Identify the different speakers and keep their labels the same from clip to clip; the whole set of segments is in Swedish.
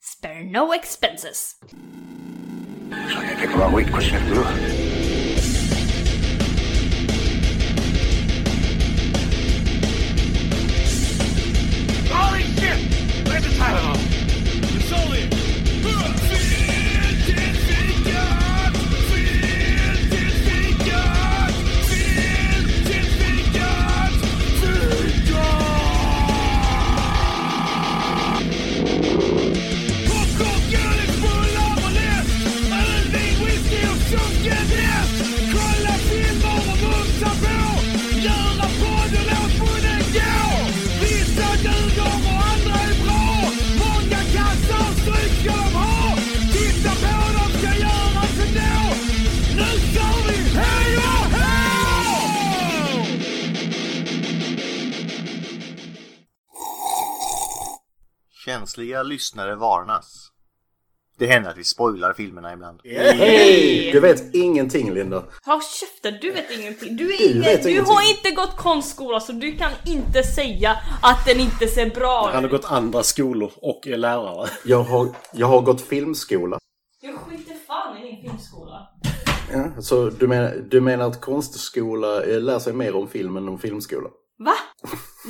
Speaker 1: Spare no expenses.
Speaker 2: Holy shit! Where's the Tylenol? It's only. Kolla filmer och mumsa på! Göra podden åt munnen gå! Vissa duger och andra är bra! Många kassar stryk ska de ha! Titta på dem ska göras ändå! Nu kör vi! Hej och hå!
Speaker 3: Känsliga lyssnare varnas. Det händer att vi spoilar filmerna ibland.
Speaker 4: Du vet ingenting Linda.
Speaker 1: Håll käften, du vet ingenting. Du, är
Speaker 4: Du
Speaker 1: ingen,
Speaker 4: vet
Speaker 1: du
Speaker 4: ingenting.
Speaker 1: har inte gått konstskola så du kan inte säga att den inte ser bra
Speaker 5: Han
Speaker 1: ut.
Speaker 5: har gått andra skolor och är lärare.
Speaker 4: Jag har, jag har gått filmskola.
Speaker 1: Jag skiter fan i din filmskola.
Speaker 4: Ja. Så du menar, du menar att konstskola eh, lär sig mer om film än om filmskola?
Speaker 1: Va?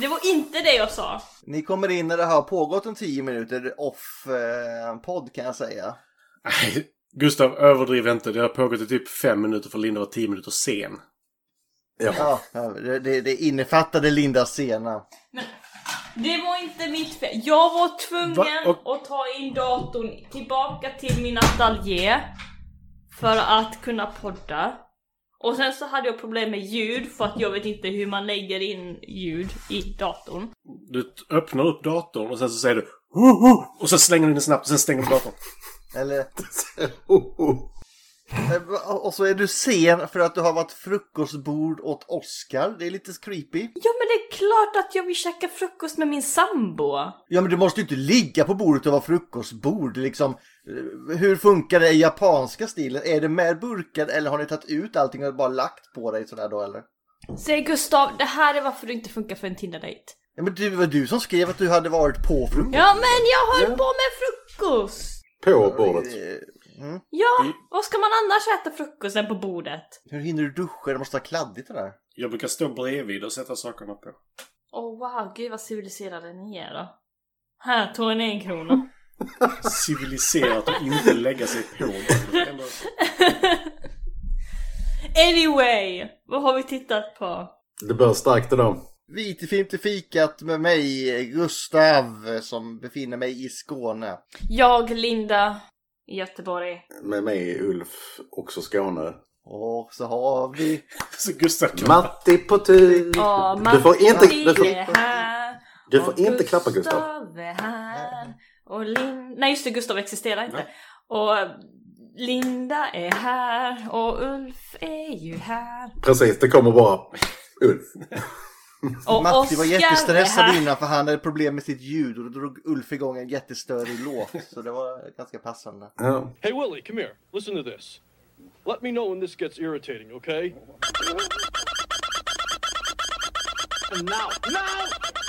Speaker 1: Det var inte det jag sa.
Speaker 6: Ni kommer in när det har pågått en 10 minuter off-podd kan jag säga.
Speaker 5: Nej, Gustav överdriv inte. Det har pågått i typ fem minuter för Linda var tio minuter sen.
Speaker 4: Ja.
Speaker 6: Ja, det, det, det innefattade Lindas sena.
Speaker 1: Det var inte mitt fel. Jag var tvungen
Speaker 5: Va?
Speaker 1: att ta in datorn tillbaka till min ateljé för att kunna podda. Och sen så hade jag problem med ljud för att jag vet inte hur man lägger in ljud i datorn.
Speaker 5: Du t- öppnar upp datorn och sen så säger du "Hoho!" och så slänger du den snabbt och sen stänger du datorn.
Speaker 6: Eller, Eh,
Speaker 4: Oh, oh.
Speaker 6: och så är du sen för att du har varit frukostbord åt Oscar. Det är lite creepy.
Speaker 1: Ja men det är klart att jag vill käka frukost med min sambo.
Speaker 6: Ja men du måste ju inte ligga på bordet och vara frukostbord liksom. Eh, Hur funkar det i japanska stilen? Är det med burkar eller har ni tagit ut allting och bara lagt på dig sådär då eller?
Speaker 1: Säg Gustav, det här är varför du inte funkar för en Tinder-dejt.
Speaker 6: Ja men det var du som skrev att du hade varit på frukost.
Speaker 1: Ja men jag höll på med frukost!
Speaker 4: På bordet.
Speaker 6: Eh,
Speaker 1: Ja, vad ska man annars äta frukost än på bordet?
Speaker 6: Hur hinner du duscha? Det måste vara kladdigt det där.
Speaker 5: Jag brukar stå bredvid och sätta sakerna på.
Speaker 1: Åh oh, wow, gud vad civiliserade ni är då. Här, ta en en krona.
Speaker 5: Civiliserat och inte lägga sig på. Eller-
Speaker 1: Anyway, vad har vi tittat på?
Speaker 4: Det börjar starkt idag.
Speaker 6: Vit film till fikat med mig, Gustav, som befinner mig i Skåne.
Speaker 1: Jag, Linda, i Göteborg.
Speaker 4: Med mig Ulf, också Skåne.
Speaker 6: Och så har vi...
Speaker 5: Så Gustav kan...
Speaker 4: Matti på tur!
Speaker 1: Ja,
Speaker 4: Du får inte-
Speaker 1: Matti
Speaker 4: du får-
Speaker 1: är här.
Speaker 4: Du får
Speaker 1: och
Speaker 4: inte klappa Gustav.
Speaker 1: Gustav är här. Och Linda... Nej just det, Gustav existerar inte. Och Linda är här. Och Ulf är ju här.
Speaker 4: Precis, det kommer bara Ulf.
Speaker 1: Och
Speaker 6: Matti var
Speaker 1: Oscar är
Speaker 6: jättestressad
Speaker 1: här.
Speaker 6: innan för han hade problem med sitt ljud och då drog Ulf igång en jättestörig låt. Så det var ganska passande.
Speaker 4: Ja.
Speaker 7: Hey, Willie, come here. Listen to this. Let me know when this gets irritating, okay?
Speaker 2: Now, now!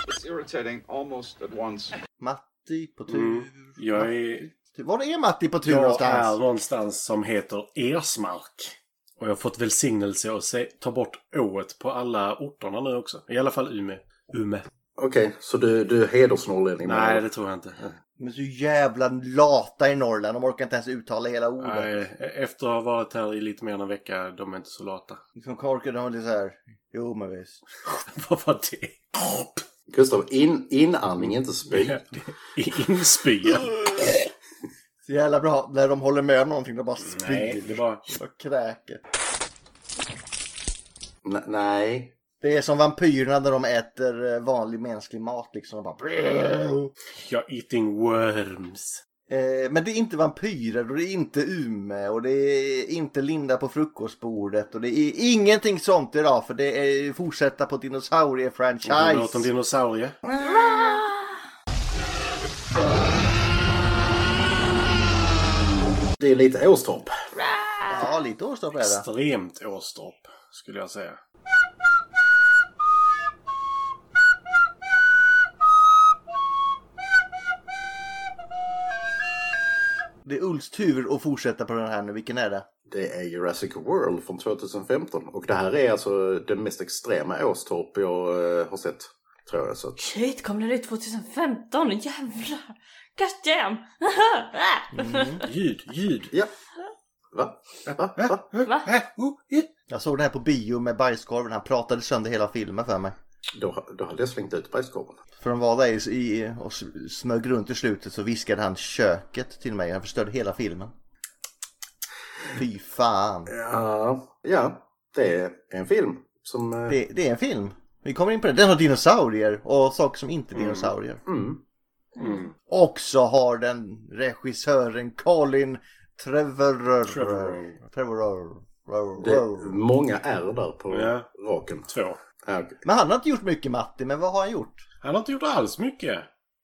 Speaker 8: It's irritating almost at once.
Speaker 6: Matti på tur. Typ-
Speaker 5: Mm. Jag är,
Speaker 6: Var är Matti på tur
Speaker 5: jag
Speaker 6: någonstans?
Speaker 5: är någonstans som heter Ersmark. Och jag har fått välsignelse att se, ta bort ået på alla orterna nu också. I alla fall Ume. Ume.
Speaker 4: Okej, så du, du är hedersnorrlänning?
Speaker 5: Nej, det tror jag inte.
Speaker 6: Men så jävla lata i Norrland. De orkar inte ens uttala hela ordet.
Speaker 5: Nej, efter att ha varit här i lite mer än en vecka, de är inte så lata.
Speaker 6: Liksom korkade de lite så här. Jo men visst.
Speaker 5: Vad var det?
Speaker 4: Gustav, in, inandning, inte spy.
Speaker 5: Inspya?
Speaker 6: Så jävla bra när de håller med om någonting. De bara
Speaker 5: Nej, det
Speaker 6: spyr
Speaker 5: var...
Speaker 6: och kräker.
Speaker 4: N- nej.
Speaker 6: Det är som vampyrerna när de äter eh, vanlig mänsklig mat liksom. De bara...
Speaker 5: You're eating worms.
Speaker 6: Eh, Men det är inte vampyrer och det är inte Ume och det är inte Linda på frukostbordet och det är ingenting sånt idag för det är fortsätta på
Speaker 5: Har du hört om
Speaker 6: dinosauriefranchise.
Speaker 5: dinosaurie?
Speaker 4: Det är lite Åstorp.
Speaker 6: Ja, lite årsdag på det. där.
Speaker 5: Extremt åstorp, skulle jag säga.
Speaker 6: Det är Ulfs tur att fortsätta på den här nu. Vilken är det?
Speaker 4: Det är Jurassic World från 2015. Och det här är alltså den mest extrema åstorp jag eh, har sett. Tror jag. Så att,
Speaker 1: Shit, kom den ut 2015? Jävlar! God damn!
Speaker 5: Ljud, ljud.
Speaker 4: ja. Va? Va? Va?
Speaker 1: Va?
Speaker 6: Äh, Jag såg det här på bio med bajskorven. Han pratade sönder hela filmen för mig.
Speaker 4: Då, då hade jag slängt ut bajskorven.
Speaker 6: För de var där i, i, och s- smög runt i slutet så viskade han köket till mig. Han förstörde hela filmen. Fy fan.
Speaker 4: Ja. Ja, det är en film. Som, eh,
Speaker 6: Det, det är en film. Vi kommer in på det. Den har dinosaurier och saker som inte är dinosaurier.
Speaker 4: mm.
Speaker 6: Och så har den regissören Colin Trevorrow.
Speaker 5: Trevorrow.
Speaker 6: Trevorrow.
Speaker 4: det är många är där på
Speaker 5: Ja.
Speaker 4: raken.
Speaker 5: Två.
Speaker 4: Ja, okej.
Speaker 6: Men han har inte gjort mycket Matti, men vad har han gjort?
Speaker 5: Han har inte gjort alls mycket.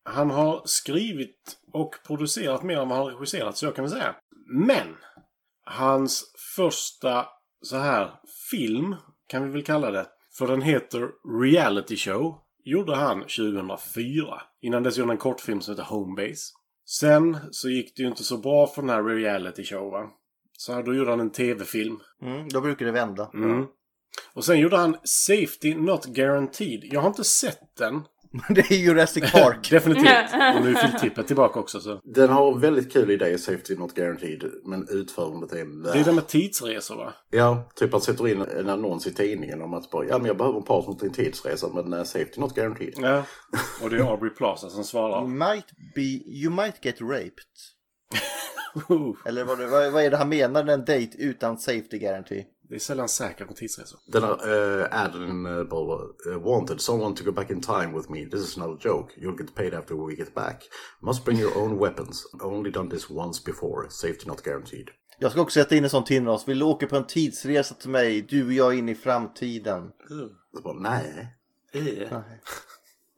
Speaker 5: Han har skrivit och producerat mer än vad han har regisserat, så jag kan väl säga. Men! Hans första så här film, kan vi väl kalla det. För den heter Reality Show. Gjorde han 2004. Innan dess gjorde han en kortfilm som heter Homebase. Sen så gick det ju inte så bra för den här reality showen. Så här, då gjorde han en tv-film.
Speaker 6: Mm, då brukar det vända.
Speaker 5: Mm. Och sen gjorde han Safety Not Guaranteed. Jag har inte sett den.
Speaker 6: det är Jurassic Park.
Speaker 5: Definitivt. Och nu är Phil Tippett tillbaka också. Så.
Speaker 4: Den har en väldigt kul idé, Safety Not Guaranteed, men utförandet är...
Speaker 5: Det är det med tidsresor va?
Speaker 4: Ja, typ att sätter in en annons i tidningen om att bara, ja men jag behöver en partner till en tidsresa men eh, Safety Not Guaranteed.
Speaker 5: Ja. Mm. Och det är Aubrey Plaza som
Speaker 6: You
Speaker 5: svarar.
Speaker 6: might be, you might get raped.
Speaker 5: Oh,
Speaker 6: Eller vad, det- vad, vad är det han menar? En dejt utan safety guarantee.
Speaker 5: det är sällan säkert med tidsresor.
Speaker 4: Den här uh, aden eh, bara eh, wanted someone to go back in time with me. This is not a joke. You'll get paid after we get back. Must bring your own weapons. Only done this once before. Safety Not Guaranteed.
Speaker 6: Jag ska också sätta in en sån till oss. Vill du åka på en tidsresa till mig? Du och jag in i framtiden.
Speaker 4: Så bara, nej.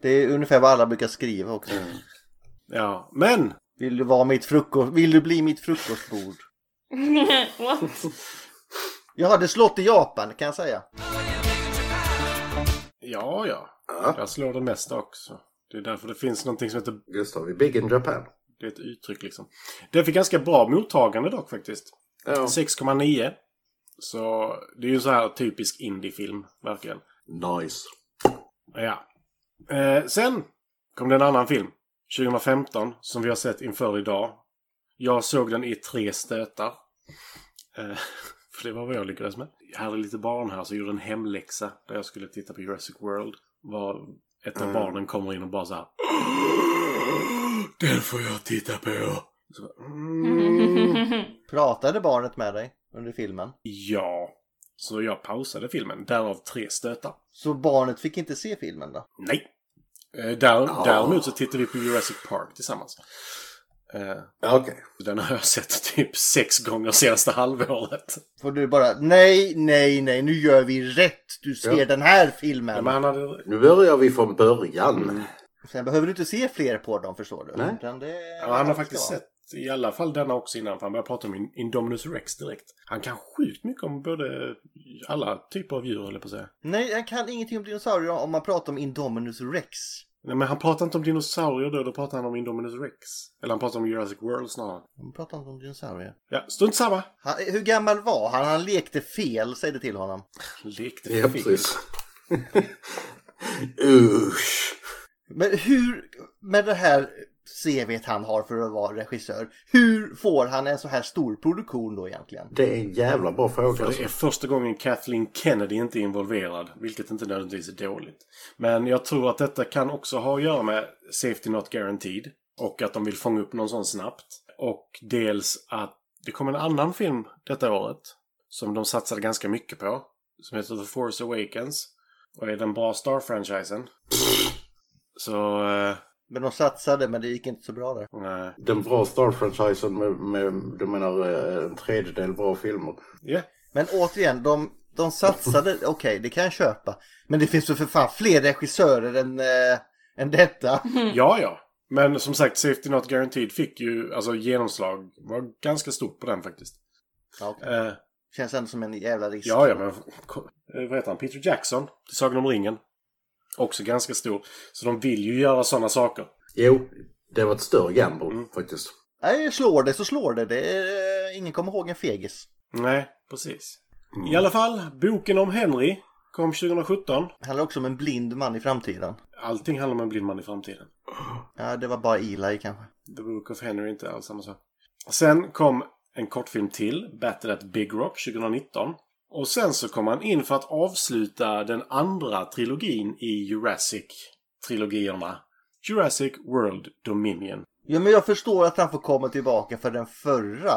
Speaker 6: Det är ungefär vad alla brukar skriva också.
Speaker 5: Ja, men!
Speaker 6: Vill du, vara mitt frukost, vill du bli mitt frukostbord? äh.
Speaker 1: What?
Speaker 6: Jag hade slått i Japan kan jag säga.
Speaker 5: Ja, ja. Jag slår det mesta också. Det är därför det finns någonting som heter...
Speaker 4: Gustav, i Big in Japan.
Speaker 5: Det är ett uttryck liksom. Det fick ganska bra mottagande dock faktiskt.
Speaker 4: Ja.
Speaker 5: 6,9. Så det är ju så här typisk indiefilm, verkligen.
Speaker 4: Nice.
Speaker 5: Ja. Eh, sen kom det en annan film. 2015, som vi har sett inför idag. Jag såg den i tre stötar. Eh, för det var vad jag lyckades med. Jag hade lite barn här, så jag gjorde en hemläxa där jag skulle titta på Jurassic World. Var ett av barnen kommer in och bara så här. Den får jag titta på! Så, bara, mm.
Speaker 6: Pratade barnet med dig under filmen?
Speaker 5: Ja. Så jag pausade filmen, därav tre stötar.
Speaker 6: Så barnet fick inte se filmen då?
Speaker 5: Nej. Eh, Där, Däremot så tittar vi på Jurassic Park tillsammans. Eh,
Speaker 4: Ja, okej.
Speaker 5: Den har jag sett typ sex gånger senaste halvåret.
Speaker 6: Får du bara nej, nej, nej, nu gör vi rätt. Du ser
Speaker 4: Ja.
Speaker 6: den här
Speaker 5: Ja,
Speaker 6: filmen.
Speaker 5: men han hade...
Speaker 4: Nu börjar vi från början.
Speaker 5: Mm.
Speaker 6: Sen behöver du inte se fler på dem förstår du.
Speaker 4: Nej.
Speaker 6: Utan det är
Speaker 5: ja, han har
Speaker 6: vad
Speaker 5: faktiskt
Speaker 6: ska.
Speaker 5: sett i alla fall denna också innan. För han började prata om In- Indominus Rex direkt. Han kan sjukt mycket om både alla typer av djur, eller på att säga.
Speaker 6: Nej, jag kan ingenting om dinosaurier om man pratar om Indominus Rex.
Speaker 5: Nej, men han pratar inte om dinosaurier då. Då pratar han om Indominus Rex. Eller han pratar om Jurassic World snarare.
Speaker 6: Man pratar inte om dinosaurier.
Speaker 5: Ja, strunt samma.
Speaker 6: Han, hur gammal var han? Han lekte fel, säg det till honom.
Speaker 5: Lekte
Speaker 4: Ja,
Speaker 5: fel.
Speaker 4: precis. Usch.
Speaker 6: Men hur, med det här CVt han har för att vara regissör, hur får han en så här stor produktion då egentligen?
Speaker 4: Det är en jävla bra fråga.
Speaker 5: För det
Speaker 4: Alltså.
Speaker 5: är första gången Kathleen Kennedy inte är involverad, vilket inte nödvändigtvis är dåligt. Men jag tror att detta kan också ha att göra med Safety Not Guaranteed. Och att de vill fånga upp någon sån snabbt. Och dels att det kom en annan film detta året. Som de satsade ganska mycket på. Som heter The Force Awakens. Och är den bra Star-franchisen. Så... Eh,
Speaker 6: Men de satsade, men det gick inte så bra där.
Speaker 5: nej.
Speaker 4: Den bra Star-franchisen med, med, du menar, eh, en tredjedel bra filmer.
Speaker 5: Ja.
Speaker 6: Men återigen, de, de satsade, okej, det kan jag köpa. Men det finns väl för fan fler regissörer än, eh, än detta.
Speaker 5: Ja, ja. Men som sagt, Safety Not Guaranteed fick ju... Alltså genomslag var ganska stort på den faktiskt.
Speaker 6: Ja, okej.
Speaker 5: Eh,
Speaker 6: Känns ändå som en jävla risk.
Speaker 5: Ja, ja, men ko- eh, vad heter han? Peter Jackson till Sagan om ringen. Också ganska stor. Så de vill ju göra sådana saker. Mm.
Speaker 4: Jo, det var ett större gamble faktiskt.
Speaker 6: Nej, slår det så slår det. det är, eh, ingen kommer ihåg en fegis.
Speaker 5: Nej, precis.
Speaker 6: Mm.
Speaker 5: I alla fall, boken om Henry kom 2017.
Speaker 6: Det handlar också om en blind man i framtiden.
Speaker 5: Allting handlar om en blind man i framtiden.
Speaker 6: Ja, det var bara Eli kanske.
Speaker 5: The Book of Henry är inte alls samma sak. Sen kom en kortfilm till, Battle at Big Rock 2019. Och sen så kom han in för att avsluta den andra trilogin i Jurassic-trilogierna. Jurassic World Dominion.
Speaker 6: Ja, men jag förstår att han får komma tillbaka för den förra.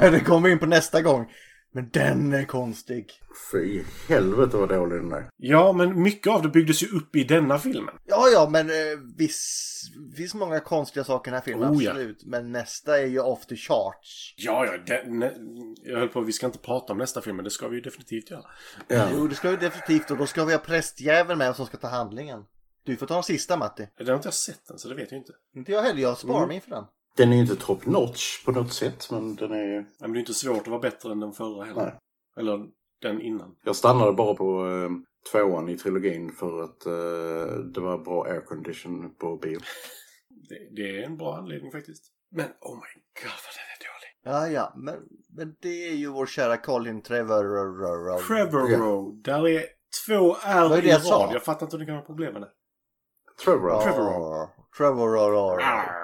Speaker 6: det kommer in på nästa gång. Men den är konstig.
Speaker 4: Fy helvete vad dålig den är.
Speaker 5: Ja, men mycket av det byggdes ju upp i denna filmen.
Speaker 6: Ja, ja, men eh, visst finns många konstiga saker i den här filmen,
Speaker 5: Oh, ja.
Speaker 6: absolut. Men nästa är ju off the charts.
Speaker 5: Ja, ja, den, ne, jag höll på vi ska inte prata om nästa film, men det ska vi ju definitivt göra.
Speaker 6: Jo, det ska vi definitivt och då ska vi ha prästjäveln med som ska ta handlingen. Du får ta den sista, Matti.
Speaker 5: Den har inte jag sett den, så det vet jag inte.
Speaker 6: Inte jag heller, jag sparar
Speaker 5: Mm.
Speaker 6: mig inför den.
Speaker 4: Den är ju inte top notch på något sätt, men den är ju...
Speaker 5: Nej, Men det är inte svårt att vara bättre än den förra heller.
Speaker 4: Nej.
Speaker 5: Eller den innan.
Speaker 4: Jag stannade bara på eh, tvåan i trilogin för att eh, det var bra aircondition på bio.
Speaker 5: Det, det är en bra anledning faktiskt. Men oh my god vad den är dålig.
Speaker 6: Ja, ja, men, men det är ju vår kära Colin Trevorrow.
Speaker 5: Trevorrow. Där är två R
Speaker 6: Vad är det
Speaker 5: i
Speaker 6: jag sa?
Speaker 5: rad. Jag fattar inte hur det kan vara problem med det.
Speaker 4: Trevor.
Speaker 6: Trevorrow. Trevorrow.
Speaker 5: Arr.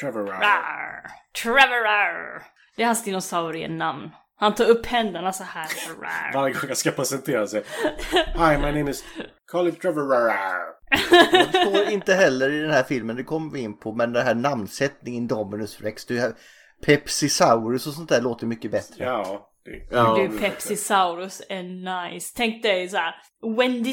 Speaker 5: Trevorrow.
Speaker 1: Rar. Trevor Rar. Det är hans dinosaurienamn. Han tar upp händerna så här. Rar.
Speaker 5: Varje gång jag ska presentera sig. Hi, my name is... Call it Trevorrow.
Speaker 6: Det står inte heller i den här filmen, det kommer vi in på, men den här namnsättningen Dominus Rex, det är ju här Pepsisaurus och sånt där låter mycket bättre.
Speaker 5: Ja. det-
Speaker 4: Ja,
Speaker 1: Du, Pepsisaurus är nice. Tänk dig såhär,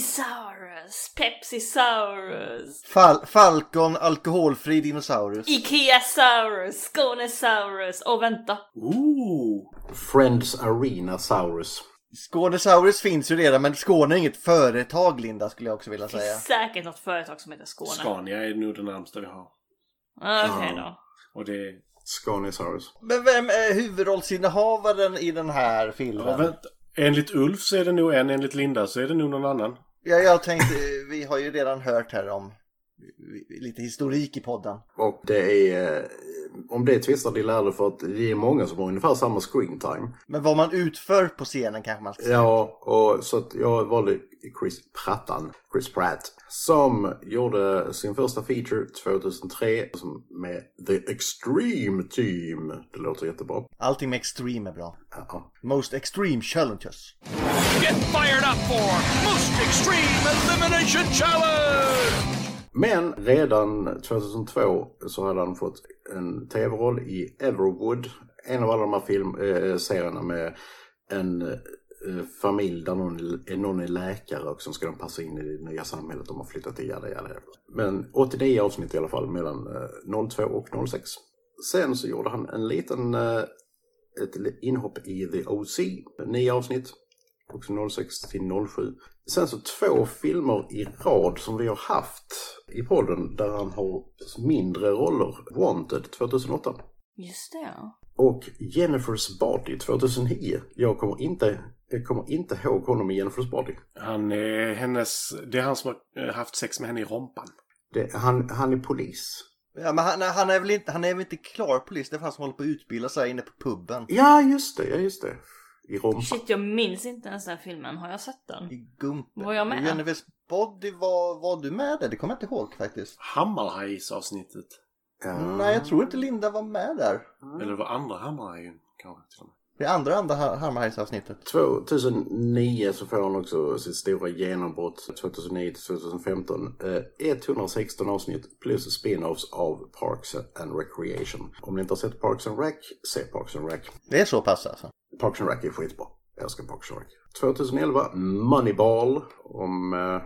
Speaker 1: Wendysaurus, Pepsisaurus,
Speaker 6: Fal- Falcon alkoholfri dinosaurus.
Speaker 1: Ikeasaurus, Skånesaurus. Och vänta,
Speaker 5: Ooh.
Speaker 4: Friends Arena Saurus.
Speaker 6: Skånesaurus finns ju redan, men Skåne är inget företag, Linda, skulle jag också vilja
Speaker 1: det
Speaker 6: säga.
Speaker 1: finns säkert något företag som heter Skåne. Ah,
Speaker 5: Scania är nog det närmsta vi har.
Speaker 1: Okej då.
Speaker 5: Och det är...
Speaker 4: Scanisaurus.
Speaker 6: Men vem är huvudrollsinnehavaren i den här filmen?
Speaker 5: Ja, vänta. Enligt Ulf så är det nog en, enligt Linda så är det nog någon annan.
Speaker 6: Ja, jag tänkte, eh, vi har ju redan hört här om eh, lite historik i podden.
Speaker 4: Och det är... eh, Om det tvistar de lärde för att det är många som har ungefär samma screen time.
Speaker 6: Men vad man utför på scenen kanske man ska säga.
Speaker 4: Ja, och så att jag valde Chris Prattan, Chris Pratt, som gjorde sin första feature 2003 som med The Extreme Team. Det låter jättebra.
Speaker 6: Allting med extreme är bra.
Speaker 4: Ja.
Speaker 6: Most extreme challenges.
Speaker 2: Get fired up for Most Extreme Elimination Challenge!
Speaker 4: Men redan 2002 så hade han fått en tv-roll i Everwood, en av alla de här film, eh, serierna med en eh, familj där någon, eh, någon är läkare och som ska de passa in i det nya samhället de har flyttat till. Jada, jada, jada. Men 89 avsnitt i alla fall mellan eh, 02 och 06. Sen så gjorde han en liten eh, ett li- inhopp i The OC, nio avsnitt, också 06 till 07. Sen så två filmer i rad som vi har haft i podden där han har mindre roller. Wanted 2008
Speaker 1: Just det ja.
Speaker 4: och Jennifer's Body 2009. Jag kommer inte, jag kommer inte ihåg honom i Jennifer's Body.
Speaker 5: Han är hennes... Det är han som har eh, haft sex med henne i rompan.
Speaker 4: Det, han, han är polis.
Speaker 6: Ja, men han, han, är väl inte, han är väl inte klar polis? Det är för han som håller på att utbilda sig inne på puben.
Speaker 4: Ja, just det, ja just det. I Rom.
Speaker 1: Shit, jag minns inte ens den filmen. Har jag sett den?
Speaker 6: I Gumpen.
Speaker 1: Var jag med?
Speaker 6: Jennifers body, var, var du med där? Det kommer jag inte ihåg faktiskt.
Speaker 5: Hammarhajs-avsnittet.
Speaker 4: Ja.
Speaker 6: Nej, jag tror inte Linda var med där.
Speaker 5: Eller det var andra Hammarhajen kanske till och med.
Speaker 6: Det andra andra Hammarhajs-avsnittet.
Speaker 4: 2009 så får han också sitt stora genombrott 2009 till 2015. Eh, 116 avsnitt plus spin-offs av Parks and Recreation. Om ni inte har sett Parks and Rec, se Parks and Rec.
Speaker 6: Det är så pass alltså.
Speaker 4: Parks and Rec är skitbra. Jag älskar Parks and Rec. 2011 Moneyball om eh,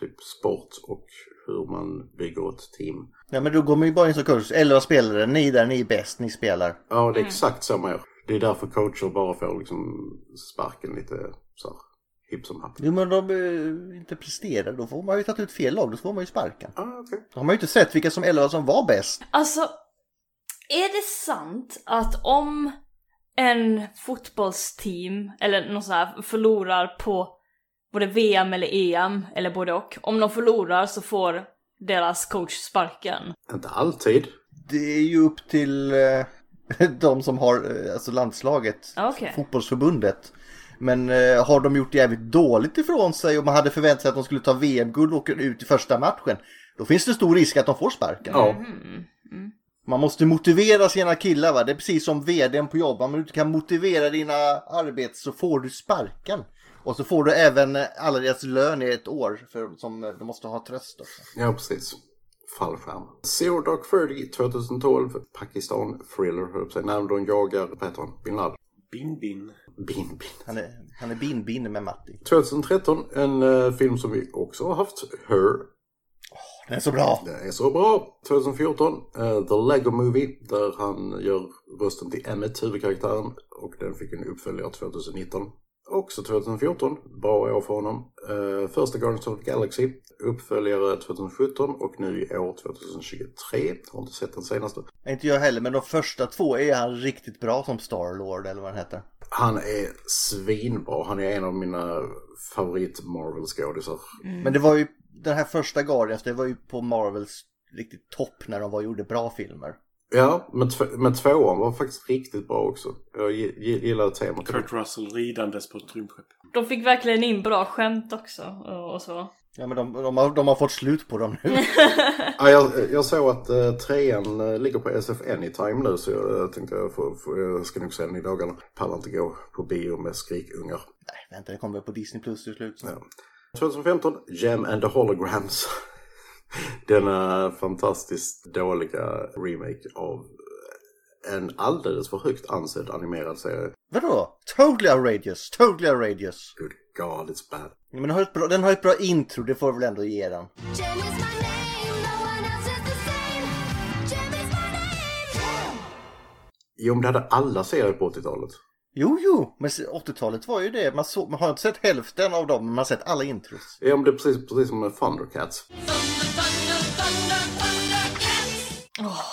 Speaker 4: typ sport och hur man bygger ett team.
Speaker 6: Ja, men då går man ju bara in som kurs. Elva spelare, ni där, ni är bäst, ni spelar.
Speaker 4: Ja, det är exakt samma år. Det är därför coacher bara får liksom sparken lite så här hipp som happ.
Speaker 6: Jo, men de eh, inte presterar, då får man ju tagit ut fel lag, då får man ju sparken.
Speaker 4: Ah, okej.
Speaker 6: Då har man ju inte sett vilka som elva som var bäst.
Speaker 1: Alltså, är det sant att om en fotbollsteam eller någon sån här förlorar på både VM eller EM eller både och. Om de förlorar så får deras coach sparken.
Speaker 4: Inte alltid.
Speaker 6: det är ju upp till eh, de som har eh, alltså landslaget,
Speaker 1: Okej.
Speaker 6: fotbollsförbundet. Men eh, har de gjort jävligt dåligt ifrån sig och man hade förväntat sig att de skulle ta VM-guld och åka ut i första matchen. Då finns det stor risk att de får sparken.
Speaker 4: Ja.
Speaker 6: Man måste motivera sina killar va. Det är precis som vdn på jobbet. Om du inte kan motivera dina arbeten så får du sparken. Och så får du även eh, alla deras lön i ett år för, som eh, de måste ha tröst också.
Speaker 4: Ja, precis. Fallskärm. Zero Dark Thirty 2012, Pakistan Thriller, höll jag på att säga. när de jagar Patton bin Laden.
Speaker 5: Bin bin.
Speaker 4: Bin, bin.
Speaker 6: Han är, han är bin-bin med Matti.
Speaker 4: 2013, en eh, film som vi också har haft, Her.
Speaker 6: Den är så bra!
Speaker 4: Det är så bra! 2014, eh, The Lego Movie, där han gör rösten till Emmet, huvudkaraktären, och den fick en uppföljare 2019. Också 2014, bra år för honom. Eh, första Guardians of the Galaxy, uppföljare 2017 och nu i år 2023. Har inte sett den senaste.
Speaker 6: Inte jag heller, men de första två är han riktigt bra som Starlord eller vad han heter.
Speaker 4: Han är svinbra. Han är en av mina favorit Marvel-skådisar.
Speaker 6: Men det var ju, den här första Guardians, det var ju på Marvels riktigt topp när de var, gjorde bra filmer.
Speaker 4: Ja, men, tv- men tvåan var faktiskt riktigt bra också. Jag gi- gi- gillar temat.
Speaker 5: Kurt Russell ridandes på ett rymdskepp.
Speaker 1: De fick verkligen in bra skämt också och och så.
Speaker 6: Ja men de, de, har, de har fått slut på dem nu.
Speaker 4: Ja, jag, jag såg att eh, trean eh, ligger på SF Anytime nu så jag eh, tänkte jag, får, får, jag ska nog se den i dagarna. Pallar inte gå på bio med skrikungar.
Speaker 6: Vänta, det kommer väl på Disney Plus till slut.
Speaker 4: Ja. 2015, Gem and the Holograms. Denna fantastiskt dåliga remake av eh, en alldeles för högt ansedd animerad serie.
Speaker 6: Vadå? Totally outrageous, totally outrageous.
Speaker 4: Good God, it's bad.
Speaker 6: Ja, Men den har, ett bra, den har ett bra intro, det får jag väl ändå ge den.
Speaker 9: Jim is my name, no one else is the same. Jim is my name.
Speaker 4: Jo, men det hade alla serier på 80-talet.
Speaker 6: Jo, jo, men se- 80-talet var ju det. Man, såg, man har inte sett hälften av dem, men man har sett alla intros.
Speaker 4: Ja, men det är precis, precis som med Thundercats.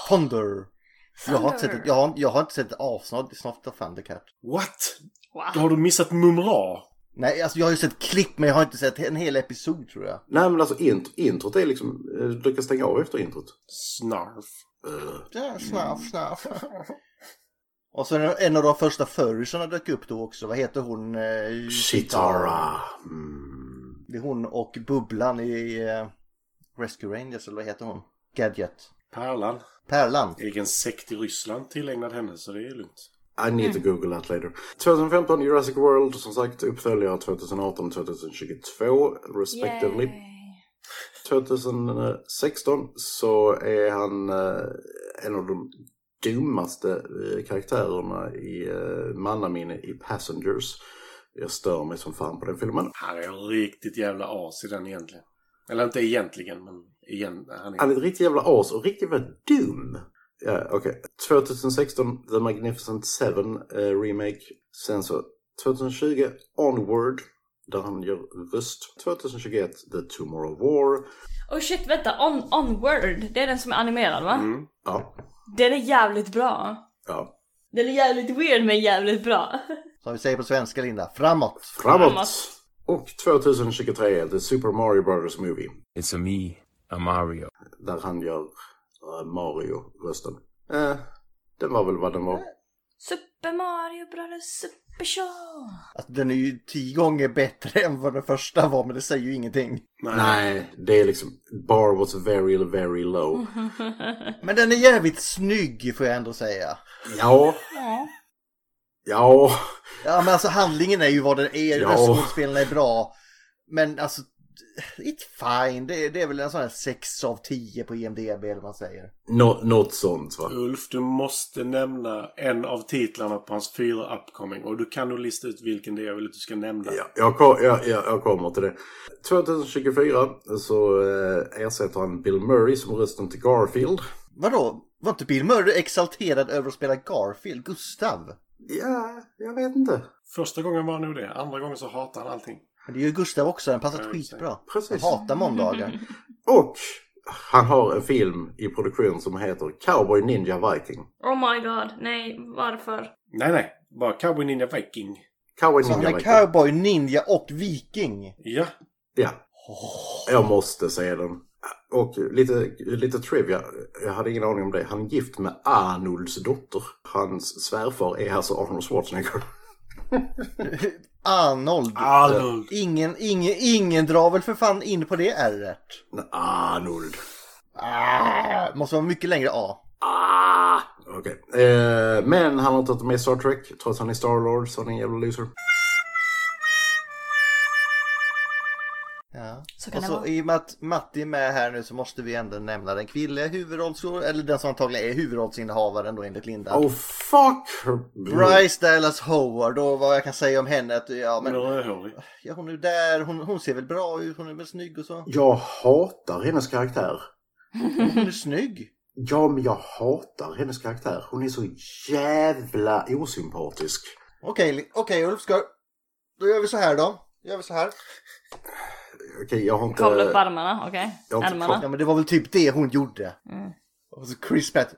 Speaker 6: Thunder! Jag har, inte sett, ett- jag, har, jag har inte sett ett avsnitt snart av Thundercat.
Speaker 5: What? Då
Speaker 1: Wow.
Speaker 5: har du missat Mumra.
Speaker 6: Nej, alltså jag har ju sett klipp, men jag har inte sett en hel episod tror jag.
Speaker 4: Nej, men alltså int- introt är liksom... eh, Du kan stänga av efter introt.
Speaker 5: Snarf.
Speaker 4: Eh.
Speaker 6: Ja, snaff, snaff. Och sen en av de första furriesarna dök upp då också. Vad heter hon? Eh,
Speaker 4: Chitara. Mm.
Speaker 6: Det är hon och Bubblan i eh, Rescue Rangers, eller vad heter hon? Gadget.
Speaker 5: Pärlan.
Speaker 6: Pärlan.
Speaker 5: Egen sekt i Ryssland tillägnad henne, så det är lugnt.
Speaker 4: I need to google that later. 2015 Jurassic World, som sagt uppföljare 2018 2022 respectively. 2016 så är han eh, en av de dummaste eh, karaktärerna i eh, mannaminne i Passengers. Jag stör mig som fan på den filmen.
Speaker 5: Han är riktigt jävla as i den egentligen. Eller inte egentligen, men igen. Han är...
Speaker 4: Han är ett riktigt jävla as och riktigt jävla dum. Ja, okej. 2016, The Magnificent Seven eh, remake. Sen så 2020, Onward, där han gör röst. 2021, The Tomorrow War.
Speaker 1: Oh shit, vänta. On, onward. Det är den som är animerad va?
Speaker 5: Mm.
Speaker 4: Ja,
Speaker 1: Den är jävligt bra.
Speaker 4: ja.
Speaker 1: Den är jävligt weird men jävligt bra.
Speaker 6: Som vi säger på svenska, Linda. Framåt!
Speaker 4: Framåt!
Speaker 1: Framåt.
Speaker 4: Och 2023, The Super Mario Brothers Movie,
Speaker 10: It's a me, a Mario.
Speaker 4: där han gör eh, Mario-rösten. Eh, den var väl vad den var.
Speaker 1: Super Mario Brothers Super Show.
Speaker 6: Alltså, den är ju tio gånger bättre än vad den första var, men det säger ju ingenting.
Speaker 4: Nej, det är liksom, bar was very, very low.
Speaker 6: Men den är jävligt snygg, får jag ändå säga.
Speaker 4: Ja. Ja.
Speaker 6: Ja, men alltså handlingen är ju vad den är,
Speaker 4: Ja.
Speaker 6: röstskådespelarna är bra. Men alltså, it's fine. Det är, det är väl en sån här 6 av 10 på IMDB eller vad man säger.
Speaker 4: Nå- något sånt va?
Speaker 5: Ulf, du måste nämna en av titlarna på hans fyra upcoming. Och du kan nog lista ut vilken det är jag vill att du ska nämna.
Speaker 4: Ja, jag, kom, jag, jag, jag kommer till det. 2024 så eh, ersätter han Bill Murray som rösten till Garfield.
Speaker 6: Vadå? Var inte Bill Murray exalterad över att spela Garfield? Gustav?
Speaker 4: Ja, jag vet inte.
Speaker 5: Första gången var han nog det. Andra gången så hatar han allting.
Speaker 6: Men det är ju Gustav också, den passar
Speaker 5: Ja,
Speaker 6: skitbra.
Speaker 4: Precis.
Speaker 6: Han hatar måndagar.
Speaker 4: Och han har en film i produktion som heter Cowboy Ninja Viking.
Speaker 1: Oh my god, nej varför?
Speaker 5: Nej, nej. Bara Cowboy Ninja Viking.
Speaker 4: Cowboy
Speaker 6: Så han
Speaker 4: Ninja
Speaker 6: är
Speaker 4: Viking.
Speaker 6: cowboy, ninja och viking.
Speaker 5: Ja.
Speaker 4: Ja. Jag måste säga den. Och lite, lite trivia, jag hade ingen aning om det. Han är gift med Arnolds dotter. Hans svärfar är alltså Arnold Schwarzenegger.
Speaker 6: Arnold.
Speaker 5: Arnold.
Speaker 6: Ingen, ingen, ingen drar väl för fan in på det ärret.
Speaker 4: Nej, Arnold.
Speaker 6: Ah, måste vara mycket längre A.
Speaker 4: Ah! Okej. Eh, men han har inte varit med i Star Trek. Trots att han är Star-Lord så han är en jävla loser.
Speaker 6: Ja. Så
Speaker 1: kan
Speaker 6: och
Speaker 1: det
Speaker 6: så,
Speaker 1: vara.
Speaker 6: I och med att Matti är med här nu så måste vi ändå nämna den kvinnliga huvudrollsskådespelaren, eller den som antagligen är huvudrollsinnehavaren då enligt Linda.
Speaker 4: Oh fuck!
Speaker 6: Bryce Dallas Howard och vad jag kan säga om henne är att ja,
Speaker 5: Men...
Speaker 6: men,
Speaker 5: Rödhårig.
Speaker 6: ja, hon är ju där, hon, hon ser väl bra ut, hon är väl snygg och så.
Speaker 4: Jag hatar hennes karaktär.
Speaker 6: Hon är snygg.
Speaker 4: Ja, men jag hatar hennes karaktär. Hon är så jävla osympatisk.
Speaker 6: Okej, Li- okej Ulf, ska... då gör vi så här då. Gör vi så här.
Speaker 4: Okej, jag har inte...
Speaker 1: Kavla upp armarna, okej?
Speaker 4: jag har inte
Speaker 1: Ärmarna.
Speaker 6: Ja men det var väl typ det hon gjorde.
Speaker 1: Mm.
Speaker 6: Och så Chris Pratt.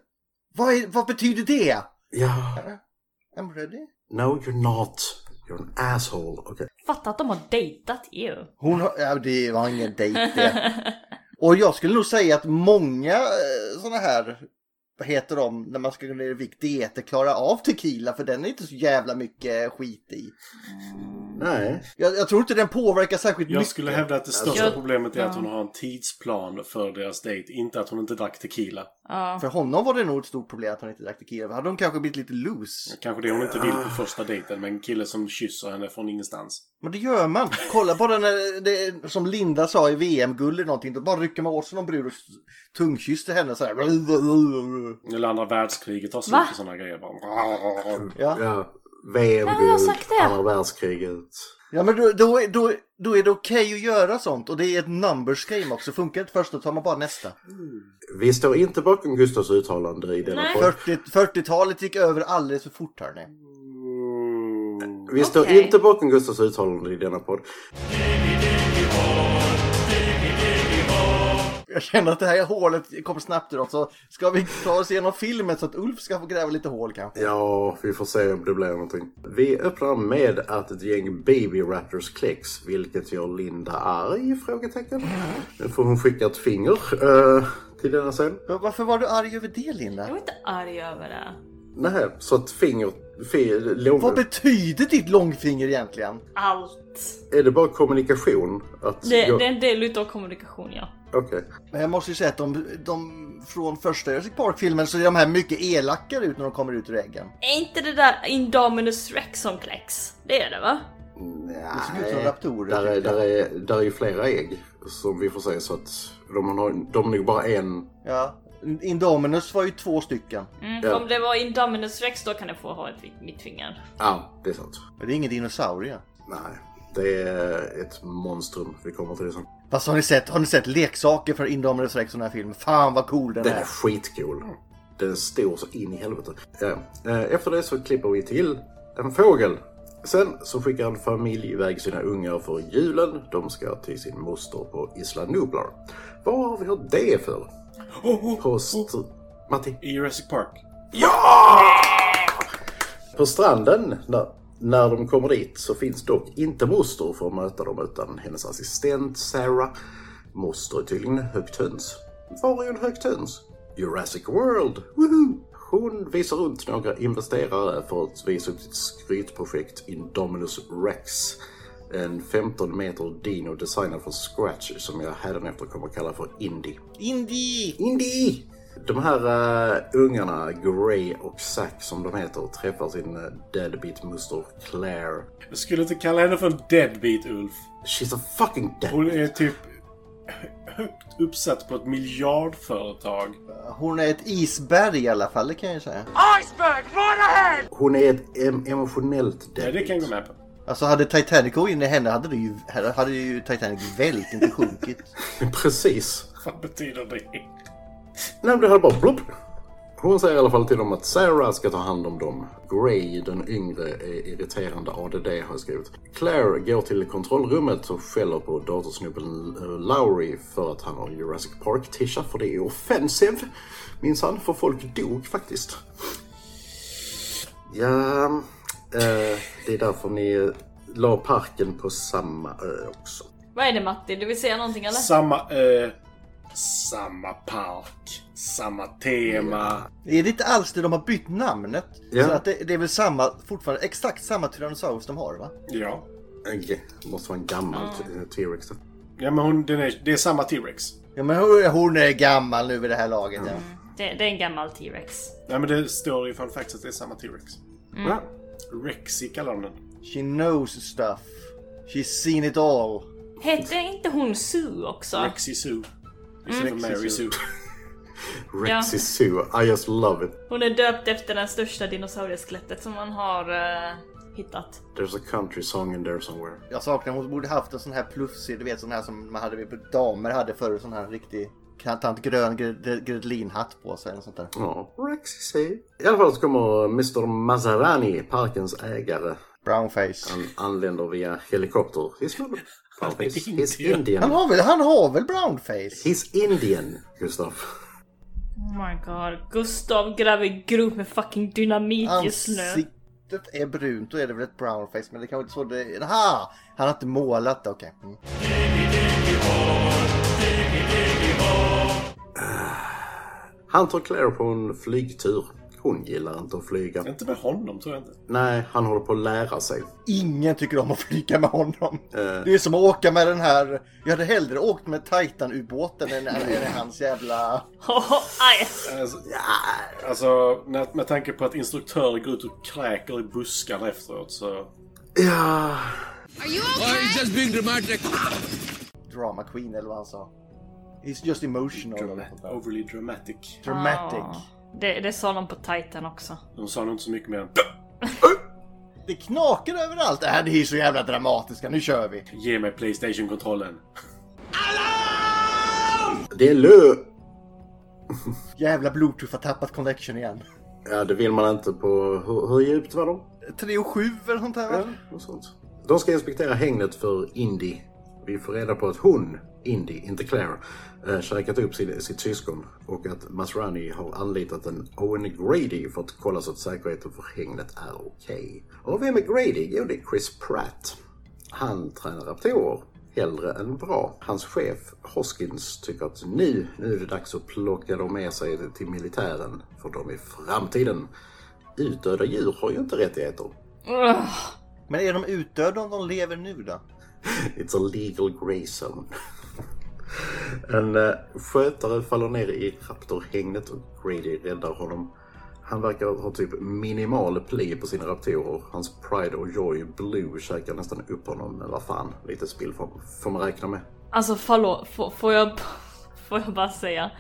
Speaker 6: Vad, är, vad betyder det?
Speaker 4: Ja.
Speaker 6: I'm ready.
Speaker 4: No, you're not. You're an asshole. Okej.
Speaker 1: Fatta att de har dejtat ju.
Speaker 6: Hon har, ja, det var ingen dejt det. Och jag skulle nog säga att många sådana här, vad heter de, när man ska gå ner i vikt, dieter klarar av tequila för den är inte så jävla mycket skit i.
Speaker 4: Nej.
Speaker 6: Jag, jag tror inte den påverkar särskilt
Speaker 5: Jag
Speaker 6: mycket.
Speaker 5: skulle hävda att det största
Speaker 1: Jag-
Speaker 5: problemet är att
Speaker 1: Ja.
Speaker 5: hon har en tidsplan för deras dejt. Inte att hon inte drack tequila.
Speaker 1: Ja.
Speaker 6: För honom var det nog ett stort problem att han inte drack tequila. Hade hon kanske blivit lite loose.
Speaker 5: Kanske det hon inte vill på första dejten, men en kille som kysser henne från ingenstans.
Speaker 6: Men det gör man. Kolla bara när det, som Linda sa i VM-guld eller någonting. Då bara rycker man åt sig någon brud och s- tungkysser henne så här.
Speaker 5: Eller andra världskriget tar slut
Speaker 1: Va?
Speaker 5: och sådana grejer. Bara...
Speaker 6: Ja.
Speaker 4: Ja.
Speaker 1: Ja, men jag har
Speaker 4: VM-guld,
Speaker 1: sagt det.
Speaker 4: andra världskriget.
Speaker 6: Ja men då, då, är- då, då är det okej att göra sånt och det är ett numbers game också. Funkar det inte först då tar man bara nästa.
Speaker 4: Vi står inte bakom Gustavs uttalande i denna
Speaker 1: Nej.
Speaker 4: podd.
Speaker 6: 40 40-talet gick över alldeles för fort hörni.
Speaker 4: Vi står
Speaker 1: Okej.
Speaker 4: inte bakom Gustavs uttalande i denna podd.
Speaker 6: Jag känner att det här hålet kommer snabbt ur oss, så ska vi ta oss igenom filmen så att Ulf ska få gräva lite hål kanske.
Speaker 4: Ja, vi får se om det blir någonting. Vi öppnar med att ett gäng baby raptors kläcks, vilket gör Linda arg? Frågetecken. Nu får hon skicka ett finger eh, till denna scen.
Speaker 6: Varför var du arg över det
Speaker 1: Jag
Speaker 6: Linda?
Speaker 1: var inte arg över det.
Speaker 4: Nej, så ett finger... Fi, lång,
Speaker 6: Vad betyder ditt långfinger egentligen?
Speaker 1: Allt.
Speaker 4: är det bara kommunikation? Att
Speaker 1: Det,
Speaker 4: jag-
Speaker 1: det är en del utav kommunikation ja.
Speaker 4: Okej.
Speaker 6: Men jag måste ju säga att de, de från första Jurassic Park-filmen så är de här mycket elakare ut när de kommer ut ur äggen.
Speaker 1: Är inte det där Indominus Rex som kläcks? Det är det va?
Speaker 6: Det ser ut som
Speaker 4: Nej.
Speaker 6: raptorer.
Speaker 4: Där är,
Speaker 6: tycker
Speaker 4: där,
Speaker 6: jag.
Speaker 4: är, där är ju flera ägg som vi får se så att de har, de har nog bara en.
Speaker 6: Ja. Indominus var ju två stycken.
Speaker 1: Mm,
Speaker 4: Ja.
Speaker 1: Om det var Indominus Rex då kan jag få ha ett, mitt finger.
Speaker 4: Ja, ah, det är sant.
Speaker 6: Men det är ingen dinosaurie.
Speaker 4: Nej, det är ett monstrum. Vi kommer till det sen.
Speaker 6: Fast har ni sett, har ni sett leksaker för Indominus Rex i den här filmen? Fan vad cool den
Speaker 4: Den
Speaker 6: är!
Speaker 4: är skitcool. Den är stor så in i helvete. Ja. Eh, Efter det så klipper vi till en fågel. Sen så skickar en familj iväg sina ungar för julen. De ska till sin moster på Isla Nublar. Vad har vi hört det för? På str... Matti?
Speaker 5: I Jurassic Park.
Speaker 4: På stranden, när, när de kommer dit, så finns dock inte moster för att möta dem utan hennes assistent Sarah. Moster är tydligen en högt höns. Var är en högt höns? Jurassic World! Woohoo! Hon visar runt några investerare för att visa upp sitt skrytprojekt Indominus Rex. En 15 meter dino designad från scratch som jag hädanefter kommer att kalla för Indie.
Speaker 6: Indie!
Speaker 4: Indy! De här eh, ungarna, Gray och Zack som de heter, träffar sin eh, deadbeat-moster Claire.
Speaker 5: Jag skulle inte kalla henne för en deadbeat, Ulf.
Speaker 4: She's a fucking dead...
Speaker 5: Hon är typ högt uppsatt på ett miljardföretag.
Speaker 6: Hon är ett isberg i alla fall, det kan jag ju säga.
Speaker 4: Hon är ett em- emotionellt
Speaker 5: Nej,
Speaker 4: deadbeat.
Speaker 5: det kan jag gå med på.
Speaker 6: Alltså hade Titanic gått in i henne hade, det ju, hade ju Titanic vält, inte sjunkit.
Speaker 4: Precis.
Speaker 5: Vad betyder det?
Speaker 4: Nej, men det hade bara plopp. Hon säger i alla fall till dem att Sarah ska ta hand om dem. Gray, den yngre, är irriterande ADD har jag skrivit. Claire går till kontrollrummet och skäller på datorsnubben eh, Lowry för att han har Jurassic Park-tisha, för det är offensive. Minsann, för folk dog faktiskt. Ja, eh, det är därför ni la parken på samma ö också.
Speaker 1: Vad är det Matti? Du vill säga någonting eller?
Speaker 5: Samma ö. eh, Samma park, samma tema.
Speaker 6: Det är inte alls det, de har bytt namnet.
Speaker 4: Ja.
Speaker 6: Så att det, det är väl samma, fortfarande exakt samma Tyrannosaurus de har va?
Speaker 5: Ja.
Speaker 4: En ge- måste vara en gammal t- T-Rex.
Speaker 5: Ja men hon, den är, det är samma T-Rex.
Speaker 6: Ja men hon, hon är gammal nu vid det här laget.
Speaker 4: Mm.
Speaker 6: Ja.
Speaker 1: Det, det är en gammal T-Rex.
Speaker 5: Nej men det står i Fun Facts att det är samma T-Rex.
Speaker 4: Ja.
Speaker 5: Rexy kallar de den.
Speaker 6: She knows stuff. She's seen it all.
Speaker 1: Hette inte hon Sue också?
Speaker 5: Rexy Sue. Istället för Mary Sue.
Speaker 4: Rexy Zoo. I just love it.
Speaker 1: Hon är döpt efter den största dinosaurieskelettet som man har eh, hittat.
Speaker 4: There's a country song in there somewhere.
Speaker 6: Jag saknar, hon borde haft en sån här plufsig, du vet sån här som man hade, damer hade förr. Sån här riktig kantant grön gre- gredelinhatt på sig. eller Sånt där.
Speaker 4: Ja, Rexy Zoo. I alla fall så kommer Mr Maserani, parkens ägare,
Speaker 6: Brownface.
Speaker 4: Han anländer via helikopter. He's not a he's, he's
Speaker 5: Indian.
Speaker 6: Han
Speaker 4: Indian.
Speaker 6: har väl, han har väl brownface?
Speaker 4: He's Indian, Gustav.
Speaker 1: Oh my god. Gustav gräver grop med fucking dynamit just nu.
Speaker 6: Ansiktet är brunt, då är det väl ett brownface. Men det kanske inte så det... Aha! Han har inte målat det, okej. Mm.
Speaker 4: Han tar Claire på en flygtur. Hon gillar inte att flyga.
Speaker 5: Inte med honom tror jag inte.
Speaker 4: Nej, han håller på att lära sig.
Speaker 6: Ingen tycker om att flyga med honom. Det är som att åka med den här... Jag hade hellre åkt med Titan-ubåten än, än, än hans jävla...
Speaker 1: Oh, aj.
Speaker 5: Alltså, alltså när, med tanke på att instruktörer går ut och kräker i buskarna efteråt så...
Speaker 4: Ja,
Speaker 9: Are you okay?
Speaker 2: just being dramatic.
Speaker 6: Drama Queen eller vad han sa. He's just emotional.
Speaker 5: Drama- overly dramatic.
Speaker 6: Dramatic.
Speaker 1: Ah. Det, det sa de på Titan också.
Speaker 5: De sa nog inte så mycket mer än
Speaker 6: Det knakar överallt. Äh, det är så jävla dramatiska. Nu kör vi.
Speaker 5: Ge mig Playstation-kontrollen.
Speaker 4: det är lö...
Speaker 6: Jävla bluetooth har tappat connection igen.
Speaker 4: Ja, det vill man inte på... Hur, hur djupt var de?
Speaker 6: 3 och 7 eller sånt här va?
Speaker 4: Ja, något sånt. De ska inspektera hängnet för Indy. Vi får reda på att hon, Indy, inte Claire, eh, käkat upp sin, sitt syskon och att Masrani har anlitat en Owen Grady för att kolla så att säkerheten för hängnet är okej. Och vem är Grady? Jo, det är Chris Pratt. Han tränar raptorer. Hellre än bra. Hans chef Hoskins tycker att nu, nu är det dags att plocka dem med sig till militären. För de är framtiden. Utdöda djur har ju inte rättigheter.
Speaker 1: Ugh.
Speaker 6: Men är de utdöda om de lever nu då?
Speaker 4: It's a legal grey zone. En eh, skötare faller ner i raptorhängnet och Grady räddar honom. Han verkar ha typ minimal pli på sina raptorer. Hans Pride och Joy Blue käkar nästan upp honom, men vad fan, lite spill får, får man räkna med.
Speaker 1: Alltså förlåt, får, får jag... b- Får jag bara säga.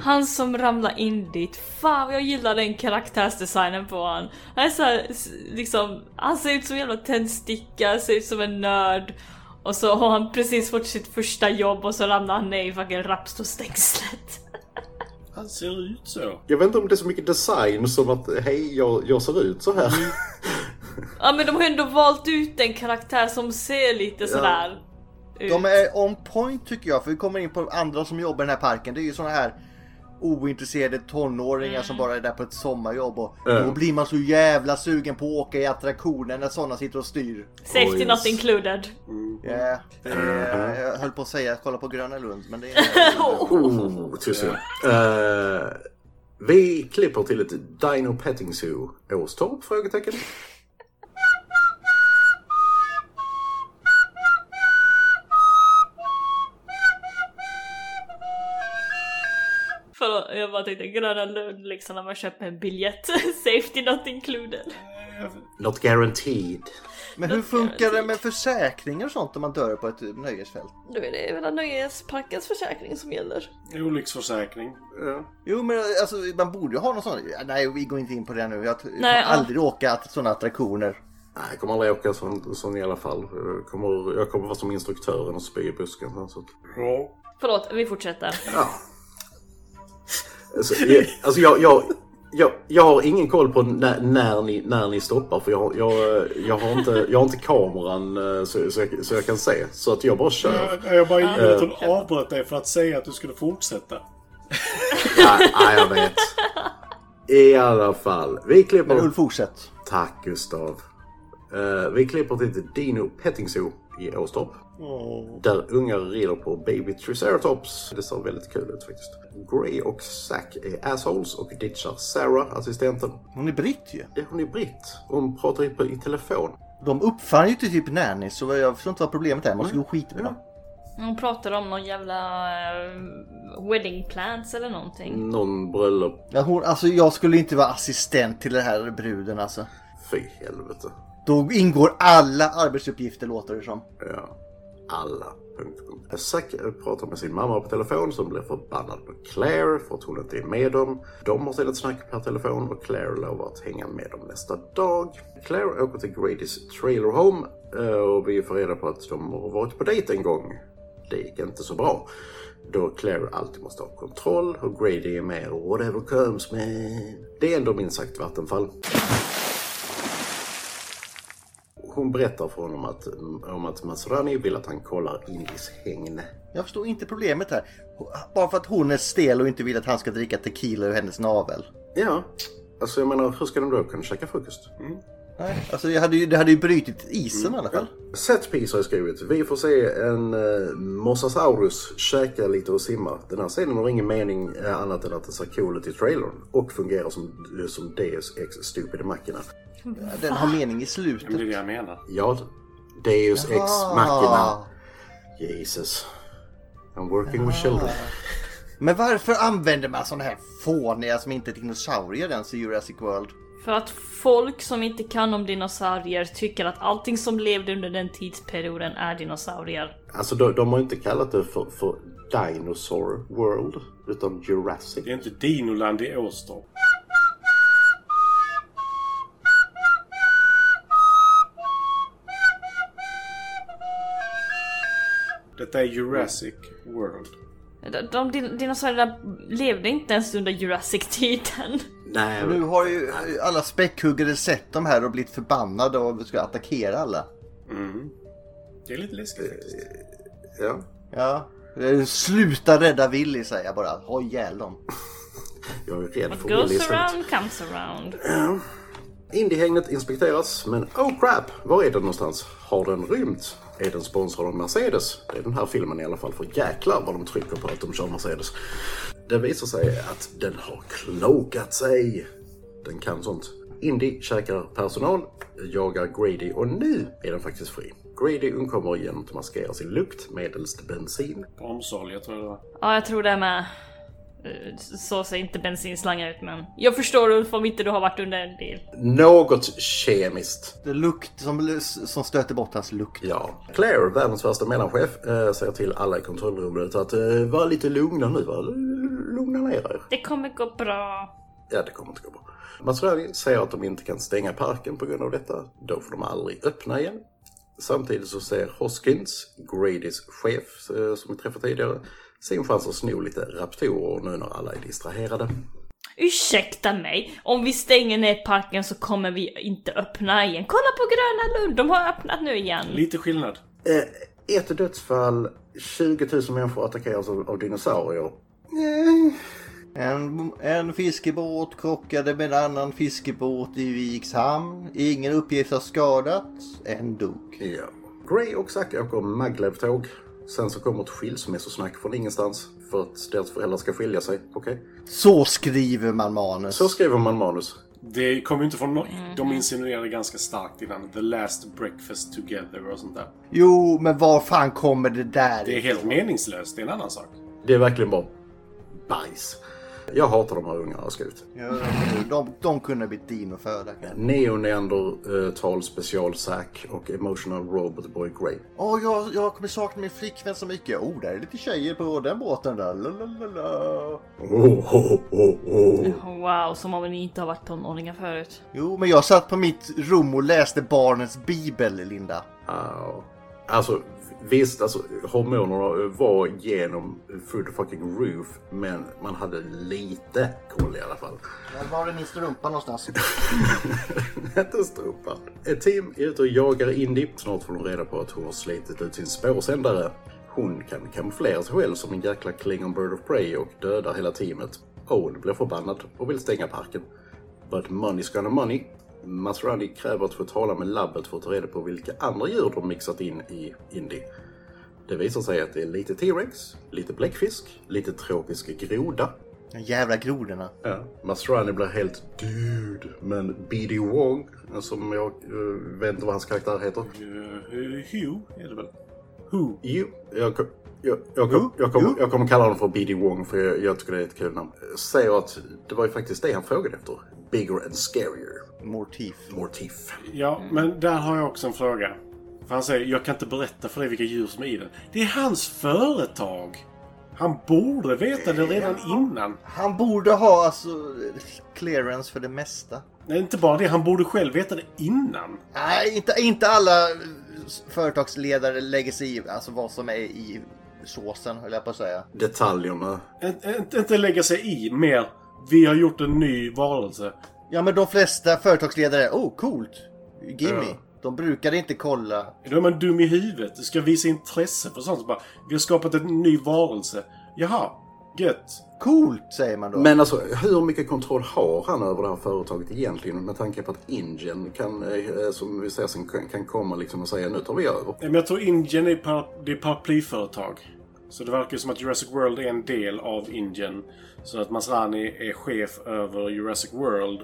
Speaker 1: Han som ramlar in dit, fan vad jag gillar den karaktärsdesignen på han. Han är så här, s- liksom, han ser ut som en jävla tändsticka, ser ut som en nörd. Och så har han precis fått sitt första jobb och så ramlar han ner i fucking rapstorstängslet.
Speaker 5: Han ser ut så.
Speaker 4: Jag vet inte om det är så mycket design som att hej, jag, jag ser ut så här.
Speaker 1: Ja men de har ändå valt ut en karaktär som ser lite sådär ut.
Speaker 6: De är on point tycker jag, för vi kommer in på andra som jobbar i den här parken. Det är ju såna här ointresserade tonåringar som bara är där på ett sommarjobb och då blir man så jävla sugen på att åka i attraktioner när såna sitter och styr.
Speaker 1: Safety
Speaker 4: Oj.
Speaker 1: not included.
Speaker 6: Yeah, det är, jag höll på att säga kolla på Gröna Lund men det är...
Speaker 4: Oh, too soon. Eh, vi klipper till ett Dino Petting Zoo. Åstorp? Frågetecken.
Speaker 1: Förlåt, jag bara tänkte Gröna Lund liksom när man köper en biljett. Safety not included.
Speaker 4: Not guaranteed.
Speaker 6: Men hur funkar det med försäkringar och sånt om man dör på ett nöjesfält?
Speaker 1: Då är det väl nöjesparkens försäkring som gäller.
Speaker 5: Olycksförsäkring.
Speaker 6: Jo men alltså man borde ju ha någon sån. Ja, Nej vi går inte in på det nu. Jag t- kommer
Speaker 1: Nej, ja.
Speaker 6: aldrig åka till såna attraktioner.
Speaker 4: Nej, jag kommer aldrig åka sån, sån i alla fall. Jag kommer, jag kommer vara som instruktören och spy i busken. sen, Så. att-
Speaker 5: Ja.
Speaker 1: Förlåt, vi fortsätter.
Speaker 4: Alltså, jag, alltså jag, jag, jag, jag har ingen koll på när, när, ni, när ni stoppar för jag, jag, jag, har, inte, jag har inte kameran eh, så, så, jag, så jag kan se. Så att jag bara kör.
Speaker 5: Jag, jag bara gillade att hon avbröt dig för att säga att du skulle fortsätta.
Speaker 4: Nej, nej, jag vet. I alla fall. Vi klipper...
Speaker 6: Men Ulf fortsätt.
Speaker 4: Tack Gustav. Eh, vi klipper till ett Dino Petting Zoo i Åstorp.
Speaker 5: Åh.
Speaker 4: Där ungar rider på Baby Triceratops. Det ser väldigt kul ut faktiskt. Gray och Zack är assholes och ditchar Sarah, assistenten.
Speaker 6: Hon är britt ju.
Speaker 4: Ja, Hon är britt. Hon pratar i, i telefon.
Speaker 6: De uppfann ju till typ nannies så jag förstår inte vad problemet är. Man ska gå skitbra.
Speaker 1: Hon pratar om någon jävla eh, wedding plans eller någonting.
Speaker 4: Någon bröllop.
Speaker 6: Ja, hon, alltså jag skulle inte vara assistent till den här bruden alltså.
Speaker 4: Fy helvete.
Speaker 6: Då ingår alla arbetsuppgifter låter det som.
Speaker 4: Ja. Alla. Punkt, punkt. Zack pratar med sin mamma på telefon som blir förbannad på Claire för att hon inte är med dem. De har sedan ett snack per telefon och Claire lovar att hänga med dem nästa dag. Claire åker till Grady's trailer home eh, och vi får reda på att de har varit på dejt en gång. Det gick inte så bra. Då Claire alltid måste ha kontroll och Grady är med och whatever comes man. Det är ändå minst sagt Vattenfall. Hon berättar för honom att, om att Masrani vill att han kollar Indis hägn.
Speaker 6: Jag förstår inte problemet här. Bara för att hon är stel och inte vill att han ska dricka tequila ur hennes navel.
Speaker 4: Ja, alltså jag menar hur ska de då kunna käka frukost?
Speaker 6: Nej, alltså det hade ju, det hade ju brytit isen i alla fall.
Speaker 4: Set piece har jag skrivit. Vi får se en eh, Mosasaurus käka lite och simma. Den här scenen har ingen mening eh, annat än att det ser cool ut i trailern och fungerar som, som Deus Ex Stupid Machina.
Speaker 6: Den har mening i
Speaker 5: Ja, men det är
Speaker 6: slutet.
Speaker 5: det jag menar.
Speaker 4: Ja, Deus Ex Machina.
Speaker 6: Ah.
Speaker 4: Jesus. I'm working with children.
Speaker 6: Men varför använder man sådana här fåniga som inte är dinosaurier ens i Jurassic World?
Speaker 1: För att folk som inte kan om dinosaurier tycker att allting som levde under den tidsperioden är dinosaurier.
Speaker 4: Alltså de, de har inte kallat det för, för Dinosaur World utan Jurassic.
Speaker 5: Det är inte Dinoland i Åstorp. Detta är Jurassic World.
Speaker 1: De, de din- dinosaurierna levde inte ens under Jurassic-tiden.
Speaker 4: Nej,
Speaker 6: Nu har ju alla späckhuggare sett de här och blivit förbannade och ska attackera alla.
Speaker 5: Mm. Det är lite läskigt faktiskt.
Speaker 4: ja.
Speaker 6: Ja. Eh, Sluta rädda Willy säger jag bara. Ha ihjäl dem.
Speaker 4: Jag är rädd
Speaker 1: What
Speaker 4: för Willy
Speaker 1: goes
Speaker 4: istället.
Speaker 1: around comes around.
Speaker 4: Indiehägnet inspekteras, men oh crap! Var är den någonstans? Har den rymt? Är den sponsrad av Mercedes? Det är den här filmen i alla fall, för jäklar vad de trycker på att de kör Mercedes. Det visar sig att den har klokat sig. Den kan sånt. Indy käkar personal, jagar Grady och nu är den faktiskt fri. Grady undkommer genom att maskera sin lukt medelst bensin.
Speaker 5: Bromsolja tror jag det var.
Speaker 1: Ja, jag tror det är med. Eh, Så ser inte bensinslangar ut men... Jag förstår Ulf om inte du har varit under en bil.
Speaker 4: Något kemiskt.
Speaker 6: Det är lukt som, som stöter bort hans lukt.
Speaker 4: Ja. Claire, världens värsta mellanchef, eh, säger till alla i kontrollrummet att eh, var lite lugna nu. Va? L- Lugna ner er.
Speaker 1: Det kommer gå bra.
Speaker 4: Ja, det kommer inte gå bra. Masrani säger att de inte kan stänga parken på grund av detta. Då får de aldrig öppna igen. Samtidigt så ser Hoskins, Gradys chef eh, som vi träffade tidigare, sin chans att sno lite raptorer nu när alla är distraherade.
Speaker 1: Ursäkta mig, om vi stänger ner parken så kommer vi inte öppna igen. Kolla på Gröna Lund, de har öppnat nu igen.
Speaker 5: Lite skillnad.
Speaker 4: Eh, ett dödsfall, 20 000 människor attackeras av, av dinosaurier. Eh,
Speaker 6: En, en fiskebåt krockade med en annan fiskebåt i Viks hamn. Ingen uppgift har skadats. En dog.
Speaker 4: Ja. Gray och Zack åker maglev-tåg. Sen så kommer ett skilsmässosnack från ingenstans för att deras föräldrar ska skilja sig. Okej?
Speaker 6: Så skriver man manus.
Speaker 4: Så skriver man manus.
Speaker 5: Det kom ju inte från no- De insinuerade ganska starkt innan. The last breakfast together och sånt där.
Speaker 6: Jo, men var fan kommer det där?
Speaker 5: Det är helt meningslöst. Det är en annan sak.
Speaker 4: Det är verkligen bara bajs. Jag hatar de här ungarna, ska ut.
Speaker 6: Ja, de- de, de kunde ha blivit dinoföda.
Speaker 4: Neoneandertal special eh, Zack och Emotional Robot Boy Gray.
Speaker 6: Åh, jag, jag kommer sakna min flickvän så mycket. Oh, där är lite tjejer på den båten där. Lalalala.
Speaker 4: Oh, oh, oh, oh.
Speaker 1: Wow, som om ni inte har varit tonåringar förut.
Speaker 6: Jo, men jag satt på mitt rum och läste barnens bibel, Linda.
Speaker 4: Ja. Alltså, visst, alltså, hormonerna var genom through the fucking roof, men man hade lite koll i alla fall.
Speaker 6: Var är min strumpa någonstans?
Speaker 4: Inte strumpan. Ett team är ute och jagar Indy. Snart får de reda på att hon har slitit ut sin spårsändare. Hon kan kamouflera sig själv som en jäkla Klingon Bird of Prey och dödar hela teamet. Owen blir förbannad och vill stänga parken. But money's gonna money. Maserati kräver att få tala med labbet för att ta reda på vilka andra djur de mixat in i Indy. Det visar sig att det är lite T-Rex, lite bläckfisk, lite tropisk groda.
Speaker 6: De jävla grodorna.
Speaker 4: Ja. Maserani blir helt dude, men BD Wong, som jag eh, vet inte vad hans karaktär heter.
Speaker 5: Uh, Hugh är det väl? Who?
Speaker 4: Jo, jag, kom- jag, jag, kom, jag, kommer- jag kommer kalla honom för BD Wong för jag, jag tycker det är ett kul namn. Eh, Säger att det var ju faktiskt det han frågade efter. Bigger and scarier.
Speaker 6: Mortif.
Speaker 4: Mortif.
Speaker 5: Ja, men där har jag också en fråga. För han säger jag kan inte berätta för dig vilka djur som är i den. Det är hans företag! Han borde veta det redan innan.
Speaker 6: Han borde ha alltså clearance för det mesta.
Speaker 5: Nej, inte bara det. Han borde själv veta det innan.
Speaker 6: Nej, inte, inte alla eh, företagsledare lägger sig i alltså vad som är i såsen, höll jag på att säga.
Speaker 4: Detaljerna.
Speaker 5: Ä- ä- Inte lägga sig i mer. Vi har gjort en ny varelse.
Speaker 6: Ja, men de flesta företagsledare, oh coolt, gimme.
Speaker 4: Ja.
Speaker 6: De brukar inte kolla.
Speaker 5: Då är man dum i huvudet. Du ska visa intresse för sånt. Så bara, vi har skapat en ny varelse. Jaha, gött.
Speaker 6: Coolt, säger man då.
Speaker 4: Men alltså, hur mycket kontroll har han över det här företaget egentligen? Med tanke på att Indien kan, eh, som vi ser sen, kan- kan komma liksom och säga nu tar vi över.
Speaker 5: Nej, Men jag tror Indien är, par- det är paraplyföretag. Så det verkar som att Jurassic World är en del av Indien. Så att Masrani är chef över Jurassic World.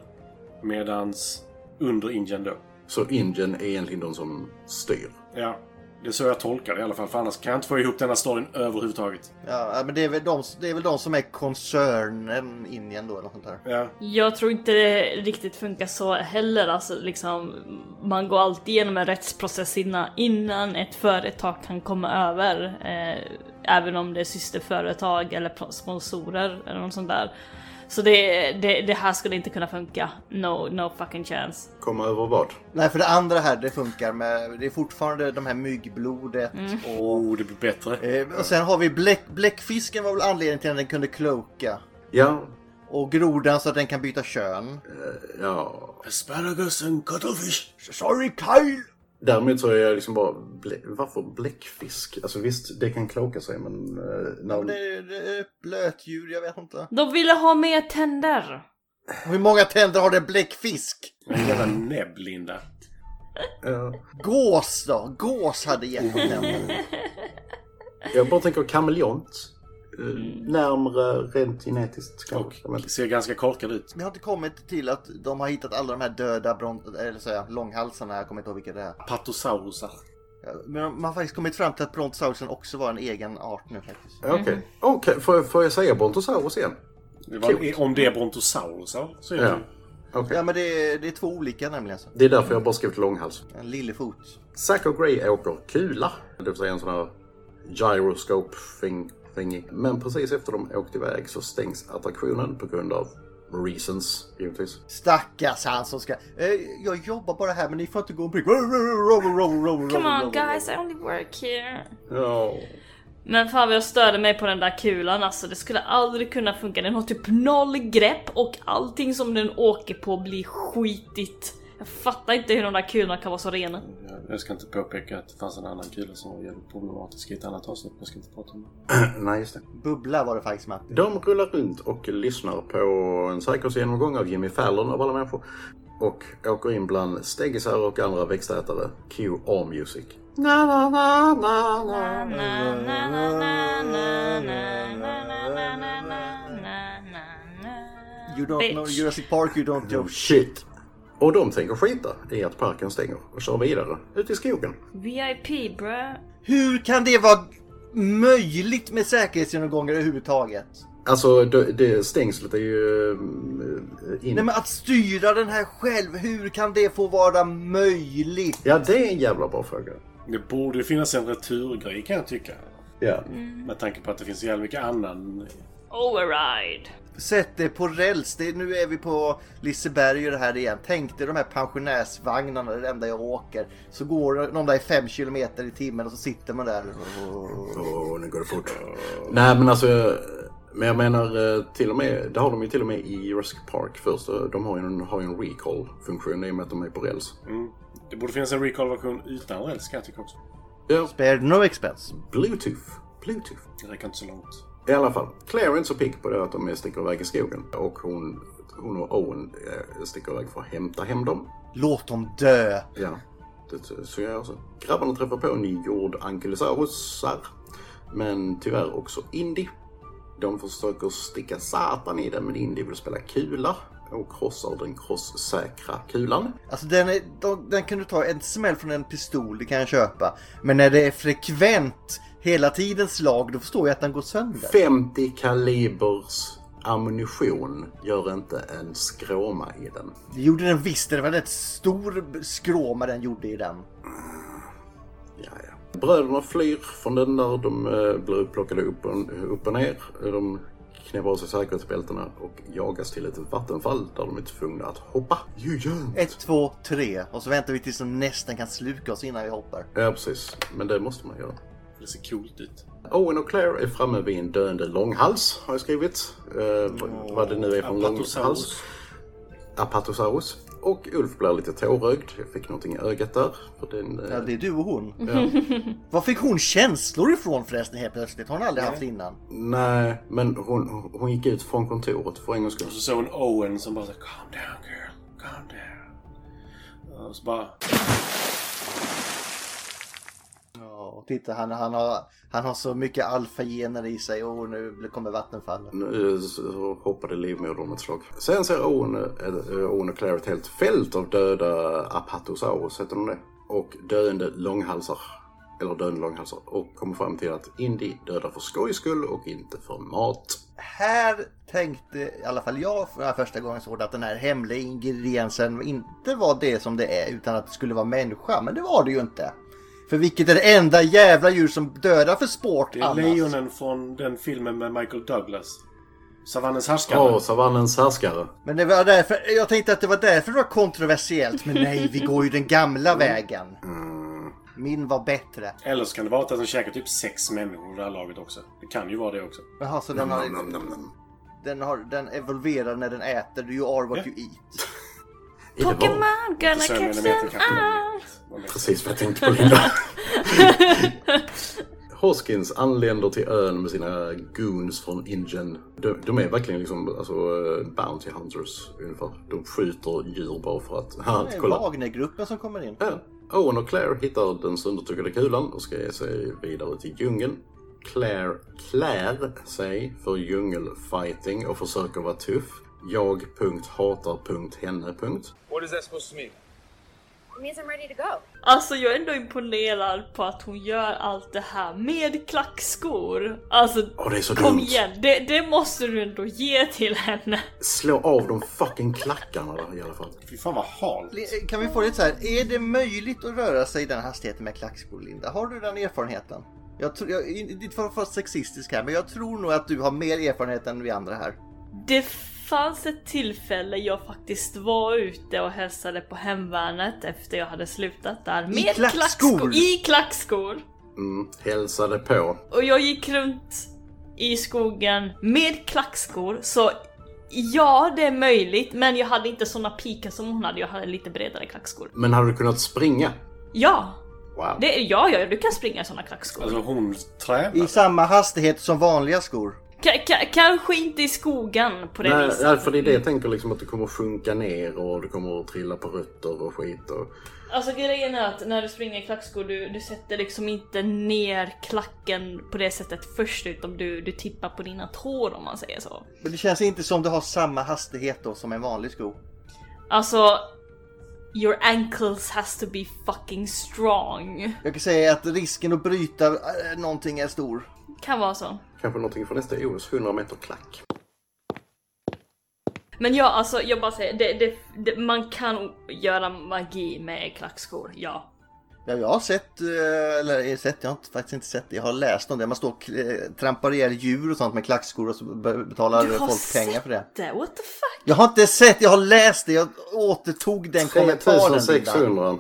Speaker 5: Medans under Indien då.
Speaker 4: Så Indien är egentligen de som styr.
Speaker 5: Ja, det är så jag tolkar det i alla fall. För annars kan jag inte få ihop den här storyn överhuvudtaget.
Speaker 6: Ja, men det är, väl de, det är väl de som är koncernen Indien då eller något sånt där.
Speaker 5: Ja.
Speaker 1: Jag tror inte det riktigt funkar så heller. Alltså, liksom, man går alltid igenom en rättsprocess innan, innan ett företag kan komma över. Eh, även om det är systerföretag eller pro- sponsorer eller något sånt där. Så det, det, det här skulle inte kunna funka. No, no fucking chance.
Speaker 4: Komma över vad?
Speaker 6: Nej, för det andra här, det funkar med, det är fortfarande de här myggblodet och...
Speaker 5: Oh, det blir bättre.
Speaker 6: Eh, och sen har vi bläck, bläckfisken var väl anledningen till att den kunde kloka.
Speaker 4: Ja,
Speaker 6: Och grodan så att den kan byta kön.
Speaker 4: ja.
Speaker 5: Asparagus and cuttlefish.
Speaker 6: Sorry Kyle!
Speaker 4: Däremot så är jag liksom bara, blä, varför bläckfisk? Alltså visst, det kan kloka sig men... Eh, när,
Speaker 6: Det är, det är blötdjur, jag vet inte.
Speaker 1: De ville ha mer tänder.
Speaker 6: Hur många tänder har det bläckfisk?
Speaker 5: En jävla näbb, Linda.
Speaker 4: eh,
Speaker 6: Gås då? Gås hade gett dem tänder.
Speaker 4: jag bara tänker kameleont. Eh, närmare rent genetiskt kanske. Men,
Speaker 5: Och ser ganska korkad ut.
Speaker 6: Men jag har inte kommit till att de har hittat alla de här döda bron- eller så här, långhalsarna, jag kommer inte ihåg vilka det är.
Speaker 5: Patosaurusar.
Speaker 6: Ja, Men man har faktiskt kommit fram till att brontosaurusen också var en egen art nu faktiskt.
Speaker 4: Okej, Okej, får, jag- får jag säga Brontosaurus igen?
Speaker 5: Det var, om det är brontosaurusar så är det
Speaker 4: Ja. Okej.
Speaker 6: Ja men det är, det är två olika nämligen. Så.
Speaker 4: Det är därför jag bara skrivit långhals.
Speaker 6: En lillefot.
Speaker 4: Zack och Grey åker kula. Det vill säga en sån här gyroscope thing, thingy. Men precis efter de åkt iväg så stängs attraktionen på grund av reasons, givetvis.
Speaker 6: Stackars han som ska... Eh, jag jobbar bara här men ni får inte gå omkring... Come
Speaker 1: Come on guys, I only work here.
Speaker 4: Ja.
Speaker 1: Men fan vad jag störde mig på den där kulan alltså, det skulle aldrig kunna funka. Den har typ noll grepp och allting som den åker på blir skitigt. Jag fattar inte hur de där kulorna kan vara så rena.
Speaker 5: Jag ska inte påpeka att det fanns en annan kille som var jävligt problematisk i ett annat avsnitt. Jag ska inte prata om det.
Speaker 4: Nej, just det.
Speaker 6: Bubbla var det faktiskt Matt.
Speaker 4: De rullar runt och lyssnar på en säkerhetsgenomgång av Jimmy Fallon av alla människor. Och åker in bland steggisar och andra växtätare. Cue all music. Na, na, na, na,
Speaker 1: Na,
Speaker 4: na.
Speaker 1: na, na, na, na, na, na, na, na, na, na, na, na.
Speaker 6: You don't
Speaker 1: Bitch.
Speaker 6: know Jurassic Park, you don't know...
Speaker 4: Shit! Och de tänker skita i att parken stänger och kör vidare ut i skogen.
Speaker 1: VIP bruh.
Speaker 6: Hur kan det vara möjligt med säkerhetsgenomgångar överhuvudtaget?
Speaker 4: Alltså, det, det stängslet är ju... mm, In...
Speaker 6: Nej men att styra den här själv, hur kan det få vara möjligt?
Speaker 4: Ja, det är en jävla bra fråga.
Speaker 5: Det borde ju finnas en returgrej kan jag tycka.
Speaker 4: Ja.
Speaker 5: Med tanke på att det finns jävligt mycket annan...
Speaker 1: Override.
Speaker 6: Sätt det på räls, det, nu är vi på Liseberg och det här igen. Tänk dig de här pensionärsvagnarna, det enda jag åker. Så går de där i 5 km i timmen och så sitter man där.
Speaker 4: Åh, nu går det fort. Eh, Nej, men alltså... Men jag menar, eh, till och med, det har de ju till och med i Jurassic Park först. Eh, De har ju en, har ju en recall-funktion i och med att de är på räls.
Speaker 5: Det borde finnas en recall-version utan räls kan jag tycka också.
Speaker 4: Ja,
Speaker 6: Spare no expense.
Speaker 4: Bluetooth. Bluetooth.
Speaker 5: Det räcker inte så långt.
Speaker 4: I alla fall, Clarence och Pig på det att de sticker iväg i skogen. Och hon hon och Owen eh, sticker iväg för att hämta hem dem.
Speaker 6: Låt dem dö!
Speaker 4: Ja, det så jag också. Grabbarna träffar på en jord ankylosaurusar, men tyvärr också Indy. De försöker sticka satan i den, men Indy vill spela kula och krossar den krosssäkra kulan.
Speaker 6: Alltså den, är, de- den kan du ta en smäll från en pistol, det kan jag köpa. Men när det är frekvent, hela tiden slag, då förstår jag att den går sönder.
Speaker 4: 50 kalibers ammunition gör inte en skråma i den.
Speaker 6: Det gjorde den visst, det var en rätt stor skråma den gjorde i den.
Speaker 4: Ja, ja. Bröderna flyr från den där. De eh, blir upplockade upp och, upp och ner. De knäpper av sig säkerhetsbältena och jagas till ett vattenfall där de är tvungna att hoppa. You jump!
Speaker 6: Ett, två, tre. Och så väntar vi tills de nästan kan sluka oss innan vi hoppar.
Speaker 4: Ja, precis. Men det måste man göra.
Speaker 5: Det ser coolt ut.
Speaker 4: Owen och Claire är framme vid en döende långhals, har jag skrivit. Eh, vad- vad det nu är för en långhals.
Speaker 5: Apatosaurus.
Speaker 4: Apatosaurus. Och Ulf blir lite tårögd. Jag fick någonting i ögat där. För den, eh,
Speaker 6: Ja, det är du och hon. Var fick hon känslor ifrån förresten helt plötsligt? Har hon aldrig haft innan?
Speaker 4: Nej, men hon, hon gick ut från kontoret för en gångs skull.
Speaker 5: Och så såg hon Owen som bara så här, Calm down girl, calm down. Och så bara...
Speaker 6: Ja, och titta han, han, har, han har så mycket alfagener i sig och nu kommer vattenfallet.
Speaker 4: Nu eh, så hoppade livmodern om ett slag. Sen ser Owen, eh, Owen och Claire ett helt fält av döda apatosaurus, heter de det? Och döende långhalsar. Eller döende långhalsar. Och kommer fram till att Indy dödar för skojs skull och inte för mat.
Speaker 6: Här tänkte i alla fall jag för den första gången såg det att den här hemliga ingrediensen inte var det som det är utan att det skulle vara människa. Men det var det ju inte. För vilket är det enda jävla djur som dödar för sport
Speaker 5: Det är
Speaker 6: annars?
Speaker 5: lejonen från den filmen med Michael Douglas. Savannens härskare.
Speaker 4: Åh, savannens härskare.
Speaker 6: Men det var därför, jag tänkte att det var därför det var kontroversiellt. Men nej, vi går ju den gamla vägen. Min var bättre.
Speaker 5: Eller så kan det vara att den käkar typ sex människor i det här laget också. Det kan ju vara det också.
Speaker 6: Jaha, så den
Speaker 4: Mm.
Speaker 6: har, den har... Den evolverar när den äter. You are what you eat.
Speaker 4: I det var-
Speaker 1: Pokémon gonna
Speaker 5: Så
Speaker 1: catch
Speaker 5: millimeter
Speaker 1: them
Speaker 5: kanske
Speaker 1: all.
Speaker 5: man vet.
Speaker 4: Precis vad jag tänkte på Linda. Hoskins anländer till ön med sina goons från Ingen. De, de är verkligen liksom alltså, eh, Bounty Hunters ungefär. De skjuter djur bara för att... Ha,
Speaker 6: Det är
Speaker 4: kolla.
Speaker 6: Wagnergruppen som kommer in.
Speaker 4: Ja. Owen och Claire hittar den söndertuggade kulan och ska ge sig vidare till djungeln. Claire klär sig för djungelfighting och försöker vara tuff. Jag punkt hatar punkt henne punkt.
Speaker 8: What is that supposed to mean?
Speaker 9: It means I'm ready to go.
Speaker 1: Alltså jag är ändå imponerad på att hon gör allt det här med klackskor. Alltså
Speaker 4: Åh, det är så
Speaker 1: kom
Speaker 4: dumt.
Speaker 1: igen, det, det måste du ändå ge till henne.
Speaker 4: Slå av de fucking klackarna då, i alla fall.
Speaker 5: Fy fan vad halt.
Speaker 6: Le- Kan vi få det så här? Är det möjligt att röra sig i den hastigheten med klackskor, Linda? Har du den erfarenheten? Jag tror, jag, inte för att vara sexistisk här, men jag tror nog att du har mer erfarenhet än vi andra här.
Speaker 1: Det fanns ett tillfälle jag faktiskt var ute och hälsade på hemvärnet efter jag hade slutat där. Med
Speaker 6: klackskor.
Speaker 1: I klackskor!
Speaker 4: Mm, hälsade på.
Speaker 1: Och jag gick runt i skogen med klackskor, så ja, det är möjligt. Men jag hade inte såna pikar som hon hade, jag hade lite bredare klackskor.
Speaker 4: Men hade du kunnat springa?
Speaker 1: Ja!
Speaker 4: Wow.
Speaker 1: Det, ja, ja, du kan springa i såna klackskor.
Speaker 5: Alltså hon
Speaker 6: I
Speaker 5: tränar.
Speaker 6: samma hastighet som vanliga skor.
Speaker 1: Ka- ka- kanske inte i skogen på det
Speaker 4: Nej,
Speaker 1: viset.
Speaker 4: ja, för det är det jag tänker liksom att du kommer sjunka ner och du kommer att trilla på rötter och skit och...
Speaker 1: Alltså grejen är att när du springer i klackskor, du, du sätter liksom inte ner klacken på det sättet först utan du, du tippar på dina tår om man säger så.
Speaker 6: Men det känns inte som du har samma hastighet då som en vanlig sko.
Speaker 1: Alltså, your ankles has to be fucking strong.
Speaker 6: Jag kan säga att risken att bryta eh, någonting är stor.
Speaker 1: Kan vara så.
Speaker 4: Kanske någonting för nästa OS, 100 meter klack.
Speaker 1: Men ja, alltså jag bara säger, det, det, det, man kan göra magi med klackskor, ja.
Speaker 6: Ja, jag har sett, eh, eller eh, sett, jag har inte, faktiskt inte sett det. Jag har läst om det. Man står och eh, trampar ihjäl djur och sånt med klackskor och så be- betalar
Speaker 1: Du har
Speaker 6: folk pengar för det.
Speaker 1: sett det? What the fuck?
Speaker 6: Jag har inte sett, jag har läst det. Jag återtog den kommentaren. Linda.
Speaker 4: 3600.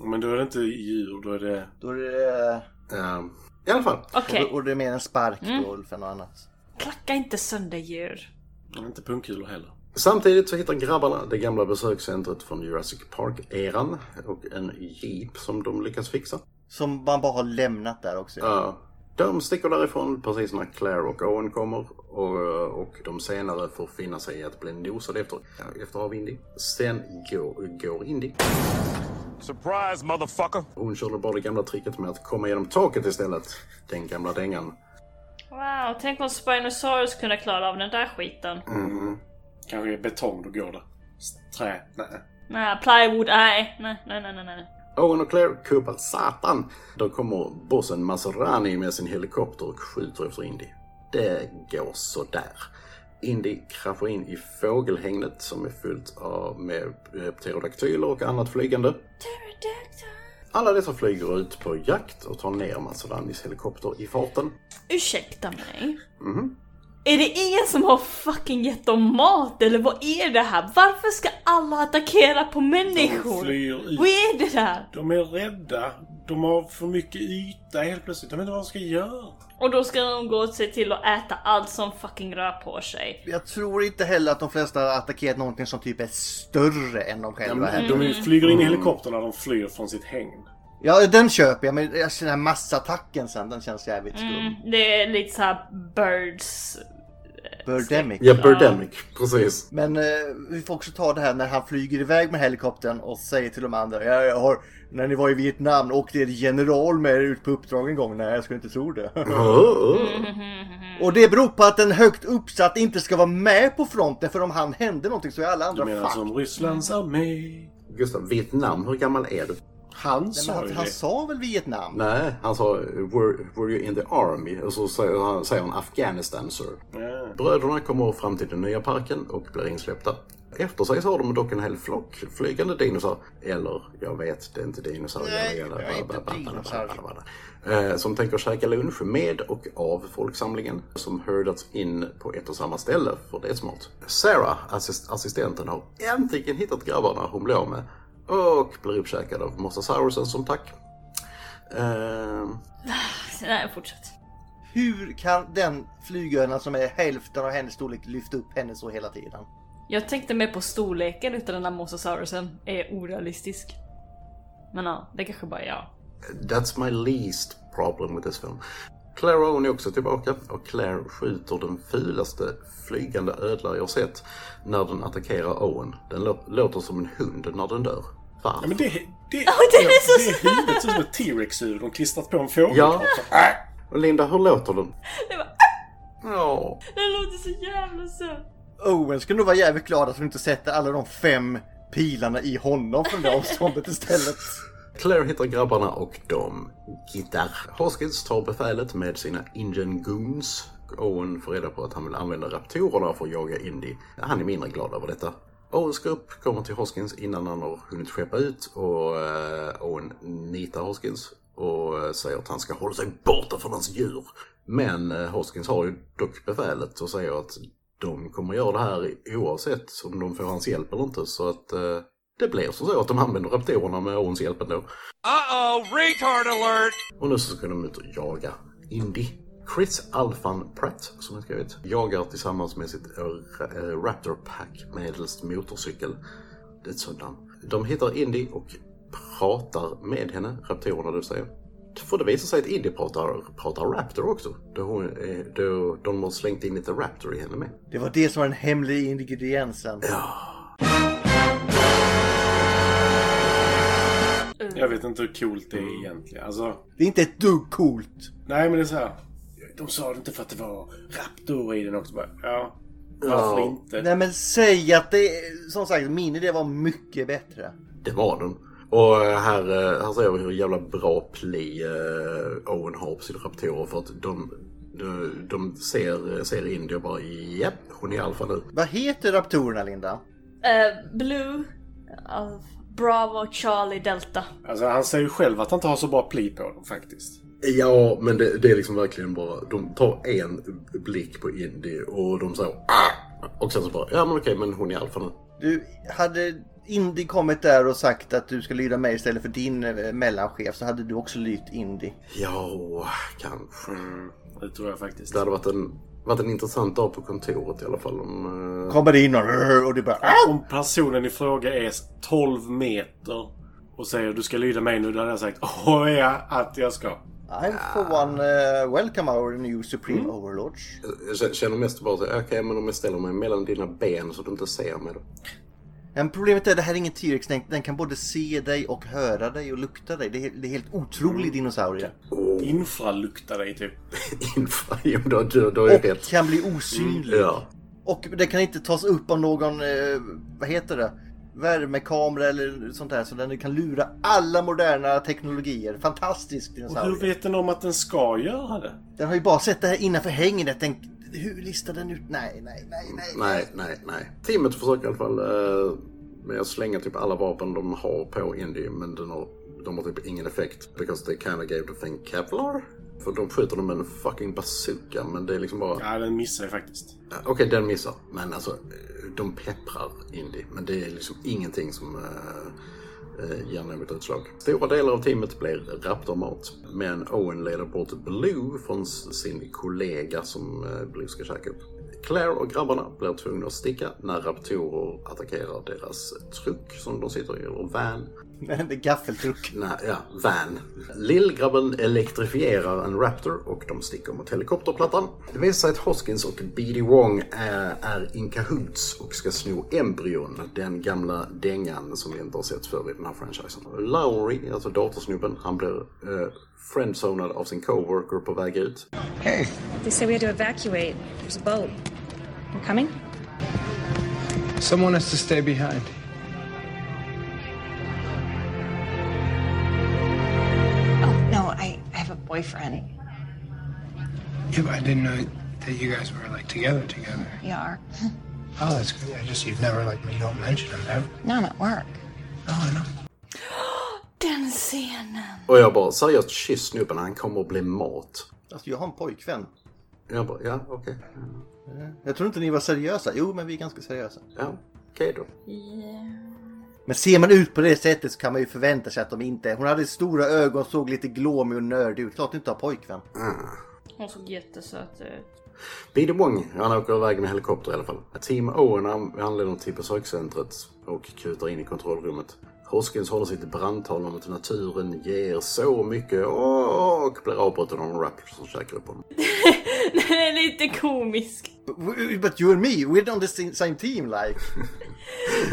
Speaker 5: Men då är det inte djur, då är det...
Speaker 6: Då är det, eh,
Speaker 4: Ehm, I alla fall.
Speaker 1: Okej, Mm.
Speaker 6: och det är mer en spark då, Ulf, än något annat.
Speaker 1: klacka inte sönder djur.
Speaker 5: det är Inte pungkulor heller.
Speaker 4: Samtidigt så hittar grabbarna det gamla besökscentret från Jurassic Park-eran och en jeep som de lyckas fixa.
Speaker 6: Som man bara har lämnat där också.
Speaker 4: Ja. De sticker därifrån precis när Claire och Owen kommer och, och de senare får finna sig i att bli nosade efter, efter av Indy. Sen går, går Indy.
Speaker 2: Surprise, motherfucker!
Speaker 4: Hon körde bara det gamla tricket med att komma genom taket istället. Den gamla dängan.
Speaker 1: Wow, tänk om Spinosaurus kunde klara av den där skiten.
Speaker 5: Kanske betong, då går det. S- Trä? Nej.
Speaker 1: Nej, plywood, nej, nej, nej, nej, nej, nej.
Speaker 4: Owen och Claire kuppar satan. Då kommer bossen Maserani med sin helikopter och skjuter efter Indy. Det går sådär. Indy kraschar in i fågelhägnet som är fullt av med eh, pterodaktyler och annat flygande. Alla dessa flyger ut på jakt och tar ner Maseranis helikopter i farten.
Speaker 1: Ursäkta mig. Är det ingen som har fucking gett dem mat eller vad är det här? Varför ska alla attackera på människor?
Speaker 5: Flyr
Speaker 1: Vad
Speaker 5: ut.
Speaker 1: är det där?
Speaker 5: De är rädda. De har för mycket yta helt plötsligt. De vet inte vad de ska göra.
Speaker 1: Och då ska de gå och se till att äta allt som fucking rör på sig.
Speaker 6: Jag tror inte heller att de flesta har attackerat någonting som typ är större än de själva heller.
Speaker 5: De flyger in i helikoptern när de flyr från sitt hägn.
Speaker 6: Ja, den köper jag, men alltså, den här massattacken sen, den känns jävligt
Speaker 1: Mm.
Speaker 6: skum.
Speaker 1: Det är lite såhär birds...
Speaker 6: Birdemic.
Speaker 4: Ja, Birdemic, precis.
Speaker 6: Men eh, vi får också ta det här när han flyger iväg med helikoptern och säger till de andra. Jag, jag har, när ni var i Vietnam åkte er general med er ut på uppdrag en gång. Nej, jag skulle inte tro det.
Speaker 4: Mm. Oh,
Speaker 6: och det beror på att en högt uppsatt inte ska vara med på fronten för om han hände någonting så är alla
Speaker 5: Du
Speaker 6: andra
Speaker 5: menar
Speaker 6: fuck.
Speaker 5: som Rysslands armé?
Speaker 4: Gustav, Vietnam, hur gammal är du?
Speaker 5: Han
Speaker 6: Men
Speaker 5: sa ju
Speaker 6: han, han
Speaker 5: det.
Speaker 6: sa väl Vietnam?
Speaker 4: Nej, han sa were, were you in the army? Och så säger han, säger han Afghanistan sir.
Speaker 5: Ja.
Speaker 4: Bröderna kommer fram till den nya parken och blir insläppta. Efter sig så har de dock en hel flock flygande dinosaurier. Eller, jag vet, det är inte dinosaurier.
Speaker 6: Nej,
Speaker 4: Eller-
Speaker 6: det är inte
Speaker 4: blablabla,
Speaker 6: dinosaurier.
Speaker 4: blablabla. Eh, Som tänker käka lunch med och av folksamlingen. Som herdats in på ett och samma ställe, för det är smart. Sarah, assist- assistenten, har äntligen hittat grabbarna hon blev av med. Och blir uppkäkad av mosasaurusen som tack. Eh,
Speaker 1: Nej, fortsätt.
Speaker 6: Hur kan den flygöna som är hälften av hennes storlek lyfta upp henne så hela tiden?
Speaker 1: Jag tänkte mer på storleken utav den här mosasaurusen är orealistisk. Men ja, det kanske bara är jag.
Speaker 4: That's my least problem with this film. Claire Owen är också tillbaka och Claire skjuter den fulaste flygande ödla jag sett när den attackerar Owen. Den lå- låter som en hund när den dör. Varför?
Speaker 5: Ja, men det, det,
Speaker 1: den är så
Speaker 5: det är huvudet ser ut som ett T-Rex-huvud. De klistrat på en fågel.
Speaker 4: Ja. Och Linda, hur låter den?
Speaker 1: Det, var,
Speaker 4: Ja.
Speaker 1: det låter så jävla sött.
Speaker 6: Owen skulle nog vara jävligt glad att hon inte sätter alla de fem pilarna i honom från det avståndet istället.
Speaker 4: Claire hittar grabbarna och de gitarr. Hoskins tar befälet med sina Indian Goons. Owen får reda på att han vill använda raptorerna för att jaga Indy. Han är mindre glad över detta. Owens grupp kommer till Hoskins innan han har hunnit skeppa ut och eh, Owen nitar Hoskins och eh, säger att han ska hålla sig borta från hans djur. Men eh, Hoskins har ju dock befälet och säger att de kommer göra det här oavsett om de får hans hjälp eller inte så att eh, det blir som så att de använder raptorerna med Owens hjälp ändå.
Speaker 2: Uh-oh, retard alert!
Speaker 4: Och nu så ska de ut och jaga Indy. Chris Alfan Pratt, som jag skrivit, jagar tillsammans med sitt eh, ra- eh, Raptor Pack medelst motorcykel. Det är ett sådant namn. De hittar Indy och pratar med henne, raptorerna du säger. För det visar sig att Indy pratar, pratar Raptor också. Då, hon, eh, då de har slängt in lite Raptor i henne med.
Speaker 6: Det var det som var den hemliga ingrediensen.
Speaker 5: Jag vet inte hur coolt det är egentligen. Alltså,
Speaker 6: Det är inte ett dugg coolt.
Speaker 5: nej men det är så här. De sa det inte för att det var raptor i den också. Bara, ja,
Speaker 4: Ja.
Speaker 5: varför inte?
Speaker 6: Nej men säg att det, som sagt, min idé var mycket bättre.
Speaker 4: Det var den. Och här, eh, här ser vi hur jävla bra pli eh, Owen har på sina raptorer för att de, de, de ser, ser Indy och bara japp, hon är alfa nu.
Speaker 6: Vad heter raptorerna Linda?
Speaker 1: Eh, Blue, eh, Bravo, Charlie, Delta.
Speaker 5: Alltså, han säger ju själv att han inte har så bra pli på dem faktiskt.
Speaker 4: Ja, men det, det är liksom verkligen bara, de tar en blick på Indy och de säger ah! Och sen så bara, ja men okej, men hon är alfa nu.
Speaker 6: Du, hade Indy kommit där och sagt att du ska lyda mig istället för din eh, mellanchef så hade du också lytt Indy.
Speaker 4: Ja, kanske.
Speaker 5: Det tror jag faktiskt.
Speaker 4: Det hade varit en, varit en intressant dag på kontoret i alla fall. Om, eh,
Speaker 6: Kommer det in och, rrr, och du bara
Speaker 5: Om personen i fråga är 12 meter och säger du ska lyda mig nu, då hade jag sagt åh ja, att jag ska.
Speaker 6: "Ah, I'm for one uh, welcome our new supreme
Speaker 4: Mm.
Speaker 6: overlords.
Speaker 4: Jag känner mest bara så här, okej men om jag ställer mig mellan dina ben så du inte ser mig då.
Speaker 6: Men problemet är att det här är ingen T-rex. Den, den kan både se dig och höra dig och lukta dig. Det är, det är helt
Speaker 4: Mm.
Speaker 6: otrolig dinosaurie.
Speaker 5: Infralukta dig typ.
Speaker 4: Inför, jo då, då, då är jag
Speaker 6: Och
Speaker 4: rätt.
Speaker 6: kan bli osynlig.
Speaker 4: Ja.
Speaker 6: Och det kan inte tas upp av någon, eh, vad heter det? Värmekamera eller sånt där. Så den kan lura alla moderna teknologier. Fantastisk
Speaker 5: Och hur
Speaker 6: dinosaurie.
Speaker 5: vet den om att den ska göra det?
Speaker 6: Den har ju bara sett det här innanför hängnet. Tänkt, hur listar den ut? Nej, nej, nej, nej.
Speaker 4: Nej, nej, nej. Teamet försöker i alla fall eh, med att slänga typ alla vapen de har på Indy, men den har, de har typ ingen effekt. Because they kinda gave the thing Kevlar. För de skjuter dem med en fucking bazooka, men det är liksom bara...
Speaker 5: Ja, den missar ju faktiskt.
Speaker 4: Eh, Okej, den missar. Men alltså, eh, de pepprar Indy. Men det är liksom ingenting som eh, eh, ger något utslag. Stora delar av teamet blir raptormat. Men Owen leder bort Blue från s- sin kollega som eh, Blue ska käka upp. Claire och grabbarna blir tvungna att sticka när raptorer attackerar deras truck som de sitter i, eller van.
Speaker 6: nej. Det är gaffeltruck.
Speaker 4: Nej, ja, van. Lillgrabben elektrifierar en Raptor och de sticker mot helikopterplattan. Det visar sig att Hoskins och BD Wong är, är in cahoots och ska sno embryon, den gamla dängan som vi inte har sett förr i den här franchisen. Lowry, alltså datorsnubben, han blir eh, friendzonad av sin coworker på väg ut.
Speaker 2: They said we had to evacuate. There's a boat. We're coming?
Speaker 10: Someone has to stay behind.
Speaker 2: No, I, I have a boyfriend.
Speaker 10: Yeah, but I didn't know that you guys were like together together.
Speaker 2: We are.
Speaker 10: Oh, that's good. I just you've never like you don't mention him ever.
Speaker 2: No, I'm at work.
Speaker 10: Oh, I know.
Speaker 1: Den scenen.
Speaker 4: Och jag bara, seriöst, kyss snubben, han kommer att bli mat.
Speaker 6: Alltså, jag har en pojkvän.
Speaker 4: Jag bara, ja, okej.
Speaker 6: Jag tror inte ni var seriösa. Jo, men vi är ganska seriösa.
Speaker 4: Ja, okej då.
Speaker 6: Men ser man ut på det sättet så kan man ju förvänta sig att de inte... Hon hade stora ögon, såg lite glåmig och nördig ut. Klart inte har pojkvän.
Speaker 1: Hon såg jättesöt ut.
Speaker 4: Biddy Wong, han åker iväg med helikopter i alla fall. Team Owen an- anländer till besökscentret och kutar in i kontrollrummet. Hoskins håller sitt brandtal om att naturen ger så mycket och blir avbruten av en rapper som käkar upp honom.
Speaker 1: Den är lite komisk.
Speaker 6: W- But you and me, we're on the same- same team like.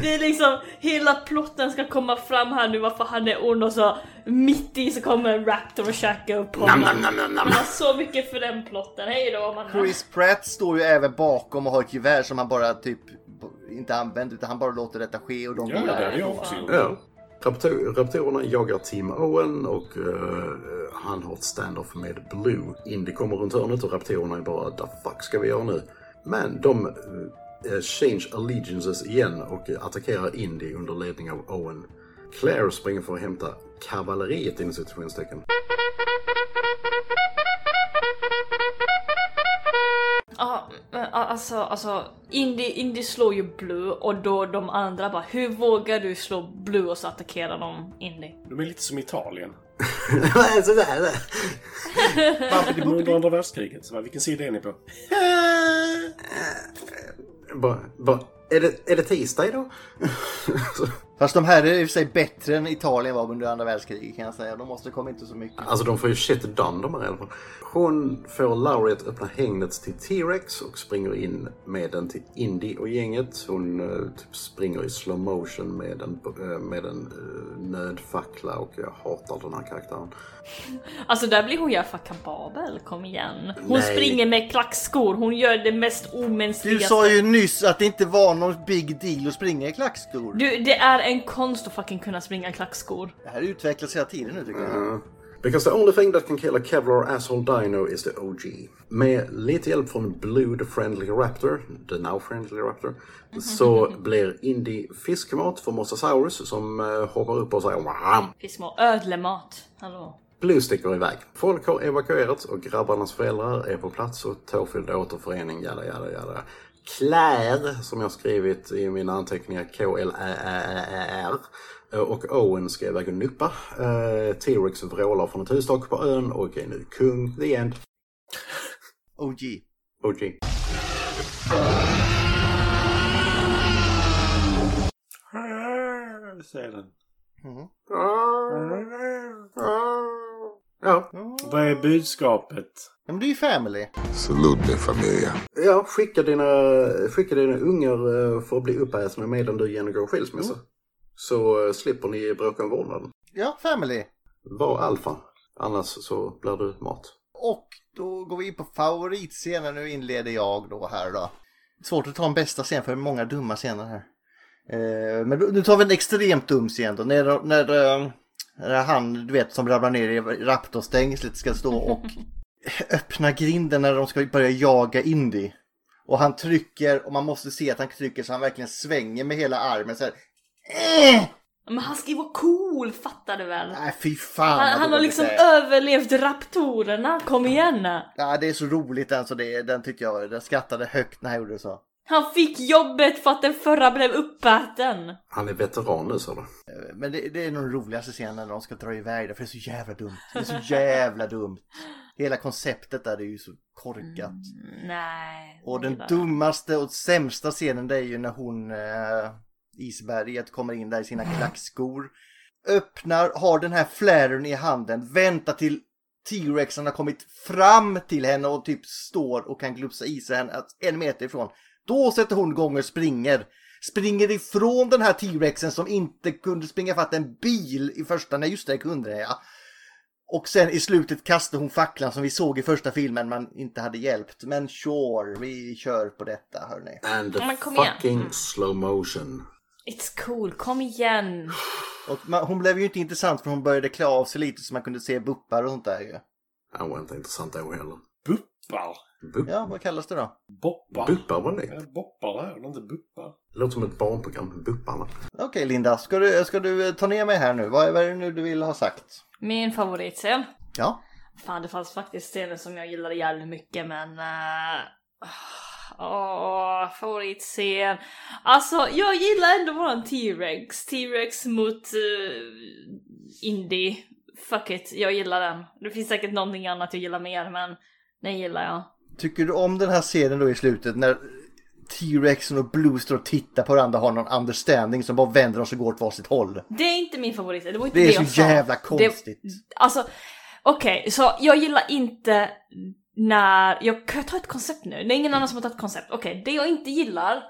Speaker 1: Det är liksom hela plotten ska komma fram här nu varför han är ond och så mitt i så kommer en raptor och käkar upp honom.
Speaker 4: Nam, nam, nam, nam.
Speaker 1: Man har så mycket för den plotten. Hej då man
Speaker 6: Chris Pratt står ju även bakom och har ett gevär som han bara typ inte använder utan han bara låter detta ske och de
Speaker 5: Ja,
Speaker 6: går
Speaker 5: det
Speaker 6: där.
Speaker 5: hade jag också gjort.
Speaker 4: Ja. Raptor- Raptorerna jagar Team Owen och eh, han har ett stand-off med Blue. Indy kommer runt hörnet och raptorerna är bara the fuck ska vi göra nu? Men de eh, change allegiances igen och eh, attackerar Indy under ledning av Owen. Claire springer för att hämta kavalleriet inom situationstecken.
Speaker 1: Ja, men, a- alltså, alltså Indy, Indy slår ju Blue och då de andra bara Hur vågar du slå Blue och så attackerar de Indy?
Speaker 5: De är lite som Italien.
Speaker 4: Sådär.
Speaker 5: Under andra världskriget. Så bara, vilken sida är ni på?
Speaker 4: bara, bara, är, det, är det tisdag idag? Så-
Speaker 6: Fast de här är i och för sig bättre än Italien var under andra världskriget kan jag säga. De måste komma inte så mycket.
Speaker 4: Alltså de får ju shit done de här i alla fall. Hon får Lowry att öppna hängnet till T-Rex och springer in med den till Indy och gänget. Hon eh, typ springer i slow motion med en, eh, med en eh, nödfackla och jag hatar den här karaktären.
Speaker 1: Alltså där blir hon i alla fall kapabel, kom igen. Hon
Speaker 4: Nej.
Speaker 1: springer med klackskor, hon gör det mest
Speaker 6: Du
Speaker 1: omänskliga.
Speaker 6: sa ju nyss att det inte var någon big deal att springa i klackskor.
Speaker 1: Du, det är en konst att fucking kunna springa i klackskor.
Speaker 6: Det här utvecklas hela tiden nu tycker jag.
Speaker 4: Because the only thing that can kill a Kevlar asshole dino is the OG. Med lite hjälp från Blue the Friendly Raptor, the now friendly raptor, så blir Indy fiskmat för Mosasaurus som eh, hoppar upp och säger "Wam!"
Speaker 1: Finns små ödlemat. Hallå.
Speaker 4: Blue sticker iväg. Folk har evakuerats och grabbarnas föräldrar är på plats och tårfylld återförening, jada, jada, jada. Claire, som jag skrivit i mina anteckningar, K-L-Ä-Ä-Ä-R. eh, Och Owen ska iväg och nuppa. Eh, T-Rex vrålar från ett hustak på ön och är nu kung. The end.
Speaker 6: OG.
Speaker 4: OG.
Speaker 5: Säger den.
Speaker 4: Ja,
Speaker 5: Vad är budskapet?
Speaker 6: Ja, Men det är ju family.
Speaker 4: ja skicka, dina, skicka dina ungar eh, för att bli uppätna medan du genomgår skilsmässa. Så eh, slipper ni bråka om vårdnaden.
Speaker 6: Ja, family.
Speaker 4: Var alfa, annars så blir du mat.
Speaker 6: Och då går vi in på favoritscenen. Nu inleder jag då här då. Svårt att ta en bästa scen för det är många dumma scener här. Eh, men då- nu tar vi en extremt dum scen då. När, när, eh, när han, du vet, som ramlar ner i raptorstängslet ska stå och öppna grinden när de ska börja jaga Indy. Och han trycker och man måste se att han trycker så han verkligen svänger med hela armen så här. Eh!
Speaker 1: Men han ska ju vara cool, fattar du väl?
Speaker 6: Nej, fy fan. vad
Speaker 1: Han, han har
Speaker 6: dåligt
Speaker 1: liksom
Speaker 6: det är.
Speaker 1: överlevt raptorerna, kom igen!
Speaker 6: Ja, det är så roligt den så det, den tyckte jag, den skrattade högt när jag gjorde så.
Speaker 1: Han fick jobbet för att den förra blev uppäten!
Speaker 4: Han är veteran nu sa du.
Speaker 6: Men det, det är nog den roligaste scenen när de ska dra iväg det för det är så jävla dumt. Det är så jävla dumt. Hela konceptet där det är ju så korkat.
Speaker 1: Nej.
Speaker 6: Och den
Speaker 1: gillar jag.
Speaker 6: dummaste och sämsta scenen det är ju när hon, eh, isberget, kommer in där i sina klackskor. Öppnar, har den här flären i handen, väntar till T-rexen har kommit fram till henne och typ står och kan glupsa i sig henne att- en meter ifrån. Då sätter hon igång och springer. Springer ifrån den här T-rexen som inte kunde springa fatt en bil i första, nej just det kunde den, ja. Och sen i slutet kastar hon facklan som vi såg i första filmen man inte hade hjälpt. Men sure, vi kör på detta hörni.
Speaker 4: And the
Speaker 1: Men kom igen. Mm.
Speaker 4: fucking slow motion.
Speaker 1: It's cool, kom igen!
Speaker 6: Och man, hon blev ju inte intressant för hon började klä av sig lite så man kunde se buppar och sånt där ju.
Speaker 4: Han var inte intressant då heller.
Speaker 5: Buppar?
Speaker 4: Bup,
Speaker 6: Ja, vad kallas det då?
Speaker 5: Boppar?
Speaker 4: Buppar var det.
Speaker 5: Eh, Boppar här, inte buppar.
Speaker 4: Det låter som ett barnprogram, Bupparna.
Speaker 6: Okej Linda, ska du, ska du eh, ta ner mig här nu? Vad, är- vad är det nu du vill ha sagt?
Speaker 1: Min favoritscen.
Speaker 6: Ja,
Speaker 1: Fan det fanns faktiskt scener som jag gillade jävligt mycket men... eh, Åh, favoritscen. Alltså jag gillar ändå våran T-Rex. T-Rex mot uh, Indy. Fuck it, jag gillar den. Det finns säkert någonting annat jag gillar mer men den gillar jag.
Speaker 6: tycker du om den här scenen då i slutet när T-rexen och Blue står och tittar på varandra och har någon understanding som bara vänder oss och går åt varsitt håll?
Speaker 1: Det är inte min favorit, det var inte
Speaker 6: Det
Speaker 1: det,
Speaker 6: är
Speaker 1: jag
Speaker 6: så
Speaker 1: sa.
Speaker 6: jävla konstigt.
Speaker 1: Det, alltså, okej, så jag gillar inte när... Jag, kan jag ta ett koncept nu? Det är ingen annan som har tagit koncept. Okej, det jag inte gillar,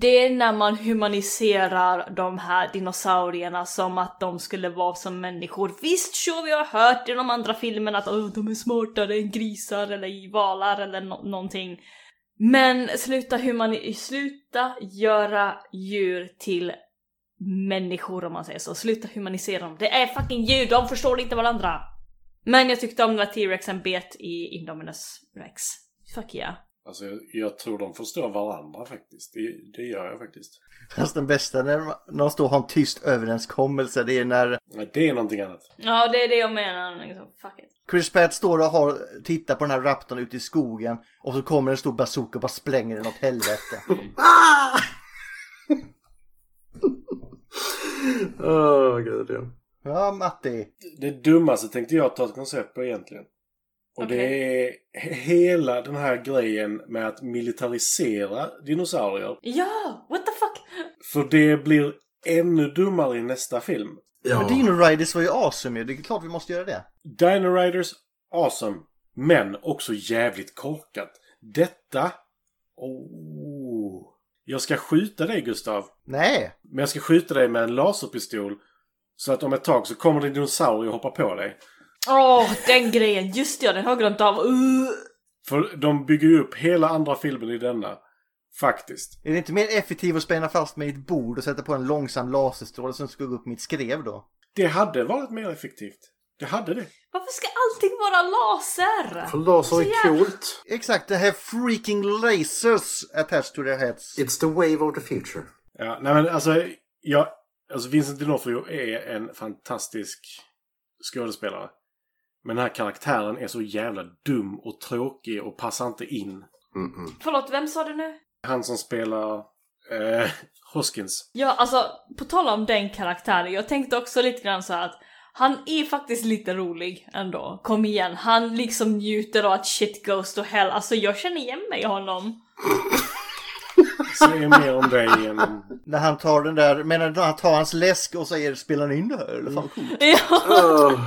Speaker 1: det är när man humaniserar de här dinosaurierna som att de skulle vara som människor. Visst, sure, vi har hört i de andra filmerna att "Åh, de är smartare än grisar eller valar eller no- någonting. Men sluta, humani- sluta göra djur till människor om man säger så. Sluta humanisera dem. Det är fucking djur, de förstår inte varandra. Men jag tyckte om när T-rexen bet i Indominus Rex. Fuck yeah.
Speaker 5: Alltså, jag, jag tror de förstår varandra faktiskt. Det, det gör jag faktiskt.
Speaker 6: Fast den bästa när de- när de står och har en tyst överenskommelse det är när
Speaker 5: Nej, det är någonting annat.
Speaker 1: Ja, det är det jag menar. Liksom. Fuck it.
Speaker 6: Chris Pratt står och har, tittar på den här raptorn ute i skogen och så kommer en stor bazooka och bara spränger den åt helvete.
Speaker 4: Ah! Åh, gud ja.
Speaker 6: Ja, Matti.
Speaker 5: Det dummaste tänkte jag ta ett koncept på egentligen. Och det är he- hela den här grejen med att militarisera dinosaurier.
Speaker 1: Ja, what the fuck?
Speaker 5: För det blir ännu dummare i nästa film.
Speaker 4: Ja,
Speaker 6: Men Dino Riders var ju awesome ju. Det är klart vi måste göra det.
Speaker 5: Dino Riders, awesome. Men också jävligt korkat. Detta... Oh. Jag ska skjuta dig, Gustav.
Speaker 6: Nej!
Speaker 5: Men jag ska skjuta dig med en laserpistol. Så att om ett tag så kommer det en dinosaurie och hoppar på dig.
Speaker 1: Åh, den grejen. Just det, ja, den har jag glömt av. Uh.
Speaker 5: För de bygger ju upp hela andra filmen i denna. Faktiskt.
Speaker 6: Är det inte mer effektivt att spänna fast mig i ett bord och sätta på en långsam laserstråle som ska gå upp mitt skrev då?
Speaker 5: Det hade varit mer effektivt. Det hade det.
Speaker 1: Varför ska allting vara laser?
Speaker 4: för laser
Speaker 1: Så
Speaker 4: är
Speaker 1: jävla-
Speaker 4: coolt.
Speaker 6: Exakt, det här freaking lasers attached to their heads.
Speaker 4: It's the wave of the future.
Speaker 5: Ja, nej men alltså, jag, alltså Vincent D'Onofrio är en fantastisk skådespelare. Men den här karaktären är så jävla dum och tråkig och passar inte in.
Speaker 4: Mm-mm.
Speaker 1: Förlåt, vem sa det nu?
Speaker 5: Han som spelar eh, Hoskins.
Speaker 1: Ja, alltså på tal om den karaktären, jag tänkte också lite grann så här att han är faktiskt lite rolig ändå. Kom igen, han liksom njuter av att shit goes to hell. Alltså jag känner igen mig i honom.
Speaker 5: Säger mer om dig än om...
Speaker 6: När han tar den där, menar du han tar hans läsk och säger spelar ni in det här eller fan coolt?
Speaker 1: Ja,
Speaker 4: Åh,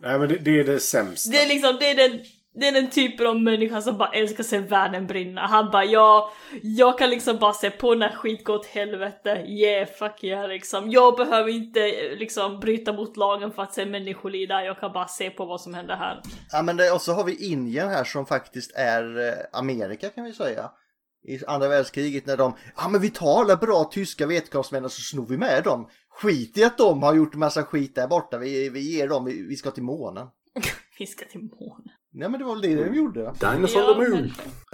Speaker 5: Nej men det, det är det sämsta.
Speaker 1: Det är liksom, det är den, det är den typen av människa som bara älskar att se världen brinna. Han bara ja, jag kan liksom bara se på när skit går åt helvete. Yeah, fuck yeah liksom. Jag behöver inte eh, liksom bryta mot lagen för att se människor lida. Jag kan bara se på vad som händer här.
Speaker 6: Ja, men det, och så har vi Indien här som faktiskt är eh, Amerika kan vi säga. I andra världskriget när de, ja men vi tar alla bra tyska vetenskapsmän och så snor vi med dem. Skit i att de har gjort massa skit där borta, vi, vi ger dem, vi, vi ska till månen. Mm.
Speaker 1: Fiska till månen.
Speaker 6: Nej men det var väl det de gjorde.
Speaker 4: Dinosaur
Speaker 1: Ja,
Speaker 4: the Moon!
Speaker 1: men-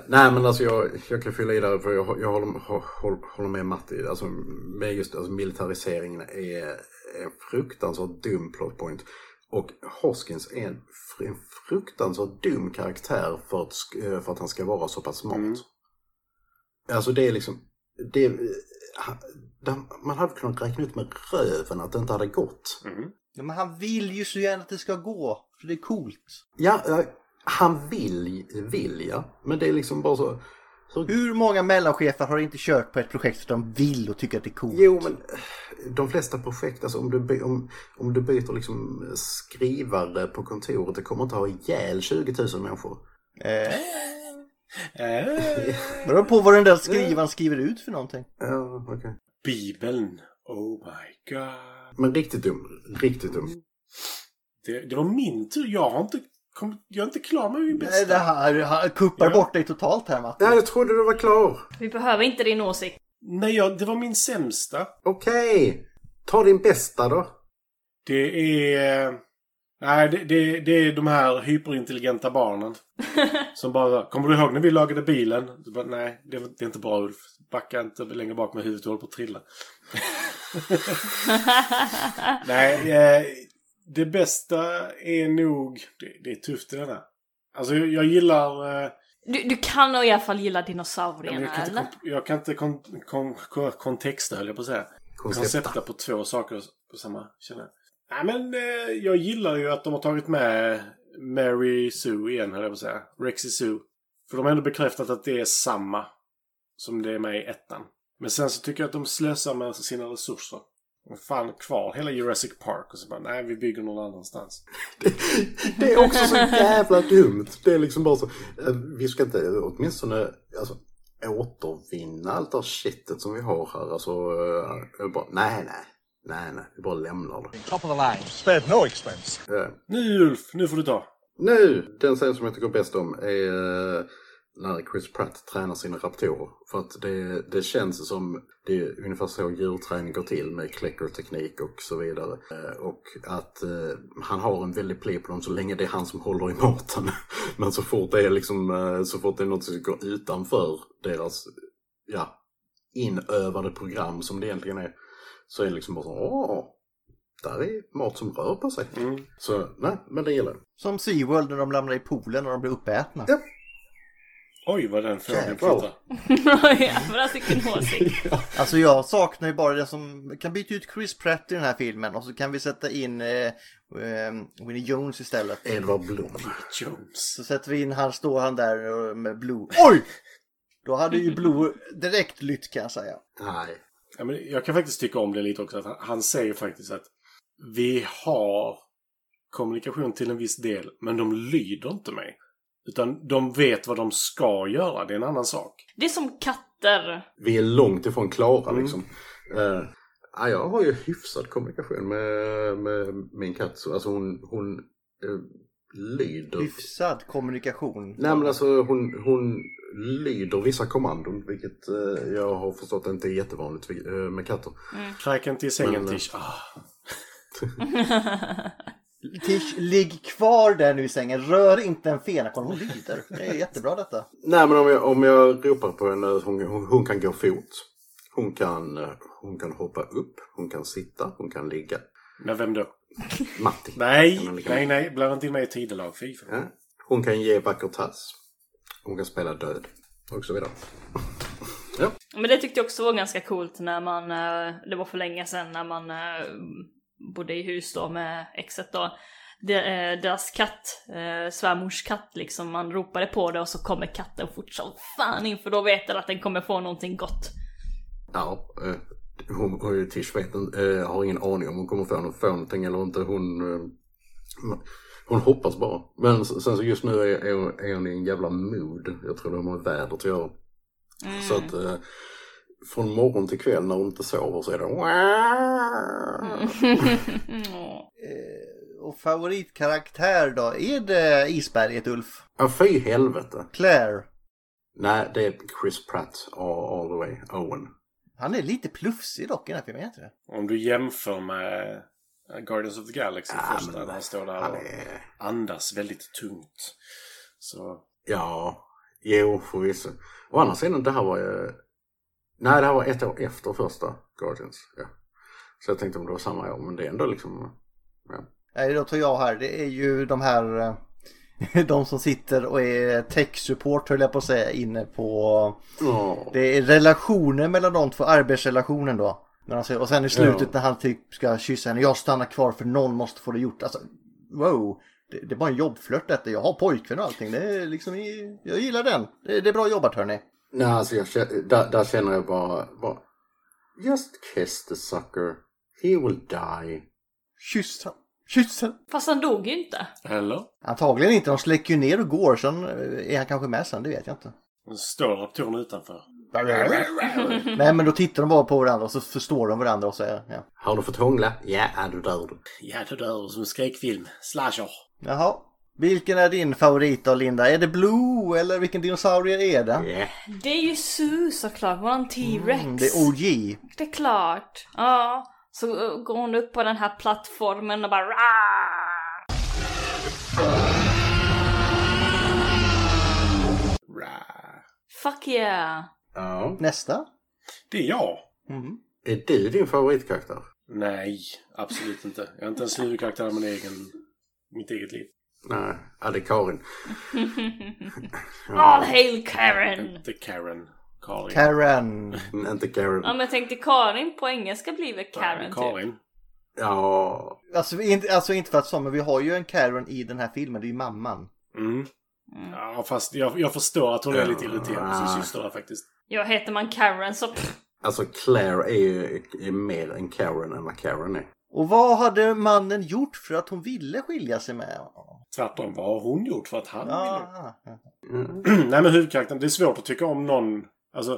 Speaker 4: Nej men alltså jag, jag kan fylla i där för jag, jag håller, håller, håller med Matti. Alltså, med just alltså, militariseringen är en fruktansvärt dum plot point. Och Hoskins är en, fr- en fruktansvärt dum karaktär för att, sk- eh, för att han ska vara så pass smart. Alltså det är liksom, det, är- ha- de- man hade kunnat räkna ut med röven att det inte hade gått.
Speaker 6: Ja, men han vill ju så gärna att det ska gå, för det är coolt.
Speaker 4: Ja, eh, han vill, vill ja, men det är liksom bara så.
Speaker 6: Hur många mellanchefer har inte kört på ett projekt för att de vill och tycker att det är coolt?
Speaker 4: Jo, men eh, de flesta projekt, alltså om du, by- om, om du byter liksom skrivare på kontoret, det kommer inte ha ihjäl 20 000 människor.
Speaker 5: Eh,
Speaker 6: Det beror på vad den där skrivaren skriver ut för någonting.
Speaker 4: Ja, okej.
Speaker 5: Bibeln. Oh my god.
Speaker 4: Men riktigt dum, riktigt dum.
Speaker 5: Det, det var min tur. Jag har inte kommit... Jag är inte klar med min
Speaker 6: Nej,
Speaker 5: bästa.
Speaker 6: det här han kuppar
Speaker 5: Ja.
Speaker 6: bort dig totalt här Matti.
Speaker 4: Ja, jag trodde du var klar.
Speaker 1: Vi behöver inte din åsikt.
Speaker 5: Nej, jag, det var min sämsta.
Speaker 4: Okej, ta din bästa då.
Speaker 5: Det är... Nej, det, det, det är de här hyperintelligenta barnen. Som bara, kommer du ihåg när vi lagade bilen? Så Bara, Nej, det, var- det är inte bra Ulf. Backa inte längre bak med huvudet, du håller på att trilla. Nej, eh, det bästa är nog... Det, det är tufft det där. Alltså, jag, jag gillar... Eh,
Speaker 1: Du, du kan nog i alla fall gilla
Speaker 5: Ja, men
Speaker 1: dinosaurierna
Speaker 5: jag kan inte,
Speaker 1: eller?
Speaker 5: kon- jag kan inte kon, kon, kon, kontexta, höll jag på att säga.
Speaker 4: Koncepta.
Speaker 5: Koncepta på två saker på samma känner jag. Nej, men eh, jag gillar ju att de har tagit med Mary Sue igen, höll jag på att säga. Rexy Sue. För de har ändå bekräftat att det är samma som det är med i ettan. Men sen så tycker jag att de slösar med sina resurser. De fan kvar hela Jurassic Park och så bara, nej, vi bygger någon annanstans.
Speaker 4: Det är också så jävla dumt. Det är liksom bara så. eh, Vi ska inte eh, åtminstone alltså, återvinna allt det här shitet som vi har här. Alltså, eh, bara, nej, nej. Nej, nej. Vi bara lämnar det.
Speaker 2: Top of the line. Spared no expense.
Speaker 4: Eh,
Speaker 5: Nu Ulf, nu får du ta.
Speaker 4: Nu! Den scen som jag tycker bäst om är eh, när Chris Pratt tränar sina raptorer. För att det, det känns som det är ungefär så djurträning går till med kläckerteknik och så vidare. Eh, Och att eh, han har en väldig pli på dem så länge det är han som håller i maten. Men så fort det är liksom, eh, så fort det är något som går utanför deras, ja, inövade program som det egentligen är. Så är det liksom bara så, åh, där är mat som rör på sig. Så nej, men det gillar jag.
Speaker 6: Som SeaWorld när de lämnar i poolen och de blir uppätna.
Speaker 4: Ja.
Speaker 5: Oj, vad den frågan
Speaker 4: Jävlar.
Speaker 5: kvittrade.
Speaker 1: ja, men alltså vilken åsikt.
Speaker 6: Alltså jag saknar ju bara det som, vi kan byta ut Chris Pratt i den här filmen och så kan vi sätta in eh, eh, Winnie Jones istället.
Speaker 4: Edvard Blom.
Speaker 5: Jones.
Speaker 6: Så sätter vi in, han står han där eh, med Blue. Oj! Då hade ju Blue direkt lytt kan jag säga.
Speaker 4: Nej.
Speaker 5: Ja, men jag kan faktiskt tycka om det lite också. Att han, han säger faktiskt att vi har kommunikation till en viss del, men de lyder inte mig. Utan de vet vad de ska göra, det är en annan sak.
Speaker 1: Det är som katter.
Speaker 4: Vi är långt ifrån klara liksom. Eh, ja, jag har ju hyfsad kommunikation med, med min katt. Så, alltså hon, hon eh, lyder.
Speaker 6: Hyfsad kommunikation.
Speaker 4: Nej men alltså hon, hon lyder vissa kommandon. Vilket eh, jag har förstått inte är jättevanligt eh, med katter.
Speaker 5: Kräk inte i sängen
Speaker 4: Men, eh,
Speaker 5: Tish. Ah.
Speaker 6: Tish, ligg kvar där nu i sängen. Rör inte en fena. Kolla, hon lyder. Det är jättebra detta.
Speaker 4: Nej men om jag, om jag ropar på henne. Hon, hon, hon kan gå fot. Hon kan, eh, hon kan hoppa upp. Hon kan sitta. Hon kan ligga.
Speaker 5: Men vem då?
Speaker 4: Matti.
Speaker 5: Nej,
Speaker 4: Kan man lika
Speaker 5: nej,
Speaker 4: gärna-
Speaker 5: nej. Blanda inte in mig i tidelag. Fy fan.
Speaker 4: Ja. Hon kan ge vacker tass. Hon kan spela död. Och så vidare.
Speaker 1: Men det tyckte jag också var ganska coolt när man, eh, det var för länge sedan när man eh, bodde i hus då med exet då. De, eh, deras katt, eh, svärmors katt liksom, man ropade på det och så kommer katten fort som fan in för då vet den att den kommer få någonting gott.
Speaker 4: Ja, eh, hon, hon, Tish vet, inte- eh, har ingen aning om hon kommer få någon- få någonting eller inte. Hon, eh, Hon hoppas bara. Men s- sen så just nu är, är, hon- är hon i en jävla mood. Jag tror det har med vädret att göra. Så att eh, från morgon till kväll när hon inte sover så är det...
Speaker 6: Eh, Och favoritkaraktär då? Är det isberget Ulf?
Speaker 4: Ja, fy helvete.
Speaker 6: Claire?
Speaker 4: Nej, det är Chris Pratt all, all the way. Owen.
Speaker 6: Han är lite plufsig dock i den här filmen, är inte det?
Speaker 5: Om du jämför med eh, Guardians of the Galaxy
Speaker 4: Ja,
Speaker 5: första,
Speaker 4: men
Speaker 5: där han står där
Speaker 4: Han
Speaker 5: och
Speaker 4: är...
Speaker 5: andas väldigt tungt. Så
Speaker 4: Ja, jo förvisso. Å andra sidan, det här var ju... Nej, det här var ett år efter första Guardians. Ja. Så jag tänkte om det var samma år, men det är ändå liksom... Ja.
Speaker 6: Nej, då tar jag här. Det är ju de här eh, de som sitter och är tech-support höll jag på att säga inne på
Speaker 4: Åh,
Speaker 6: Det är relationen mellan de två, arbetsrelationen då. När han säger, och sen i slutet
Speaker 4: Ja.
Speaker 6: när han typ ska kyssa henne, jag stannar kvar för någon måste få det gjort. Alltså, wow! Det, det är bara en jobbflört detta, jag har pojkvän och allting. Det är liksom, jag gillar den. Det, det är bra jobbat hörni.
Speaker 4: Nej, alltså jag, kä- där, där känner jag bara, bara... Just kiss the sucker. He will die.
Speaker 6: Kyss han. Kyss han.
Speaker 1: Fast han dog ju inte.
Speaker 5: Eller?
Speaker 6: Antagligen inte, de släcker ju ner och går. Sen eh, är han kanske med sen, det vet jag inte.
Speaker 5: Och så Står raptorn utanför.
Speaker 6: Nej men då tittar de bara på varandra och så förstår de varandra och så, ja.
Speaker 4: Har du fått hångla? Ja, är du dör du.
Speaker 5: Ja, det där som en skräckfilm. Slasher.
Speaker 6: Jaha. Vilken är din favorit då Linda? Är det Blue eller vilken dinosaurie är det?
Speaker 4: Yeah.
Speaker 1: Det är ju Sue såklart, våran T-Rex.
Speaker 6: Mm, det är OG.
Speaker 1: Det är klart. Ja. Så uh, går hon upp på den här plattformen och bara "Rah!"
Speaker 5: Rah.
Speaker 1: Fuck yeah.
Speaker 4: Ja.
Speaker 6: Nästa.
Speaker 5: Det är jag.
Speaker 4: Är du din favoritkaraktär?
Speaker 5: Nej, absolut inte. Jag är inte ens huvudkaraktär i min egen, mitt eget liv.
Speaker 4: Nej, ja, det är Karin.
Speaker 1: All hail Karen!
Speaker 5: Inte Karen. Karin.
Speaker 6: Karen.
Speaker 4: Mm, Inte Karin.
Speaker 1: Ja men jag tänkte Karin på engelska blir väl Karen typ.
Speaker 5: Karin.
Speaker 4: Ja,
Speaker 6: Alltså inte, alltså inte för att så, men vi har ju en Karen i den här filmen. Det är ju mamman.
Speaker 5: Mm. Ja, fast jag, jag förstår att hon är lite irriterad på
Speaker 4: Ah.
Speaker 5: sin syster där faktiskt.
Speaker 1: Ja heter man Karen så pff,
Speaker 4: alltså Claire är ju är mer en Karen än vad Karen är.
Speaker 6: Och vad hade mannen gjort för att hon ville skilja sig med honom? Ah.
Speaker 5: Tvärtom, vad har hon gjort för att han ville?
Speaker 6: Ja,
Speaker 5: Nej men huvudkaraktären, det är svårt att tycka om någon. Alltså,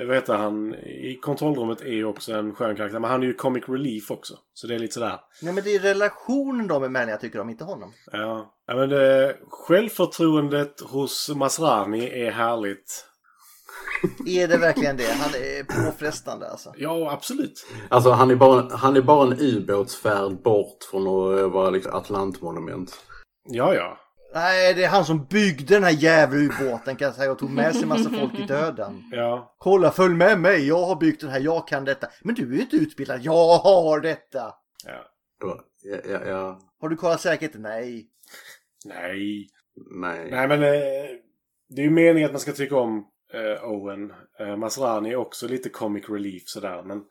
Speaker 5: eh, vad heter han? I kontrollrummet är ju också en skön karaktär. Men han är ju comic relief också. Så det är lite sådär.
Speaker 6: Nej men det är relationen de emellan jag tycker om, inte honom.
Speaker 5: Ja. ja men det, självförtroendet hos Masrani är härligt.
Speaker 6: Är det verkligen det? Han är påfrestande alltså.
Speaker 5: Ja, absolut.
Speaker 4: Alltså han är bara, han är bara en ubåtsfärd bort från att vara liksom Atlantmonument.
Speaker 5: Ja, ja.
Speaker 6: Nej, det är han som byggde den här jävla ubåten kan jag säga och tog med sig massa folk i döden.
Speaker 5: Ja.
Speaker 6: Kolla, följ med mig, jag har byggt den här, jag kan detta. Men du är ju inte utbildad, jag har detta!
Speaker 5: ja.
Speaker 4: Det var- Ja, ja, ja,
Speaker 6: Har du kollat säkert? Nej.
Speaker 5: Nej.
Speaker 4: nej.
Speaker 5: Nej men eh, det är ju meningen att man ska tycka om eh, Owen. Eh, Masrani är också lite comic relief sådär. Men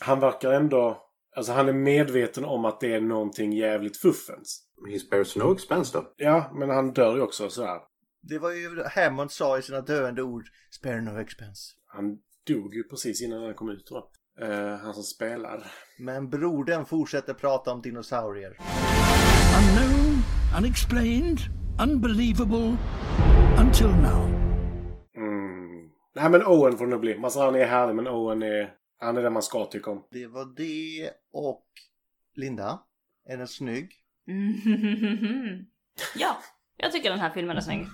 Speaker 5: han verkar ändå... Alltså han är medveten om att det är någonting jävligt fuffens.
Speaker 4: He spares no expense då.
Speaker 5: Ja, men han dör ju också sådär.
Speaker 6: Det var ju Hammond sa i sina döende ord. Spare no expense.
Speaker 5: Han dog ju precis innan den kom ut tror jag. Eh, han som spelar.
Speaker 6: Men brodern fortsätter prata om dinosaurier.
Speaker 2: Unknown, unexplained, unbelievable, until now.
Speaker 5: Mm. Nej men Owen får det nog bli. Masrani är härlig men Owen är... Han är den man ska tycka om.
Speaker 6: Det var det och Linda. Är den snygg?
Speaker 1: Ja, jag tycker den här filmen är snygg.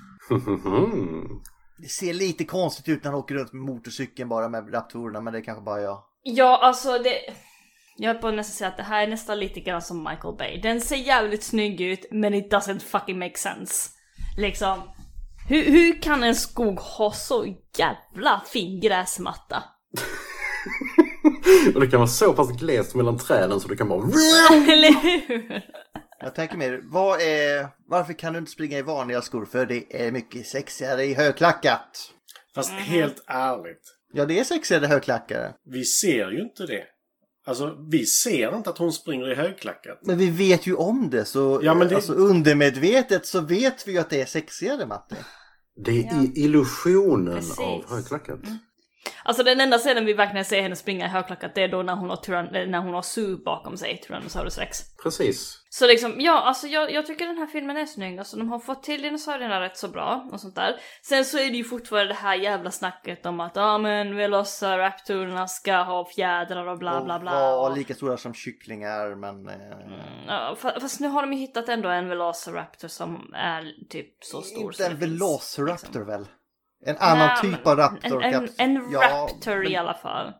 Speaker 6: Det ser lite konstigt ut när han åker runt med motorcykeln bara med raptorerna men det är kanske bara jag.
Speaker 1: Ja alltså det... Jag höll på att nästan säga att det här är nästan lite grann som Michael Bay. Den ser jävligt snygg ut men it doesn't fucking make sense. Liksom. Hur, hur kan en skog ha så jävla fin gräsmatta?
Speaker 4: Och det kan vara så pass glest mellan träden så det kan vara...
Speaker 1: Eller hur?
Speaker 6: Jag tänker mer, vad är, varför kan du inte springa i vanliga skor? För det är mycket sexigare i högklackat.
Speaker 5: Fast helt ärligt.
Speaker 6: Ja, det är sexigare i högklackare.
Speaker 5: Vi ser ju inte det. Alltså, vi ser inte att hon springer i högklackat.
Speaker 6: Men vi vet ju om det så
Speaker 5: Ja, men det-
Speaker 6: alltså, undermedvetet så vet vi ju att det är sexigare Matti.
Speaker 4: Det är i illusionen
Speaker 1: Precis.
Speaker 4: av högklackat.
Speaker 1: Alltså den enda scenen vi verkligen ser henne springa i högklackat det är då när hon har, tyrann- eh, när hon har Sue bakom sig, Tyrannosaurus rex.
Speaker 4: Precis.
Speaker 1: Så liksom, ja alltså jag, jag tycker den här filmen är snygg, alltså de har fått till dinosaurierna rätt så bra och sånt där. Sen så är det ju fortfarande det här jävla snacket om att ja ah, men velociraptorerna ska ha fjädrar och bla bla Mm. bla.
Speaker 6: Och var
Speaker 1: och-
Speaker 6: lika stora som kycklingar men... Eh,
Speaker 1: Ja, fa- fast nu har de ju hittat ändå en velociraptor som är typ så stor
Speaker 6: inte
Speaker 1: så det
Speaker 6: en
Speaker 1: finns,
Speaker 6: velociraptor
Speaker 1: liksom.
Speaker 6: väl? En annan
Speaker 1: Nej,
Speaker 6: typ av raptor.
Speaker 1: En, en,
Speaker 6: kaps-
Speaker 1: en
Speaker 6: Ja,
Speaker 1: raptor i alla fall.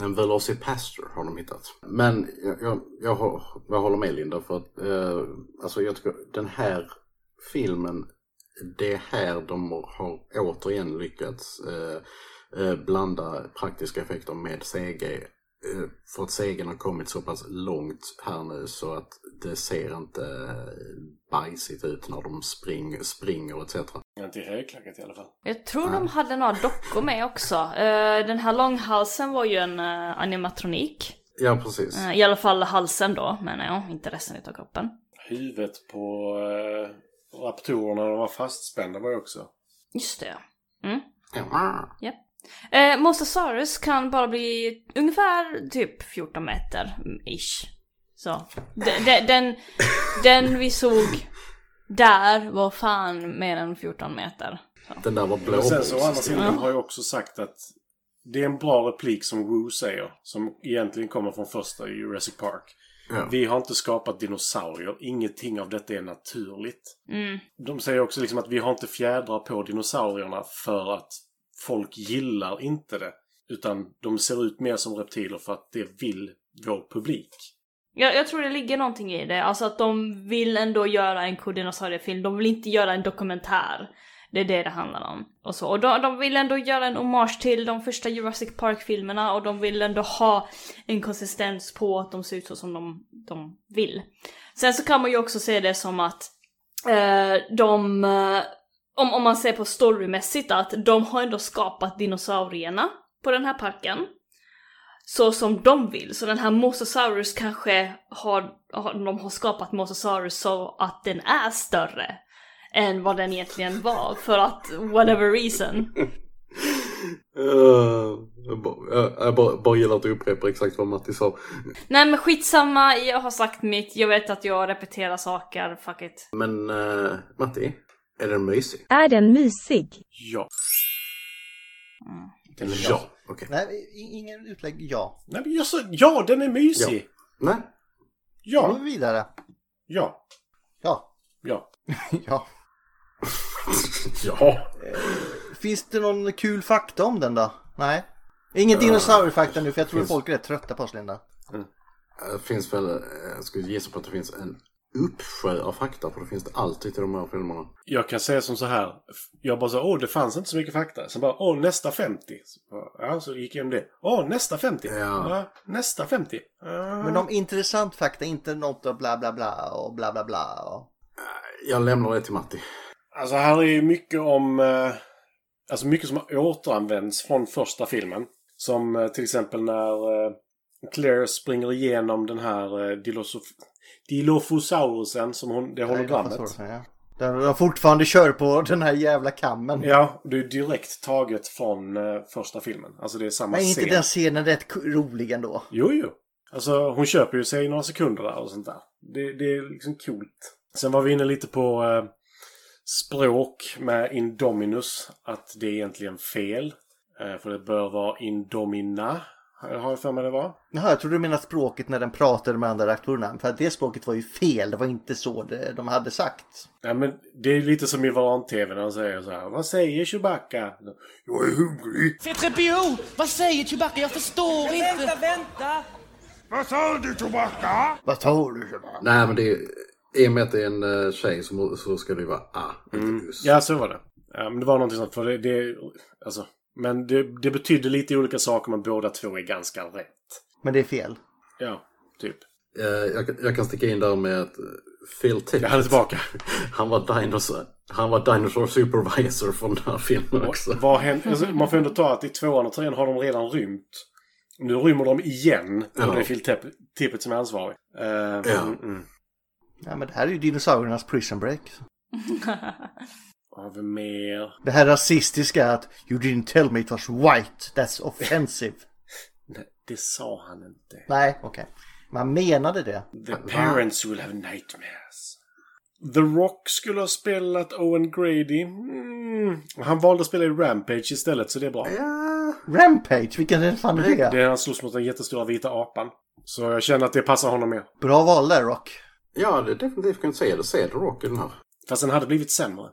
Speaker 4: En Velocipastor har de hittat. Men jag, jag, jag, hå- jag håller med Linda för att eh, alltså jag tycker den här filmen, det är här de har återigen lyckats eh, eh, blanda praktiska effekter med CG. Eh, för att CGn har kommit så pass långt här nu så att det ser inte eh, bajsigt ut när de spring, springer etc.
Speaker 5: Inte i högklackat i alla fall.
Speaker 1: Jag tror de hade några dockor med också. Eh, Den här långhalsen var ju en eh, animatronik.
Speaker 4: Ja precis.
Speaker 1: Eh, I alla fall halsen då menar jag, inte resten utav kroppen.
Speaker 5: Huvudet på eh, raptorerna, de var fastspända var ju också.
Speaker 1: Just det. Mm.
Speaker 4: Ja.
Speaker 1: Eh, Mosasaurus kan bara bli ungefär typ 14 meter, mm, ish. Så. Den, den, den, den vi såg där var fan mer än 14 meter.
Speaker 4: Den där var blå.
Speaker 5: Men sen så å andra sidan
Speaker 1: Ja.
Speaker 5: har jag också sagt att det är en bra replik som Wu säger. Som egentligen kommer från första Jurassic Park.
Speaker 4: Ja.
Speaker 5: Vi har inte skapat dinosaurier. Ingenting av detta är naturligt.
Speaker 1: Mm.
Speaker 5: De säger också liksom att vi har inte fjädrar på dinosaurierna för att folk gillar inte det. Utan de ser ut mer som reptiler för att det vill vår publik.
Speaker 1: Jag, jag tror det ligger någonting i det, alltså att de vill ändå göra en kodinosauriefilm, de vill inte göra en dokumentär. Det är det det handlar om. Och, så. och de, de vill ändå göra en hommage till de första Jurassic Park-filmerna och de vill ändå ha en konsistens på att de ser ut så som de, de vill. Sen så kan man ju också se det som att eh, de, eh, om, om man ser på storymässigt, att de har ändå skapat dinosaurierna på den här parken så som de vill. Så den här Mosasaurus kanske har, har, de har skapat Mosasaurus så att den är större än vad den egentligen var för att whatever reason.
Speaker 4: Eh, jag bara- jag- jag bara, bara gillar att du upprepar exakt vad Matti sa.
Speaker 1: Nej men skitsamma, jag har sagt mitt, jag vet att jag repeterar saker, fuck it.
Speaker 4: Men eh, Matti, är den mysig?
Speaker 11: Är den mysig?
Speaker 5: Ja.
Speaker 1: Mm.
Speaker 5: Den är
Speaker 4: Ja, okej.
Speaker 6: Nej, i- ingen utlägg. Ja.
Speaker 5: Nej, men jag sa, ja, den är mysig!
Speaker 4: Nej,
Speaker 6: Då går
Speaker 5: Ja,
Speaker 6: vi vidare.
Speaker 5: ja,
Speaker 6: Ja.
Speaker 5: ja.
Speaker 6: ja.
Speaker 4: ja.
Speaker 6: Finns det någon kul fakta om den då? Nej. Ingen
Speaker 5: Eh.
Speaker 6: dinosauriefakta nu för jag tror att
Speaker 4: finns-
Speaker 6: folk är rätt trötta på oss Linda.
Speaker 4: Det finns väl, eh, jag skulle gissa på att det finns en uppsjö av fakta, för det finns det alltid till de här filmerna.
Speaker 5: Jag kan säga som så här. Jag bara sa åh, det fanns inte så mycket fakta. Sen bara, åh, nästa 50. Så, bara, ja, så gick jag igenom det. Åh, nästa 50.
Speaker 4: Ja.
Speaker 5: nästa 50. Ja.
Speaker 6: Men om intressant fakta, inte något och bla bla bla och bla bla bla. Och...
Speaker 4: Jag lämnar det till Matti.
Speaker 5: Alltså, här är ju mycket om... eh, Alltså, mycket som har återanvänts från första filmen. Som eh, till exempel när eh, Claire springer igenom den här eh, Dilophosaur- Dilophosaurusen som hon, det hologrammet.
Speaker 6: Ja. De fortfarande kör på den här jävla kammen.
Speaker 5: Ja, det är direkt taget från eh, första filmen. Alltså det är samma
Speaker 6: Men är inte
Speaker 5: scen.
Speaker 6: den scenen rätt k- rolig ändå?
Speaker 5: Jo, jo. Alltså hon köper ju sig några sekunder där och sånt där. Det, det är liksom coolt. Sen var vi inne lite på eh, språk med Indominus. Att det är egentligen fel. Eh, för det bör vara Indomina. Har har jag för mig det var.
Speaker 6: Jaha, jag tror du menar språket när den pratade med andra reaktorerna. För att det språket var ju fel, det var inte så det, de hade sagt.
Speaker 5: Ja, men det är lite som i Varan-TV när han säger så här. Vad säger Chewbacca? Jag är hungrig.
Speaker 2: C3PO! Vad säger Chewbacca? Jag förstår inte! Vänta, vänta! Vad sa du Chewbacca?
Speaker 6: Vad tror du? Shabba?
Speaker 4: Nej, men det är, i och med att det är en eh, tjej så, så ska det ju vara ah, inte us.
Speaker 5: Ja, så var det. Ja, men det var någonting sånt. För det, det, alltså, men det, det betydde lite olika saker men båda två är ganska rätt.
Speaker 6: Men det är fel.
Speaker 5: Ja, typ.
Speaker 4: Eh, jag, kan- jag kan sticka in där med att eh, Phil Tippett,
Speaker 5: Jag hade tillbaka.
Speaker 4: han var dinosaur, han var dinosaur supervisor från den här filmen också.
Speaker 5: Vad händer? Alltså, man får ändå ta att i tvåan och trean har de redan rymt. Nu rymmer de igen. Och det är
Speaker 4: Ja.
Speaker 5: Phil Tepp- Tippett som är ansvarig. Eh, mm, mm.
Speaker 6: Ja, men det här är ju dinosauriernas prison break.
Speaker 5: Vad har vi mer?
Speaker 6: Det här rasistiska att You didn't tell me it was white. That's offensive.
Speaker 5: Nej, det sa han inte.
Speaker 6: Nej, okej. Man menade det.
Speaker 5: The parents will have nightmares. The Rock skulle ha spelat Owen Grady. Mm. Han valde att spela i Rampage istället, så det är bra.
Speaker 6: Rampage, vilken fan är det?
Speaker 5: Det är han slåss mot den jättestora vita apan. Så jag känner att det passar honom mer.
Speaker 6: Bra val där Rock.
Speaker 4: Jag hade definitivt kunnat säga det. Se The Rock i den här.
Speaker 5: Fast den hade blivit sämre.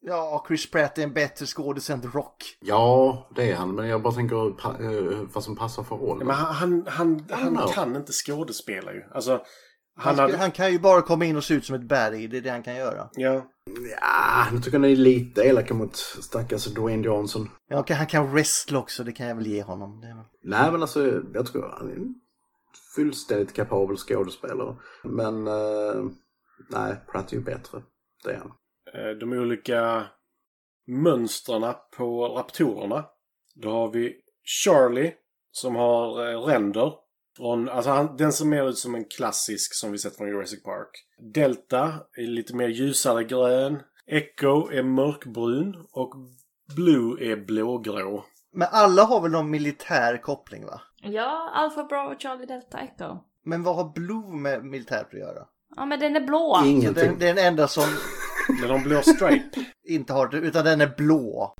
Speaker 6: Ja, Chris Pratt är en bättre skådis än The Rock.
Speaker 4: Ja, det är han. Men jag bara tänker pa- eh, vad som passar för
Speaker 5: Nej,
Speaker 4: rollen.
Speaker 5: Men han, han, han, han
Speaker 4: know.
Speaker 5: kan inte skådespela ju. Alltså, han
Speaker 6: Han,
Speaker 5: hade...
Speaker 6: han kan ju bara komma in och se ut som ett berg. Det är det han kan göra.
Speaker 5: Ja.
Speaker 4: Ah, nu tycker jag ni är lite elaka mot stackars Dwayne Johnson.
Speaker 6: Ja, okej, han kan wrestla också. Det kan jag väl ge honom. Det är väl...
Speaker 4: Nej, men alltså jag tror han är en fullständigt kapabel skådespelare. Men eh, nej, Pratt är ju bättre. Det är han.
Speaker 5: Eh, de olika mönstren på raptorerna. Då har vi Charlie som har eh, ränder. Från, alltså han, den ser mer ut som en klassisk som vi sett från Jurassic Park. Delta är lite mer ljusare grön. Echo är mörkbrun och Blue är blågrå.
Speaker 6: Men alla har väl någon militär koppling va?
Speaker 1: Ja, Alpha Bravo Charlie Delta Echo.
Speaker 6: Men vad har Blue med militärt att göra?
Speaker 1: Ja men den är blå.
Speaker 6: Så
Speaker 4: Ingenting.
Speaker 6: den, det är den enda som
Speaker 5: Men de blå stripe.
Speaker 6: inte har det, utan den är blå.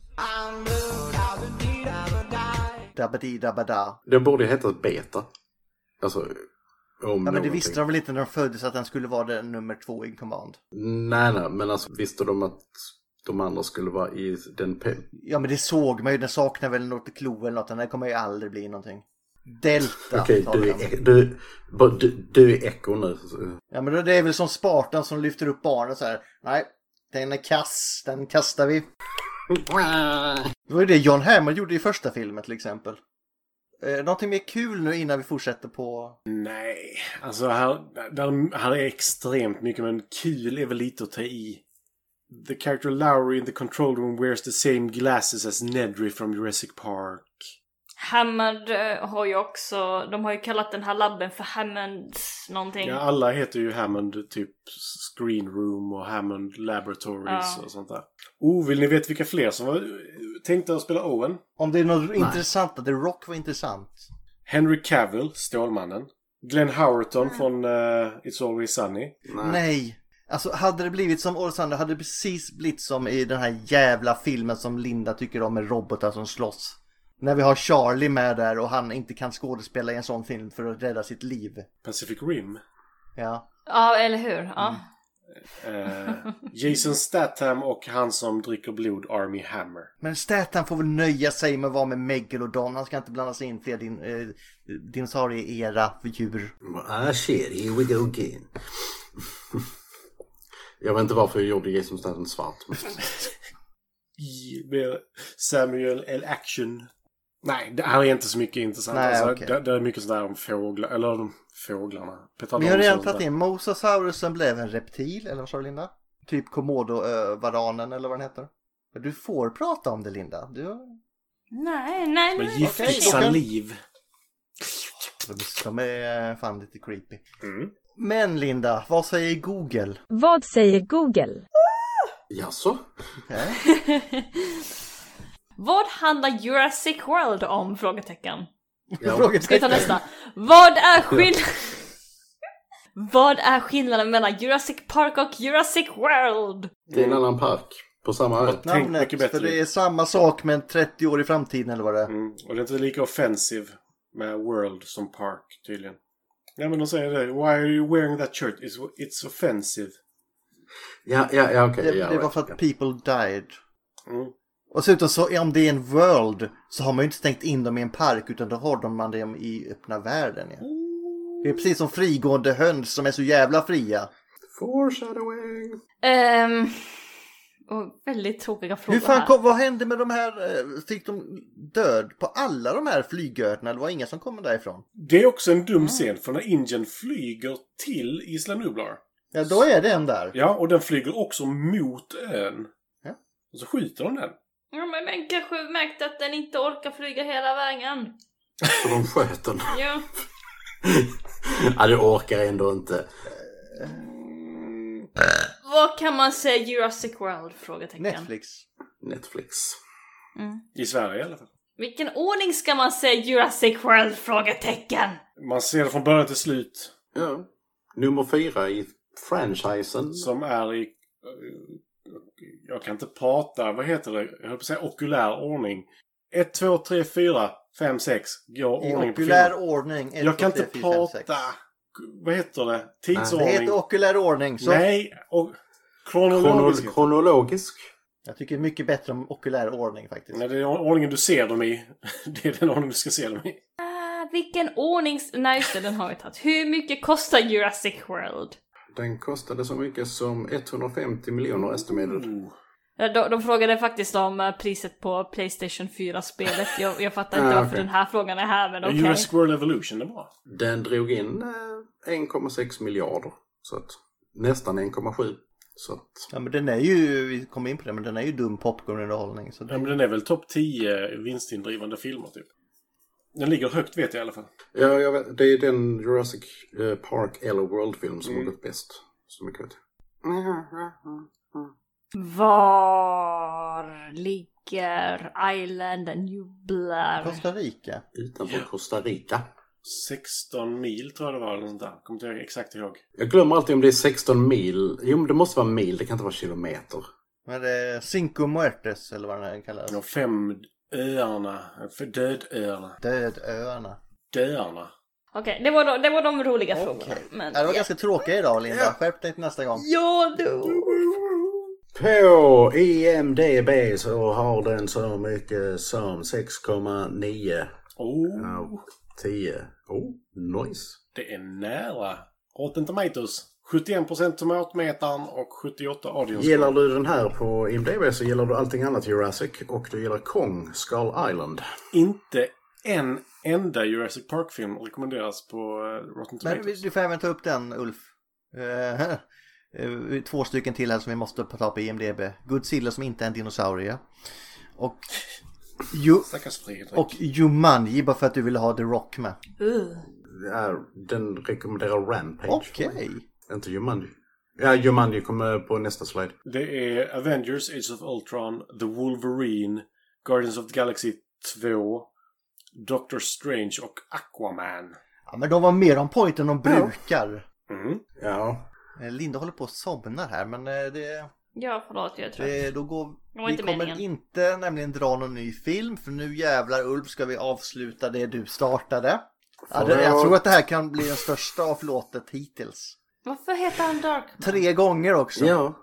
Speaker 6: Dabadi dabada.
Speaker 4: Det borde ju heta Beta. Alltså, om
Speaker 6: Ja men det
Speaker 4: någonting.
Speaker 6: visste de väl inte när de föddes att den skulle vara den nummer två i command.
Speaker 4: Nej, nej, men alltså visste de att de andra skulle vara i den... Pe-
Speaker 6: Ja men det såg man ju, den saknar väl något klo eller något, den här kommer ju aldrig bli någonting. Delta
Speaker 4: Okej,
Speaker 6: tar
Speaker 4: du,
Speaker 6: vi den.
Speaker 4: är- du, bara du, du är Echo nu. så-
Speaker 6: Ja men då- det är väl som Spartan som lyfter upp barnen så här. Nej, den är kass, den kastar vi. Det var ju det John Hammond gjorde i första filmen till exempel. Eh, någonting mer kul nu innan vi fortsätter på...
Speaker 5: Nej, alltså här, där, här är extremt mycket men kul är väl lite att ta i. The character Lowry in the control room wears the same glasses as Nedry from Jurassic Park.
Speaker 1: Hammond eh, har ju också, de har ju kallat den här labben för Hammonds någonting.
Speaker 5: Ja, alla heter ju Hammond typ Screen Room och Hammond Laboratories
Speaker 1: Ja.
Speaker 5: och sånt där. Oh, vill ni veta vilka fler som var tänkte att spela Owen?
Speaker 6: Om det är något intressant, The Rock var intressant.
Speaker 5: Henry Cavill, Stålmannen. Glenn Howerton från eh, It's Always Sunny.
Speaker 6: Nej. Alltså hade det blivit som Orsander hade det precis blivit som i den här jävla filmen som Linda tycker om med robotar som slåss. När vi har Charlie med där och han inte kan skådespela i en sån film för att rädda sitt liv.
Speaker 5: Pacific Rim.
Speaker 6: Ja.
Speaker 1: Ja, eller hur? Ja.
Speaker 5: Eh, Jason Statham och han som dricker blod, Army Hammer.
Speaker 6: Men Statham får väl nöja sig med att vara med Megalodon. Han ska inte blanda sig in i fler din, eh, dinosaurier-era för djur.
Speaker 4: Ah shit, here we go again. jag vet inte varför jag gjorde Jason Statham svart. men-
Speaker 5: i- med Samuel L. Action. Nej, det här är inte så mycket intressant.
Speaker 6: Nej,
Speaker 5: alltså,
Speaker 6: okej.
Speaker 5: det, det är mycket sådär om fåglar, eller om fåglarna.
Speaker 6: Vi har
Speaker 5: Petardons
Speaker 6: redan
Speaker 5: och
Speaker 6: tagit
Speaker 5: sådär.
Speaker 6: in Mosasaurusen blev en reptil, eller vad sa du Linda? Typ Komodo-varanen eller vad den heter. Men Du får prata om det Linda. Du,
Speaker 1: Nej, nej,
Speaker 5: Men
Speaker 1: nej.
Speaker 5: gift
Speaker 6: Okej,
Speaker 5: i saliv.
Speaker 6: de, de är eh, fan lite creepy.
Speaker 5: Mm.
Speaker 6: Men Linda, vad säger Google?
Speaker 11: Vad säger Google?
Speaker 4: Jaså?
Speaker 6: Okej.
Speaker 1: Vad handlar Jurassic World om? Frågetecken. Ska vi ta
Speaker 6: Frågetecken.
Speaker 1: nästa? Vad är skillnaden... Vad är skillnaden mellan Jurassic Park och Jurassic World?
Speaker 4: Det är en annan park. På samma ö.
Speaker 5: Tänk
Speaker 6: Namnet,
Speaker 5: mycket bättre.
Speaker 6: för det är samma sak men 30 år i framtiden eller vad det är.
Speaker 5: Mm. Och det är inte lika offensive med World som Park, tydligen. Nej, men de säger det. Why are you wearing that shirt? It's, it's offensive.
Speaker 4: Ja, ja, ja okej.
Speaker 6: Det,
Speaker 4: ja,
Speaker 6: det var
Speaker 4: right.
Speaker 6: för att people died.
Speaker 5: Mm.
Speaker 6: Och dessutom så om det är en world så har man ju inte stängt in dem i en park utan då har de man dem i öppna världen. Ja.
Speaker 5: Mm.
Speaker 6: Det är precis som frigående höns som är så jävla fria.
Speaker 4: Foreshadowing!
Speaker 1: Ehm... och väldigt tråkiga frågor
Speaker 6: Hur fan
Speaker 1: här.
Speaker 6: kom, vad hände med de här, eh, fick de död på alla de här flygöarna? Det var inga som kom därifrån.
Speaker 5: Det är också en dum scen, för när Indien flyger till Isla Nublar.
Speaker 6: Ja, då är det en där.
Speaker 5: Ja, och den flyger också mot ön.
Speaker 6: Ja.
Speaker 5: Och så skjuter de den.
Speaker 1: Ja, men man kanske märkte att den inte orkar flyga hela vägen.
Speaker 4: Så de sköt den.
Speaker 1: Ja.
Speaker 4: ja, det orkar jag ändå inte.
Speaker 1: Vad kan man säga Jurassic World? Frågetecken.
Speaker 6: Netflix.
Speaker 4: Netflix.
Speaker 5: I Sverige i alla fall.
Speaker 1: Vilken ordning ska man säga Jurassic World? Frågetecken.
Speaker 5: Man ser det från början till slut.
Speaker 4: Ja. Nummer fyra i franchisen.
Speaker 5: Som är i... eh, Jag kan inte prata. Vad heter det? Jag höll på att säga okulär ordning. 1, 2, 3, 4, 5, 6. Går
Speaker 6: I
Speaker 5: ordning på
Speaker 6: okulär
Speaker 5: filmen.
Speaker 6: ordning. ett,
Speaker 5: Jag kan
Speaker 6: två,
Speaker 5: inte
Speaker 6: tre, fyra, fem, sex.
Speaker 5: prata. Vad heter det?
Speaker 6: Det
Speaker 5: Tidsordning.
Speaker 6: heter okulär ordning. Så
Speaker 5: Nej, och kronologisk.
Speaker 4: Chrono- kronologisk.
Speaker 6: Jag tycker mycket bättre om okulär ordning faktiskt.
Speaker 5: Nej, det är ordningen du ser dem i. Det är den ordning du ska se dem i.
Speaker 1: Ah, vilken ordning... Nej just det, den har vi tagit. Hur mycket kostar Jurassic World?
Speaker 4: Den kostade så mycket som 150 miljoner estimated.
Speaker 6: Mm.
Speaker 1: Ja, De, de frågade faktiskt om eh, priset på Playstation 4-spelet. Jag, jag fattar inte
Speaker 4: Ah,
Speaker 1: varför
Speaker 4: okej.
Speaker 1: den här frågan är här men okej.
Speaker 5: Jurassic World Evolution, det är bra.
Speaker 4: Den drog in eh, 1,6 miljarder. Så att, nästan 1,7. Så att,
Speaker 6: Ja, men den är ju, vi kom in på det, men den är ju dum popcornunderhållning. Så
Speaker 5: Ja, men den är väl topp 10 vinstindrivande filmer, typ. Den ligger högt, vet jag i alla fall.
Speaker 4: ja, jag vet, det är den Jurassic eh, Park eller World-film som har gått bäst. Så mycket vet jag. Mm,
Speaker 1: Var ligger Island Nublar?
Speaker 6: Costa Rica.
Speaker 4: Utanför Costa Rica.
Speaker 5: 16 mil tror jag det var, eller sånt där. Kommer inte jag exakt ihåg.
Speaker 4: Jag glömmer alltid om det är 16 mil. Jo, men det måste vara mil. Det kan inte vara kilometer.
Speaker 6: Men det är Cinco Muertes eller vad den här kallas.
Speaker 5: De fem öarna, för dödöarna,
Speaker 6: Dödöarna.
Speaker 5: döarna.
Speaker 1: Okej, det, var de, det var de roliga frågorna.
Speaker 6: Okej.
Speaker 1: Men,
Speaker 6: Ja, det var ganska tråkiga idag Linda. Skärp dig till nästa gång.
Speaker 1: Ja, du.
Speaker 4: På E IMDB så har den så mycket som 6,9
Speaker 5: Oh,
Speaker 4: av 10. Oh, nice.
Speaker 5: det är nära. Rotten Tomatoes. 71% tomatmetaren och 78 audience.
Speaker 4: Gillar du den här på E IMDB så gillar du allting annat Jurassic och du gillar Kong, Skull Island.
Speaker 5: Inte en enda Jurassic Park-film rekommenderas på eh, Rotten
Speaker 6: Men
Speaker 5: Tomatoes.
Speaker 6: vi- du får även ta upp den Ulf. Eh, eh, Två stycken till här som vi måste ta på IMDB. Godzilla som inte är en dinosaurie. Och, Ju-
Speaker 5: Stackars Fredrik.
Speaker 6: och Jumanji bara för att du ville ha The Rock med.
Speaker 1: Uh.
Speaker 4: Ja, den rekommenderar Rampage.
Speaker 6: Okej.
Speaker 4: Inte Jumanji. Ja, Jumanji kommer på nästa slide.
Speaker 5: Det är Avengers, Age of Ultron, The Wolverine, Guardians of the Galaxy 2, Doctor Strange och Aquaman.
Speaker 6: Ja, men de var mer on point än de brukar.
Speaker 5: Mm.
Speaker 4: Ja.
Speaker 6: Eh, Linda håller på att somna här men eh, det,
Speaker 1: Ja, förlåt, jag tror
Speaker 6: det då går...
Speaker 1: Det var
Speaker 6: Vi
Speaker 1: inte
Speaker 6: kommer
Speaker 1: meningen.
Speaker 6: inte nämligen dra någon ny film för nu jävlar Ulf ska vi avsluta det du startade. Ja, det, jag tror att det här kan bli den största avlåtet hittills.
Speaker 1: Varför heter han Dark?
Speaker 6: Tre gånger också.
Speaker 4: Ja.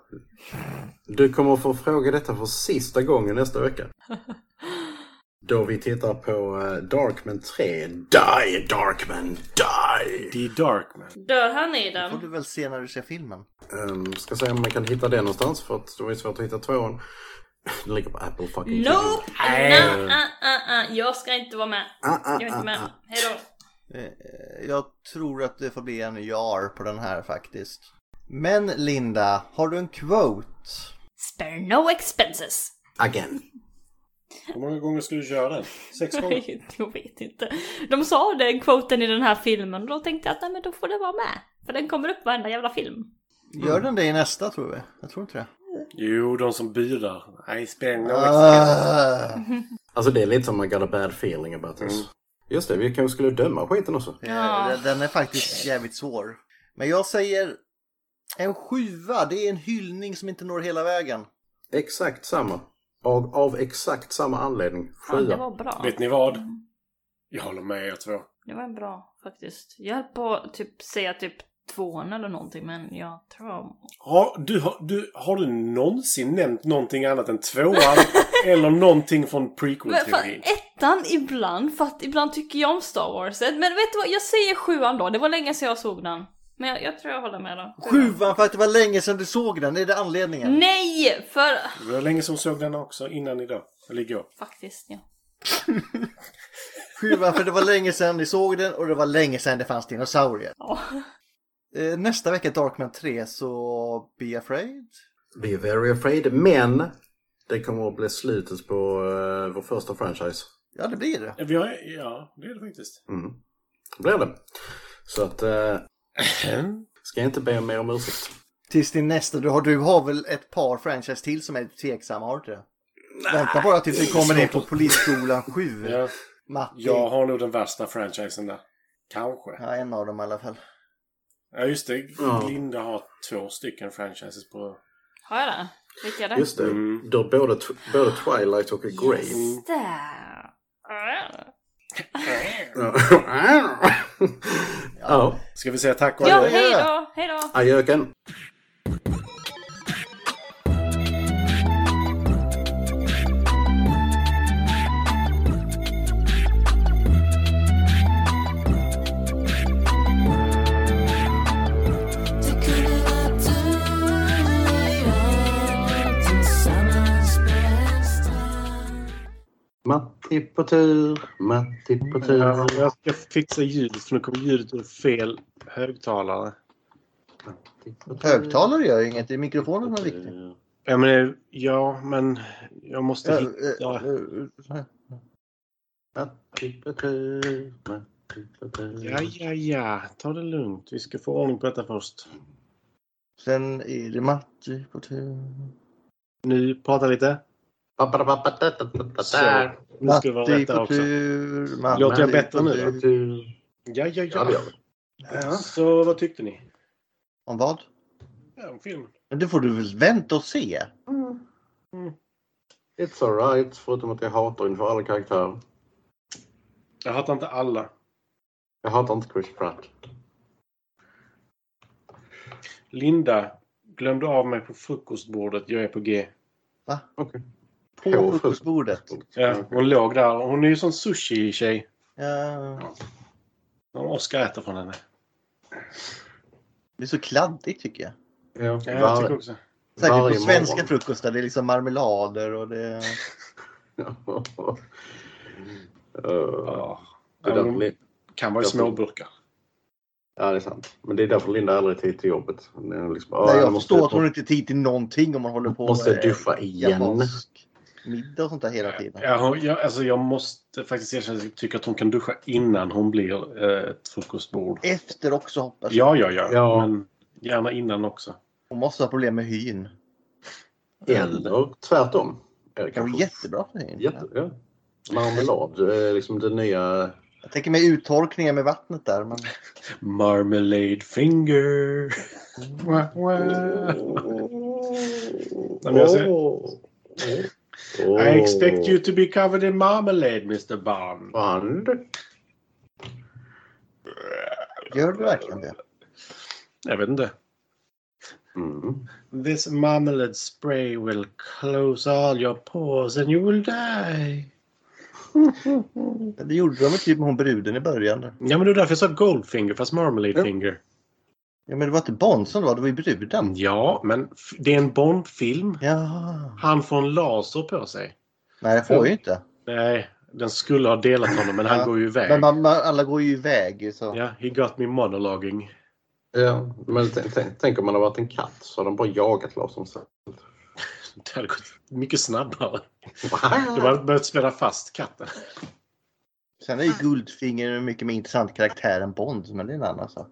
Speaker 4: Du kommer få fråga detta för sista gången nästa vecka. Då vi tittar på eh, Darkman 3. Die Darkman, die!
Speaker 5: The Darkman.
Speaker 1: Dör han i
Speaker 6: får du
Speaker 1: den?
Speaker 6: väl se när du ser filmen.
Speaker 4: Ehm, ska se om man kan hitta det någonstans för att det var ju svårt att hitta tvåan. Den ligger på Apple fucking TV.
Speaker 1: Nope! Nah, ah, ah, ah. Jag ska inte vara med.
Speaker 4: Ah, ah,
Speaker 1: Jag är inte
Speaker 4: ah,
Speaker 1: med.
Speaker 4: ah.
Speaker 1: Hejdå.
Speaker 6: Eh, Jag tror att det får bli en jar på den här faktiskt. Men Linda, har du en quote?
Speaker 1: Spare no expenses.
Speaker 4: Again.
Speaker 5: Hur många gånger ska du köra den? Sex gånger?
Speaker 1: jag vet inte. De sa den quoten i den här filmen och då tänkte jag att nej men då får det vara med. För den kommer upp varenda jävla film.
Speaker 6: Gör den det i nästa tror vi? Jag tror inte det.
Speaker 5: Jo, de som bidar. Nej, spänn.
Speaker 6: Ah,
Speaker 4: Alltså det är lite som I got a bad feeling about this.
Speaker 1: Mm.
Speaker 4: Just det, vi kanske skulle döma skiten också.
Speaker 1: Ja.
Speaker 6: eh, Den är faktiskt jävligt svår. Men jag säger en sjua, det är en hyllning som inte når hela vägen.
Speaker 4: Exakt samma. Av, av exakt samma anledning.
Speaker 1: Fan, det
Speaker 4: Sjua.
Speaker 1: var bra.
Speaker 5: Vet ni vad? Jag håller med er två.
Speaker 1: Det var bra faktiskt. Jag höll på att typ säga typ tvåan eller någonting men jag tror...
Speaker 5: Har du, har, du, har du någonsin nämnt någonting annat än tvåan eller någonting från
Speaker 1: Men fan,
Speaker 5: prequel-teorin?
Speaker 1: ettan ibland, för att ibland tycker jag om Star Wars. Eh, Men vet du vad, jag säger sjuan då. Det var länge sedan jag såg den. Men jag, jag tror jag håller med då.
Speaker 6: Sjuan för att det var länge sedan du såg den, är det anledningen?
Speaker 1: Nej! För...
Speaker 5: Det var länge som såg den också, innan idag. Eller igår.
Speaker 1: Faktiskt ja.
Speaker 6: Sjuan för det var länge sedan ni såg den och det var länge sedan det fanns dinosaurier.
Speaker 1: Ja.
Speaker 6: Eh, Nästa vecka Darkman 3 så Be Afraid.
Speaker 4: Be very afraid. Men det kommer att bli slutet på eh, vår första franchise.
Speaker 6: Ja det blir det.
Speaker 5: Vi har, ja, det är det faktiskt. Mm.
Speaker 4: Blir det. Så att, eh, ska jag inte be om mer om ursäkt.
Speaker 6: Tills din nästa. Du har, du har väl ett par franchise till som är tveksamma, har du inte det? Vänta bara tills vi kommer ner på Polisskolan 7.
Speaker 5: Ja,
Speaker 6: Matti.
Speaker 5: jag
Speaker 6: Ja.
Speaker 5: har nog den värsta franchisen där. Kanske.
Speaker 6: en av dem i alla fall.
Speaker 5: Ja, just det.
Speaker 4: Ja.
Speaker 5: Linda har två stycken franchises på...
Speaker 1: Har jag det? Vilka är det?
Speaker 4: Just det.
Speaker 5: Mm.
Speaker 4: Du har både, tw- både Twilight och Grey.
Speaker 1: Just det. Ja.
Speaker 4: Ja. ja.
Speaker 5: Ska vi säga tack och
Speaker 1: Ja,
Speaker 5: adjö?
Speaker 1: hej då, hej då.
Speaker 4: Adjöken. Matti på tur, Matti på tur.
Speaker 5: Jag ska fixa ljudet för nu kommer ljudet ur fel högtalare.
Speaker 4: Matti på tur.
Speaker 6: Högtalare gör ju inget. Det är mikrofonen som är
Speaker 5: Mm.
Speaker 6: viktig.
Speaker 4: Eh,
Speaker 5: Ja men, det- ja, men jag måste
Speaker 6: Ja,
Speaker 5: hitta...
Speaker 6: eh, eh, eh.
Speaker 4: Matti på tur, Matti på tur.
Speaker 5: Ja, ja, ja. Ta det lugnt. Vi ska få ordning på detta först.
Speaker 6: Sen är det Matti på tur.
Speaker 5: Nu, prata lite. Så.
Speaker 4: Pappadabapatatatatata.
Speaker 5: Nu ska det vara
Speaker 6: Matti
Speaker 5: rätt
Speaker 6: på
Speaker 5: där också.
Speaker 6: tur. Matti
Speaker 5: Låter jag
Speaker 6: på
Speaker 5: bättre nu
Speaker 6: tur.
Speaker 5: Ja, ja,
Speaker 4: Ja, det
Speaker 5: ja.
Speaker 4: gör vi.
Speaker 5: ja. Så vad tyckte ni?
Speaker 6: Om vad?
Speaker 5: Ja, om filmen.
Speaker 6: Men det får du väl vänta och se.
Speaker 4: It's alright, förutom att jag hatar inför alla karaktärer.
Speaker 5: Jag hatar inte alla.
Speaker 4: Jag hatar inte Chris Pratt.
Speaker 5: Linda glömde av mig på frukostbordet. Jag är på G.
Speaker 4: Okej.
Speaker 6: På
Speaker 4: På
Speaker 6: frukostbordet.
Speaker 4: Mm.
Speaker 5: Ja, hon låg där. Hon är ju sån sushi-tjej.
Speaker 6: Ja,
Speaker 5: Någon Oscar äter från henne.
Speaker 6: det är så kladdigt tycker jag.
Speaker 4: Ja,
Speaker 5: Ja, jag tycker
Speaker 4: var,
Speaker 5: också.
Speaker 6: Särskilt
Speaker 4: Varje
Speaker 6: på svenska
Speaker 4: morgon.
Speaker 6: frukostar. Det är liksom marmelader och det...
Speaker 4: Eh,
Speaker 5: Ja.
Speaker 4: det är
Speaker 5: Ja,
Speaker 4: därför
Speaker 5: men
Speaker 4: Lin-
Speaker 5: kan vara i småburkar.
Speaker 4: ja, det är sant. Men det är därför Linda aldrig är tid till jobbet. Hon är Liksom, ah,
Speaker 6: Nej, jag
Speaker 4: måste
Speaker 6: förstår att
Speaker 4: på-
Speaker 6: hon inte har tid till någonting om man håller på
Speaker 4: Måste
Speaker 6: med
Speaker 4: duffa igen.
Speaker 6: japansk middag och sånt där hela tiden.
Speaker 5: Ja, hon- jag, alltså jag måste faktiskt erkänna att jag tycker att hon kan duscha innan hon blir eh, ett frukostbord.
Speaker 6: Efter också hoppas jag.
Speaker 5: Ja, ja, ja.
Speaker 4: Ja.
Speaker 5: Men gärna innan också.
Speaker 6: Hon måste ha problem med hyn.
Speaker 4: Eller tvärtom. Är det
Speaker 6: Det kan
Speaker 4: kanske.
Speaker 6: bli jättebra för hyn.
Speaker 4: Jätte, ja. Marmelad, eh, liksom det nya...
Speaker 6: Jag tänker mig uttorkningen med vattnet där. Men...
Speaker 5: Marmalade finger. Wah, wah.
Speaker 4: Mm.
Speaker 5: men jag ser-
Speaker 4: Åh. Oh.
Speaker 5: I expect you to be covered in marmalade, Mr. Bond.
Speaker 4: Band.
Speaker 6: Gör du verkligen det?
Speaker 5: Jag vet inte.
Speaker 4: Mm.
Speaker 5: This marmalade spray will close all your pores and you will die.
Speaker 6: Det gjorde de väl typ med hon bruden i början. där.
Speaker 5: Ja, men det är därför jag sa goldfinger fast marmalade
Speaker 4: Ja.
Speaker 5: finger.
Speaker 6: Ja, men det var inte Bond som det var, det var ju bruden.
Speaker 5: Ja, men f- det är en Bond-film.
Speaker 6: Ja.
Speaker 5: Han får en laser på sig.
Speaker 6: Nej, det får ju inte.
Speaker 5: Nej, den skulle ha delat honom, men han
Speaker 6: Ja,
Speaker 5: går ju iväg.
Speaker 6: Men man, man, alla går ju iväg. Så.
Speaker 5: Ja, he got me monologuing.
Speaker 4: Ja, men t- t- tänk om man har varit en katt så har den bara jagat Lars som sagt.
Speaker 5: Det hade gått mycket snabbare. De hade börjat spela fast katten.
Speaker 6: Sen är ju Guldfinger en mycket mer intressant karaktär än Bond, men det är en annan sak.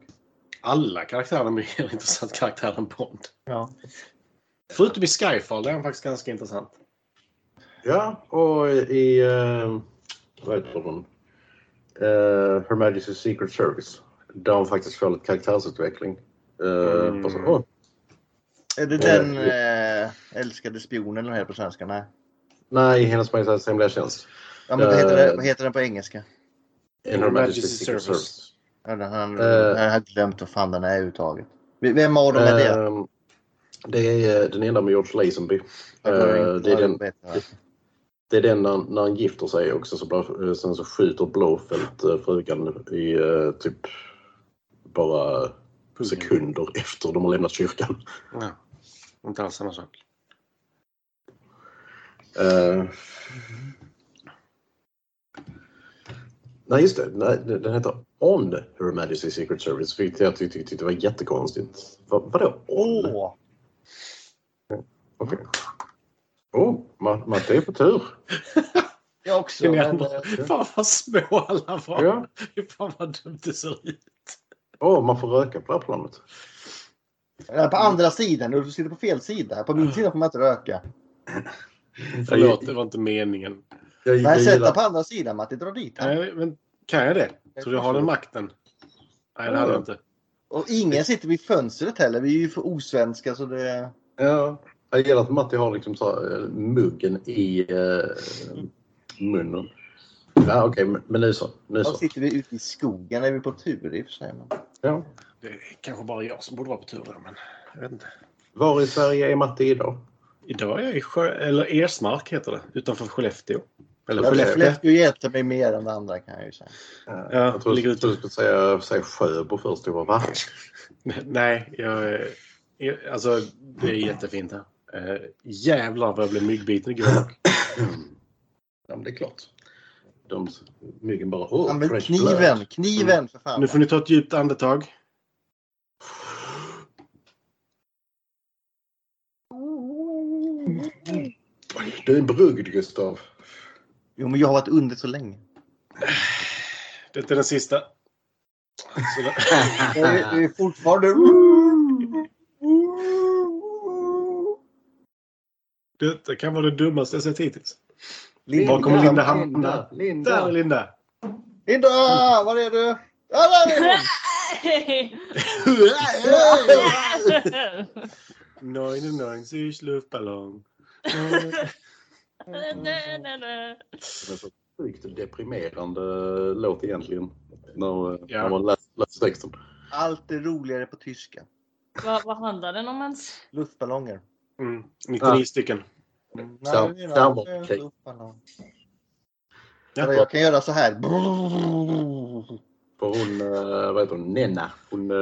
Speaker 5: Alla karaktärer är mer intressant karaktär än Bond.
Speaker 6: Ja.
Speaker 5: Förutom i Skyfall, där är han faktiskt ganska intressant.
Speaker 4: Ja, och i... eh, vad heter hon? Uh, Her Majesty's Secret Service. Där hon faktiskt får lite karaktärsutveckling. Eh,
Speaker 5: Mm.
Speaker 4: och så, åh,
Speaker 6: Är det den eh, älskade spionen eller vad heter det på svenska? Nej.
Speaker 4: nej, hennes majestät hemliga tjänst.
Speaker 6: Ja, men vad, heter
Speaker 4: Eh.
Speaker 6: det, vad heter den på engelska?
Speaker 4: In Her Majesty's Secret Service.
Speaker 6: Ja, den, han,
Speaker 4: Eh.
Speaker 6: jag har glömt vad fan den är överhuvudtaget. V- Vem av dem är det?
Speaker 4: Eh, det är eh, den enda med George Lazenby.
Speaker 6: Jag glömmer
Speaker 4: eh,
Speaker 6: inte
Speaker 4: det är
Speaker 6: vad
Speaker 4: den-
Speaker 6: den heter.
Speaker 4: Det är den när, när han gifter sig också. Så bara, eh, sen så skjuter Blåfält eh, frugan i eh, typ bara sekunder efter de har lämnat kyrkan.
Speaker 5: Ja. Inte alls samma sak.
Speaker 4: Eh, nej, just det. Nej, den den heter On Her Majesty's Secret Service. Vilket jag tyckte, tyckte det var jättekonstigt. Vad, vadå On? Okej.
Speaker 6: Åh,
Speaker 4: Oh, Ma- Matte är på tur.
Speaker 6: jag också.
Speaker 5: Ni
Speaker 6: Men,
Speaker 5: andra,
Speaker 6: eh,
Speaker 5: fan vad små alla var.
Speaker 4: Ja.
Speaker 5: Fan vad dumt det ser ut.
Speaker 4: Åh, man får röka på det här planet.
Speaker 6: Eller eh, På andra sidan, du sitter på fel sida. På min sida får man inte röka.
Speaker 5: Mm, Förlåt, det var inte meningen.
Speaker 4: Jag, jag,
Speaker 6: Nej, sätt dig
Speaker 4: gillar,
Speaker 6: på andra sidan Matti, dra dit han.
Speaker 5: Nej, men kan jag det? Tror du jag har den makten? Nej, det hade jag inte.
Speaker 6: Och ingen sitter vid fönstret heller. Vi är ju för osvenska så det...
Speaker 4: ja, jag gillar att Matti har liksom så, här, eh, muggen i eh, munnen. Ja, Okej, men- men nu så. Nu
Speaker 6: Då
Speaker 4: så.
Speaker 6: sitter vi ute i skogen, är vi på tur i och för sig. Men...
Speaker 4: Ja.
Speaker 5: Det är kanske bara jag som borde vara på tur där, men jag vet inte.
Speaker 4: Var i Sverige är Matti idag?
Speaker 5: Idag är jag i Sjö... Eller Ersmark heter det, utanför Skellefteå. Eller
Speaker 6: Ja,
Speaker 5: Skellefteå.
Speaker 6: Skellefteå hjälpte mig mer än det andra kan jag ju säga.
Speaker 5: Ja,
Speaker 4: jag tror
Speaker 5: ligger
Speaker 4: jag
Speaker 5: ute.
Speaker 4: trodde du skulle säga, säga Sjöbo först. Jag bara, va?
Speaker 5: Nej, jag... eh, jag- Alltså, det är jättefint här. Eh, jävlar vad jag blev myggbiten igår.
Speaker 4: Ja, men det är klart. De, myggen bara... Oh,
Speaker 6: Använd
Speaker 4: fresh
Speaker 6: kniven!
Speaker 4: blood.
Speaker 6: Kniven för fan!
Speaker 5: Nu får ni ta ett djupt andetag.
Speaker 4: Du är en brugd, Gustav.
Speaker 6: Jo men jag har varit under så länge.
Speaker 5: Det är den sista. Sådär.
Speaker 6: Det är, det är fortfarande...
Speaker 5: Detta kan vara det dummaste jag sett hittills.
Speaker 6: Linda,
Speaker 5: Var kommer Linda hamna?
Speaker 4: Linda,
Speaker 5: Där
Speaker 4: Linda.
Speaker 5: Linda!
Speaker 6: Linda! Var är du? Ja, där är hon!
Speaker 5: Neun neun süß Luftballon.
Speaker 4: Det är så sjukt deprimerande låt egentligen. När, eh,
Speaker 5: Ja.
Speaker 4: när man läser, läser texten.
Speaker 6: Allt är roligare på tyska.
Speaker 1: Vad, vad handlar den om ens?
Speaker 6: Luftballonger.
Speaker 5: Mm, 99 stycken.
Speaker 4: Sam-
Speaker 6: Nej,
Speaker 4: samma-
Speaker 6: det är
Speaker 4: okej.
Speaker 6: luftballong. Eller
Speaker 5: Ja.
Speaker 6: jag kan göra så här.
Speaker 4: För hon, eh, vad heter hon, Nenna. Hon, eh,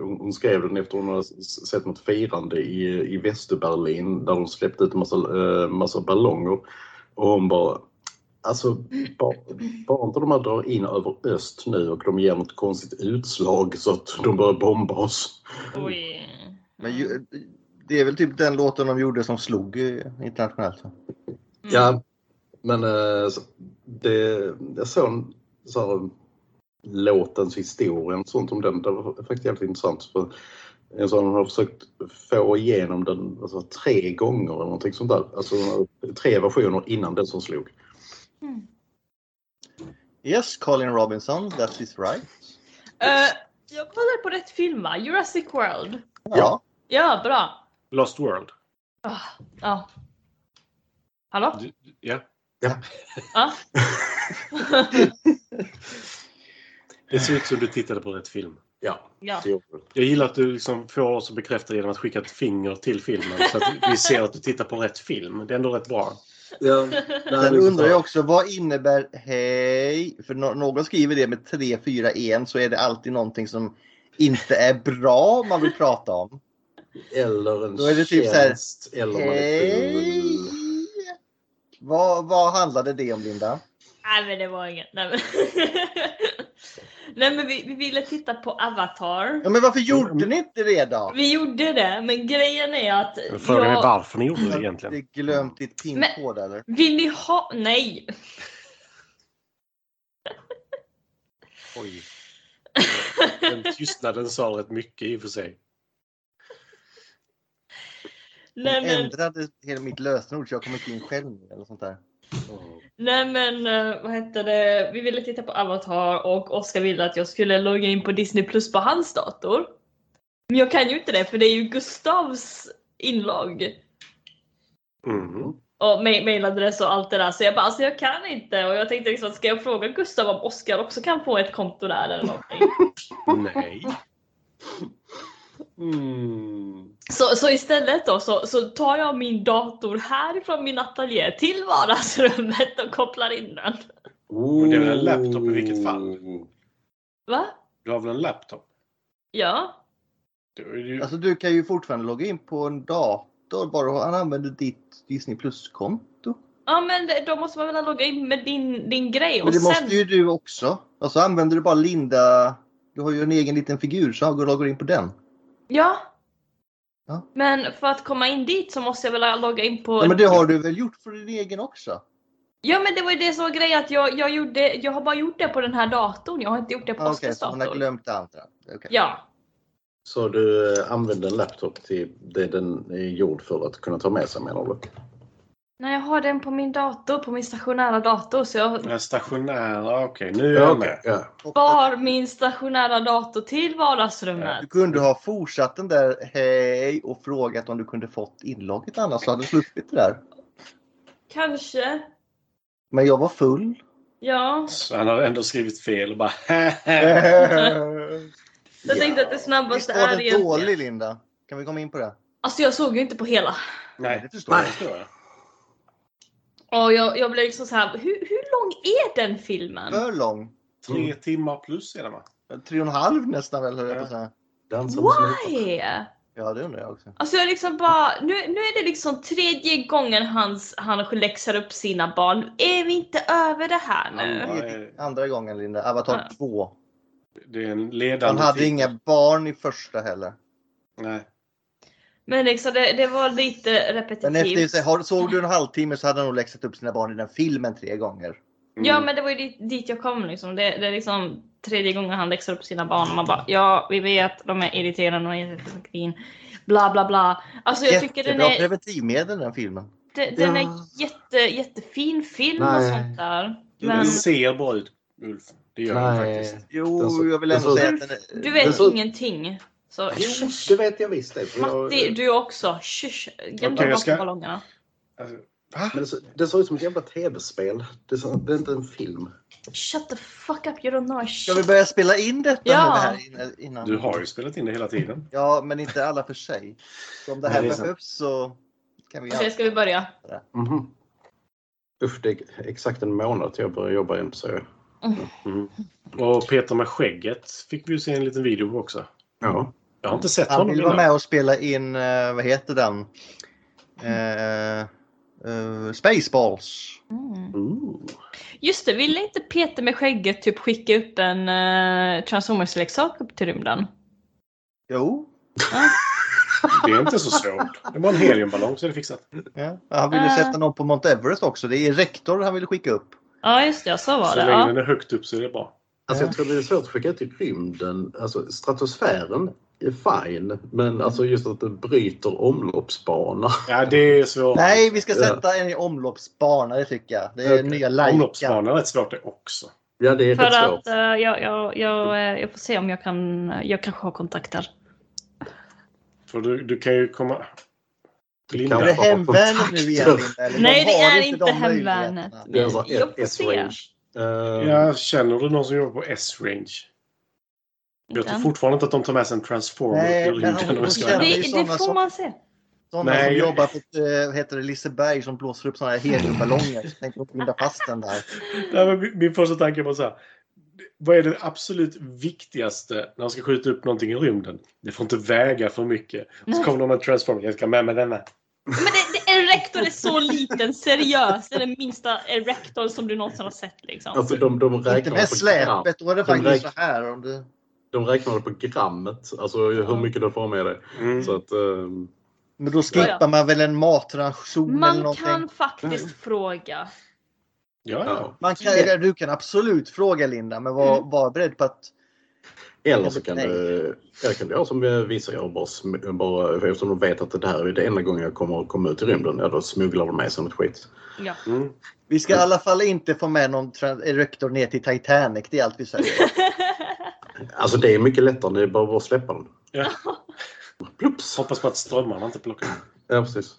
Speaker 4: hon, hon skrev den efter hon hade s- sett något firande i, i Västerberlin där de släppte ut en massa, eh, massa ballonger. Och hon bara, alltså bara, bara inte de här drar in över öst nu och de ger något konstigt utslag så att de börjar bomba oss.
Speaker 1: Oj.
Speaker 6: Men ju, det är väl typ den låten de gjorde som slog eh, internationellt. va?
Speaker 1: Mm.
Speaker 4: Ja, men eh, så- det, jag såg en, så här, låtens historia och sånt om den. Det var faktiskt jävligt intressant. För en sån har försökt få igenom den alltså, tre gånger eller någonting sånt där. Alltså tre versioner innan den som slog.
Speaker 6: Yes, Colin Robinson, that's his right.
Speaker 1: Eh, jag kollar på rätt film va? Jurassic World.
Speaker 6: Ja.
Speaker 1: Ja, bra.
Speaker 5: Lost World.
Speaker 1: Ja. Hallå?
Speaker 5: Du- Ja.
Speaker 1: Ja.
Speaker 5: Det ser ut som du tittade på rätt film.
Speaker 4: Ja,
Speaker 1: ja.
Speaker 4: det gjorde den.
Speaker 5: Jag gillar att du liksom får oss att bekräfta genom att skicka ett finger till filmen så att vi ser att du tittar på rätt film. Det är ändå rätt bra.
Speaker 4: Ja, nej,
Speaker 6: Sen
Speaker 4: det är
Speaker 6: undrar jag
Speaker 4: intressant.
Speaker 6: också, vad innebär hej? För nå- någon skriver det med 3, 4, 1 så är det alltid någonting som inte är bra man vill prata om.
Speaker 4: Eller en
Speaker 6: Då är det typ så här,
Speaker 4: tjänst. Eller man är
Speaker 6: Hej!
Speaker 4: full.
Speaker 6: Vad, vad handlade det om Linda?
Speaker 1: Nej men det var inget. Nej men, Nej, men vi, vi ville titta på Avatar.
Speaker 6: Ja, men varför gjorde ni inte det då?
Speaker 1: Vi gjorde det, men grejen är att
Speaker 5: Frågan är
Speaker 1: jag...
Speaker 5: varför ni gjorde det
Speaker 6: Har
Speaker 5: egentligen.
Speaker 6: du glömt ditt pinkod eller?
Speaker 1: Vill ni ha... Nej!
Speaker 5: Oj. Den tystnaden sa rätt mycket i och för sig.
Speaker 1: Nej
Speaker 6: Hon
Speaker 1: men,
Speaker 6: ändrade hela mitt lösenord så jag kom inte in själv nu, eller sånt där.
Speaker 1: nej, men eh, vad hette det? Vi ville titta på Avatar och Oskar ville att jag skulle logga in på Disney Plus på hans dator. Men jag kan ju inte det för det är ju Gustavs inlogg.
Speaker 5: Mm.
Speaker 1: och ma- mailadress och allt det där. Så jag bara, alltså jag kan inte. Och jag tänkte liksom, ska jag fråga Gustav om Oskar också kan få ett konto där eller någonting?
Speaker 5: Nej.
Speaker 4: Mm.
Speaker 1: så, så istället då så, så tar jag min dator härifrån min ateljé till vardagsrummet och kopplar in den.
Speaker 5: Men det är väl en laptop i vilket fall?
Speaker 1: Va?
Speaker 5: Du har väl en laptop?
Speaker 1: Ja.
Speaker 5: Du, du,
Speaker 6: Alltså du kan ju fortfarande logga in på en dator bara han använder ditt Disney Plus-konto.
Speaker 1: Ja men det, då måste man väl logga in med din, din grej och
Speaker 6: Men det
Speaker 1: sen...
Speaker 6: måste ju du också. Alltså använder du bara Linda, du har ju en egen liten figur så går loggar in på den.
Speaker 1: Ja.
Speaker 6: Ja.
Speaker 1: Men för att komma in dit så måste jag väl logga in på...
Speaker 6: Ja, men det har du väl gjort för din egen också?
Speaker 1: Ja, men det var ju det som var grejen att jag, jag, gjorde, jag har bara gjort det på den här datorn. Jag har inte gjort det på
Speaker 6: Ah, Okej,
Speaker 1: Oskars
Speaker 6: så hon
Speaker 1: dator.
Speaker 6: har glömt det andra. Okej.
Speaker 1: Ja.
Speaker 4: Så du eh, använder en laptop till det den är gjord för att kunna ta med sig menar du?
Speaker 1: Nej, jag har den på min dator, på min stationära dator. Så jag
Speaker 5: Men Stationära, okej. nu är jag med.
Speaker 4: Ja.
Speaker 1: bar min stationära dator till vardagsrummet.
Speaker 6: Du kunde ha fortsatt den där hej och frågat om du kunde fått inlogget annars så hade du sluppit det där.
Speaker 1: Kanske.
Speaker 6: Men jag var full.
Speaker 1: Ja.
Speaker 5: Så han hade ändå skrivit fel och bara
Speaker 1: Jag tänkte att det
Speaker 6: Visst
Speaker 1: snabbaste
Speaker 6: var
Speaker 1: är
Speaker 6: den
Speaker 1: egentligen...
Speaker 6: dålig Linda? Kan vi komma in på det?
Speaker 1: Alltså jag såg ju inte på hela.
Speaker 5: Nej, det
Speaker 6: det
Speaker 5: förstår jag. det förstår jag.
Speaker 1: Och jag, jag blev liksom så här, hur, hur lång är den filmen?
Speaker 6: För lång.
Speaker 5: Tre timmar plus är det va?
Speaker 6: Tre och en halv nästan väl höll jag på att säga.
Speaker 4: Dansa på snuten.
Speaker 1: Why?
Speaker 6: Ja det undrar jag också.
Speaker 1: Alltså jag liksom bara, nu, nu är det liksom tredje gången hans, han läxar upp sina barn. Nu Är vi inte över det här nu?
Speaker 5: Ja,
Speaker 6: Det är Andra gången Linda, Avatar
Speaker 1: Ja.
Speaker 6: 2.
Speaker 5: Det är en ledande
Speaker 6: Han hade
Speaker 5: titel.
Speaker 6: inga barn i första heller.
Speaker 5: Nej.
Speaker 1: Men liksom det, det var lite
Speaker 6: Men efter,
Speaker 1: repetitivt.
Speaker 6: så- har- såg du en halvtimme så hade han nog läxat upp sina barn i den filmen tre gånger.
Speaker 5: Mm.
Speaker 1: Ja men det var ju dit, dit jag kom liksom. Det, det är liksom tredje gången han läxar upp sina barn och man bara ja vi vet de är irriterande och jättefucking bla bla bla. Alltså jag tycker den
Speaker 6: Jättebra
Speaker 1: är,
Speaker 6: preventivmedel den filmen.
Speaker 1: de- den är
Speaker 4: Ja.
Speaker 1: jätte, jättefin film och
Speaker 4: Nej.
Speaker 1: sånt där.
Speaker 5: Den
Speaker 1: Men
Speaker 5: ser bra ut, Ulf. Det gör den
Speaker 4: Nej.
Speaker 5: faktiskt.
Speaker 6: Jo,
Speaker 4: Den så-
Speaker 6: jag vill
Speaker 4: den
Speaker 6: ändå
Speaker 4: så-
Speaker 6: säga att den är...
Speaker 1: du
Speaker 4: Den
Speaker 1: vet
Speaker 4: så-
Speaker 1: ingenting. Så
Speaker 4: Jo, det vet jag visst. Det, för jag-
Speaker 1: Matti, du också. Shush, göm
Speaker 5: Okej,
Speaker 1: dem
Speaker 5: jag
Speaker 1: bakom
Speaker 5: ska-
Speaker 1: ballongerna.
Speaker 5: Alltså,
Speaker 4: men det, så- det såg ut som ett jävla tv-spel. Det, så- det är inte en film.
Speaker 1: Shut the fuck up, you don't know
Speaker 6: Ska vi
Speaker 1: shit.
Speaker 6: börja spela in detta
Speaker 1: Ja.
Speaker 6: nu, det här inne- innan?
Speaker 5: du har ju spelat in det hela tiden.
Speaker 6: Ja, men inte alla för sig. Så om det här
Speaker 4: Nej, det är sant.
Speaker 6: behövs så kan vi...
Speaker 1: Okej, ska vi börja?
Speaker 4: Mhm. Usch, det är exakt en månad till jag börjar jobba igen. Så jag.
Speaker 5: Och Peter med skägget fick vi ju se en liten video på också.
Speaker 4: Ja.
Speaker 5: Jag har inte sett
Speaker 6: Han
Speaker 5: honom
Speaker 6: vill vara
Speaker 5: innan.
Speaker 6: med och spela in, eh, vad heter den? Eh, eh, Spaceballs.
Speaker 5: Ooh.
Speaker 1: Just det, ville inte Peter med skägget typ skicka upp en uh, Transformers-leksak upp till rymden?
Speaker 6: Jo.
Speaker 5: Det är inte så svårt. Det var en heliumballong så är det fixat.
Speaker 6: Ja. Han ville
Speaker 1: Ah.
Speaker 6: sätta någon på Mount Everest också. Det är rektor han ville skicka upp.
Speaker 1: Ja, just det, ja, så var
Speaker 5: Så
Speaker 1: det.
Speaker 5: länge
Speaker 1: Ja.
Speaker 5: den är högt upp så är det bra.
Speaker 4: Alltså, jag tror det är svårt att skicka ut i rymden. Alltså, stratosfären är fine, men alltså just att det bryter omloppsbana.
Speaker 5: Ja, det är svårt.
Speaker 6: Nej, vi ska
Speaker 4: Ja.
Speaker 6: sätta en i omloppsbana, det tycker jag. Det är
Speaker 4: Okej.
Speaker 6: nya Laika.
Speaker 5: Omloppsbana är rätt svårt det också.
Speaker 4: Ja, det är
Speaker 1: För
Speaker 4: rätt
Speaker 1: att
Speaker 4: svårt.
Speaker 1: eh, jag, jag, jag, eh, jag får se om jag kan, jag kanske har kontakter.
Speaker 5: För du, du kan ju komma... Linda.
Speaker 6: Är
Speaker 4: Kan
Speaker 6: det
Speaker 4: ha
Speaker 6: hemvärnet nu igen?
Speaker 4: kontakter.
Speaker 6: Linda,
Speaker 1: Nej,
Speaker 6: eller? De
Speaker 1: det
Speaker 6: har
Speaker 1: är inte
Speaker 6: de
Speaker 1: hemvärnet.
Speaker 6: möjligheterna.
Speaker 4: Det är alltså
Speaker 1: Jag får
Speaker 4: ett
Speaker 1: se.
Speaker 4: S-range. Eh,
Speaker 5: Ja, känner du någon som jobbar på S-range? Jag tror
Speaker 1: Inte.
Speaker 5: fortfarande inte att de tar med sig en transformer
Speaker 6: Nej,
Speaker 5: till
Speaker 6: men
Speaker 5: rymden. om
Speaker 6: hon
Speaker 5: jag ska
Speaker 6: känner-
Speaker 5: vara
Speaker 6: är
Speaker 1: Det,
Speaker 5: ärlig.
Speaker 6: ju
Speaker 1: det
Speaker 6: såna
Speaker 1: får
Speaker 6: som-
Speaker 1: man se.
Speaker 6: Sådana
Speaker 5: Nej,
Speaker 6: som
Speaker 5: jag-
Speaker 6: jobbar på ett, eh, heter det Liseberg som blåser upp sådana här heliumballonger. Så tänkte de binda fast den där.
Speaker 5: Nej, men min- Min första tanke var så här. Vad är det absolut viktigaste när man ska skjuta upp någonting i rymden? Det får inte väga för mycket. Och så
Speaker 1: Nej.
Speaker 5: kommer någon med en transformer. Jag ska med mig den här.
Speaker 1: Men det, det, en rektor är så liten, seriöst. Det är den minsta eh, rektorn som du någonsin har sett liksom.
Speaker 4: Alltså de, de
Speaker 6: Inte
Speaker 4: räknar
Speaker 6: med
Speaker 4: på gram.
Speaker 6: släpet, då är det
Speaker 4: De
Speaker 6: faktiskt så
Speaker 4: räknar-
Speaker 6: här. Om det...
Speaker 4: De räknar på grammet, alltså hur mycket de får med det.
Speaker 5: Mm.
Speaker 4: Så att, ehm,
Speaker 6: Men då skippar man väl en matranson eller
Speaker 1: Man
Speaker 6: någonting.
Speaker 1: kan faktiskt fråga.
Speaker 5: Ja, ja.
Speaker 4: ja.
Speaker 6: Man kan, eller du kan absolut fråga Linda, men var,
Speaker 1: Mm.
Speaker 6: var beredd på att...
Speaker 4: Eller så kan du, eller kan du göra som eh, vissa gör, bara, sm- bara, för eftersom de vet att det här är det enda gången jag kommer att komma ut i rymden, ja då smugglar de med sig något skit.
Speaker 1: Ja.
Speaker 5: Mm.
Speaker 6: Vi ska i alla fall inte få med någon trans- rektor ner till Titanic, det är allt vi säger.
Speaker 4: Alltså det är mycket lättare, det är bara att släppa den.
Speaker 5: Ja.
Speaker 4: Plups!
Speaker 5: Hoppas på att strömmarna inte plockar.
Speaker 4: Ja, precis.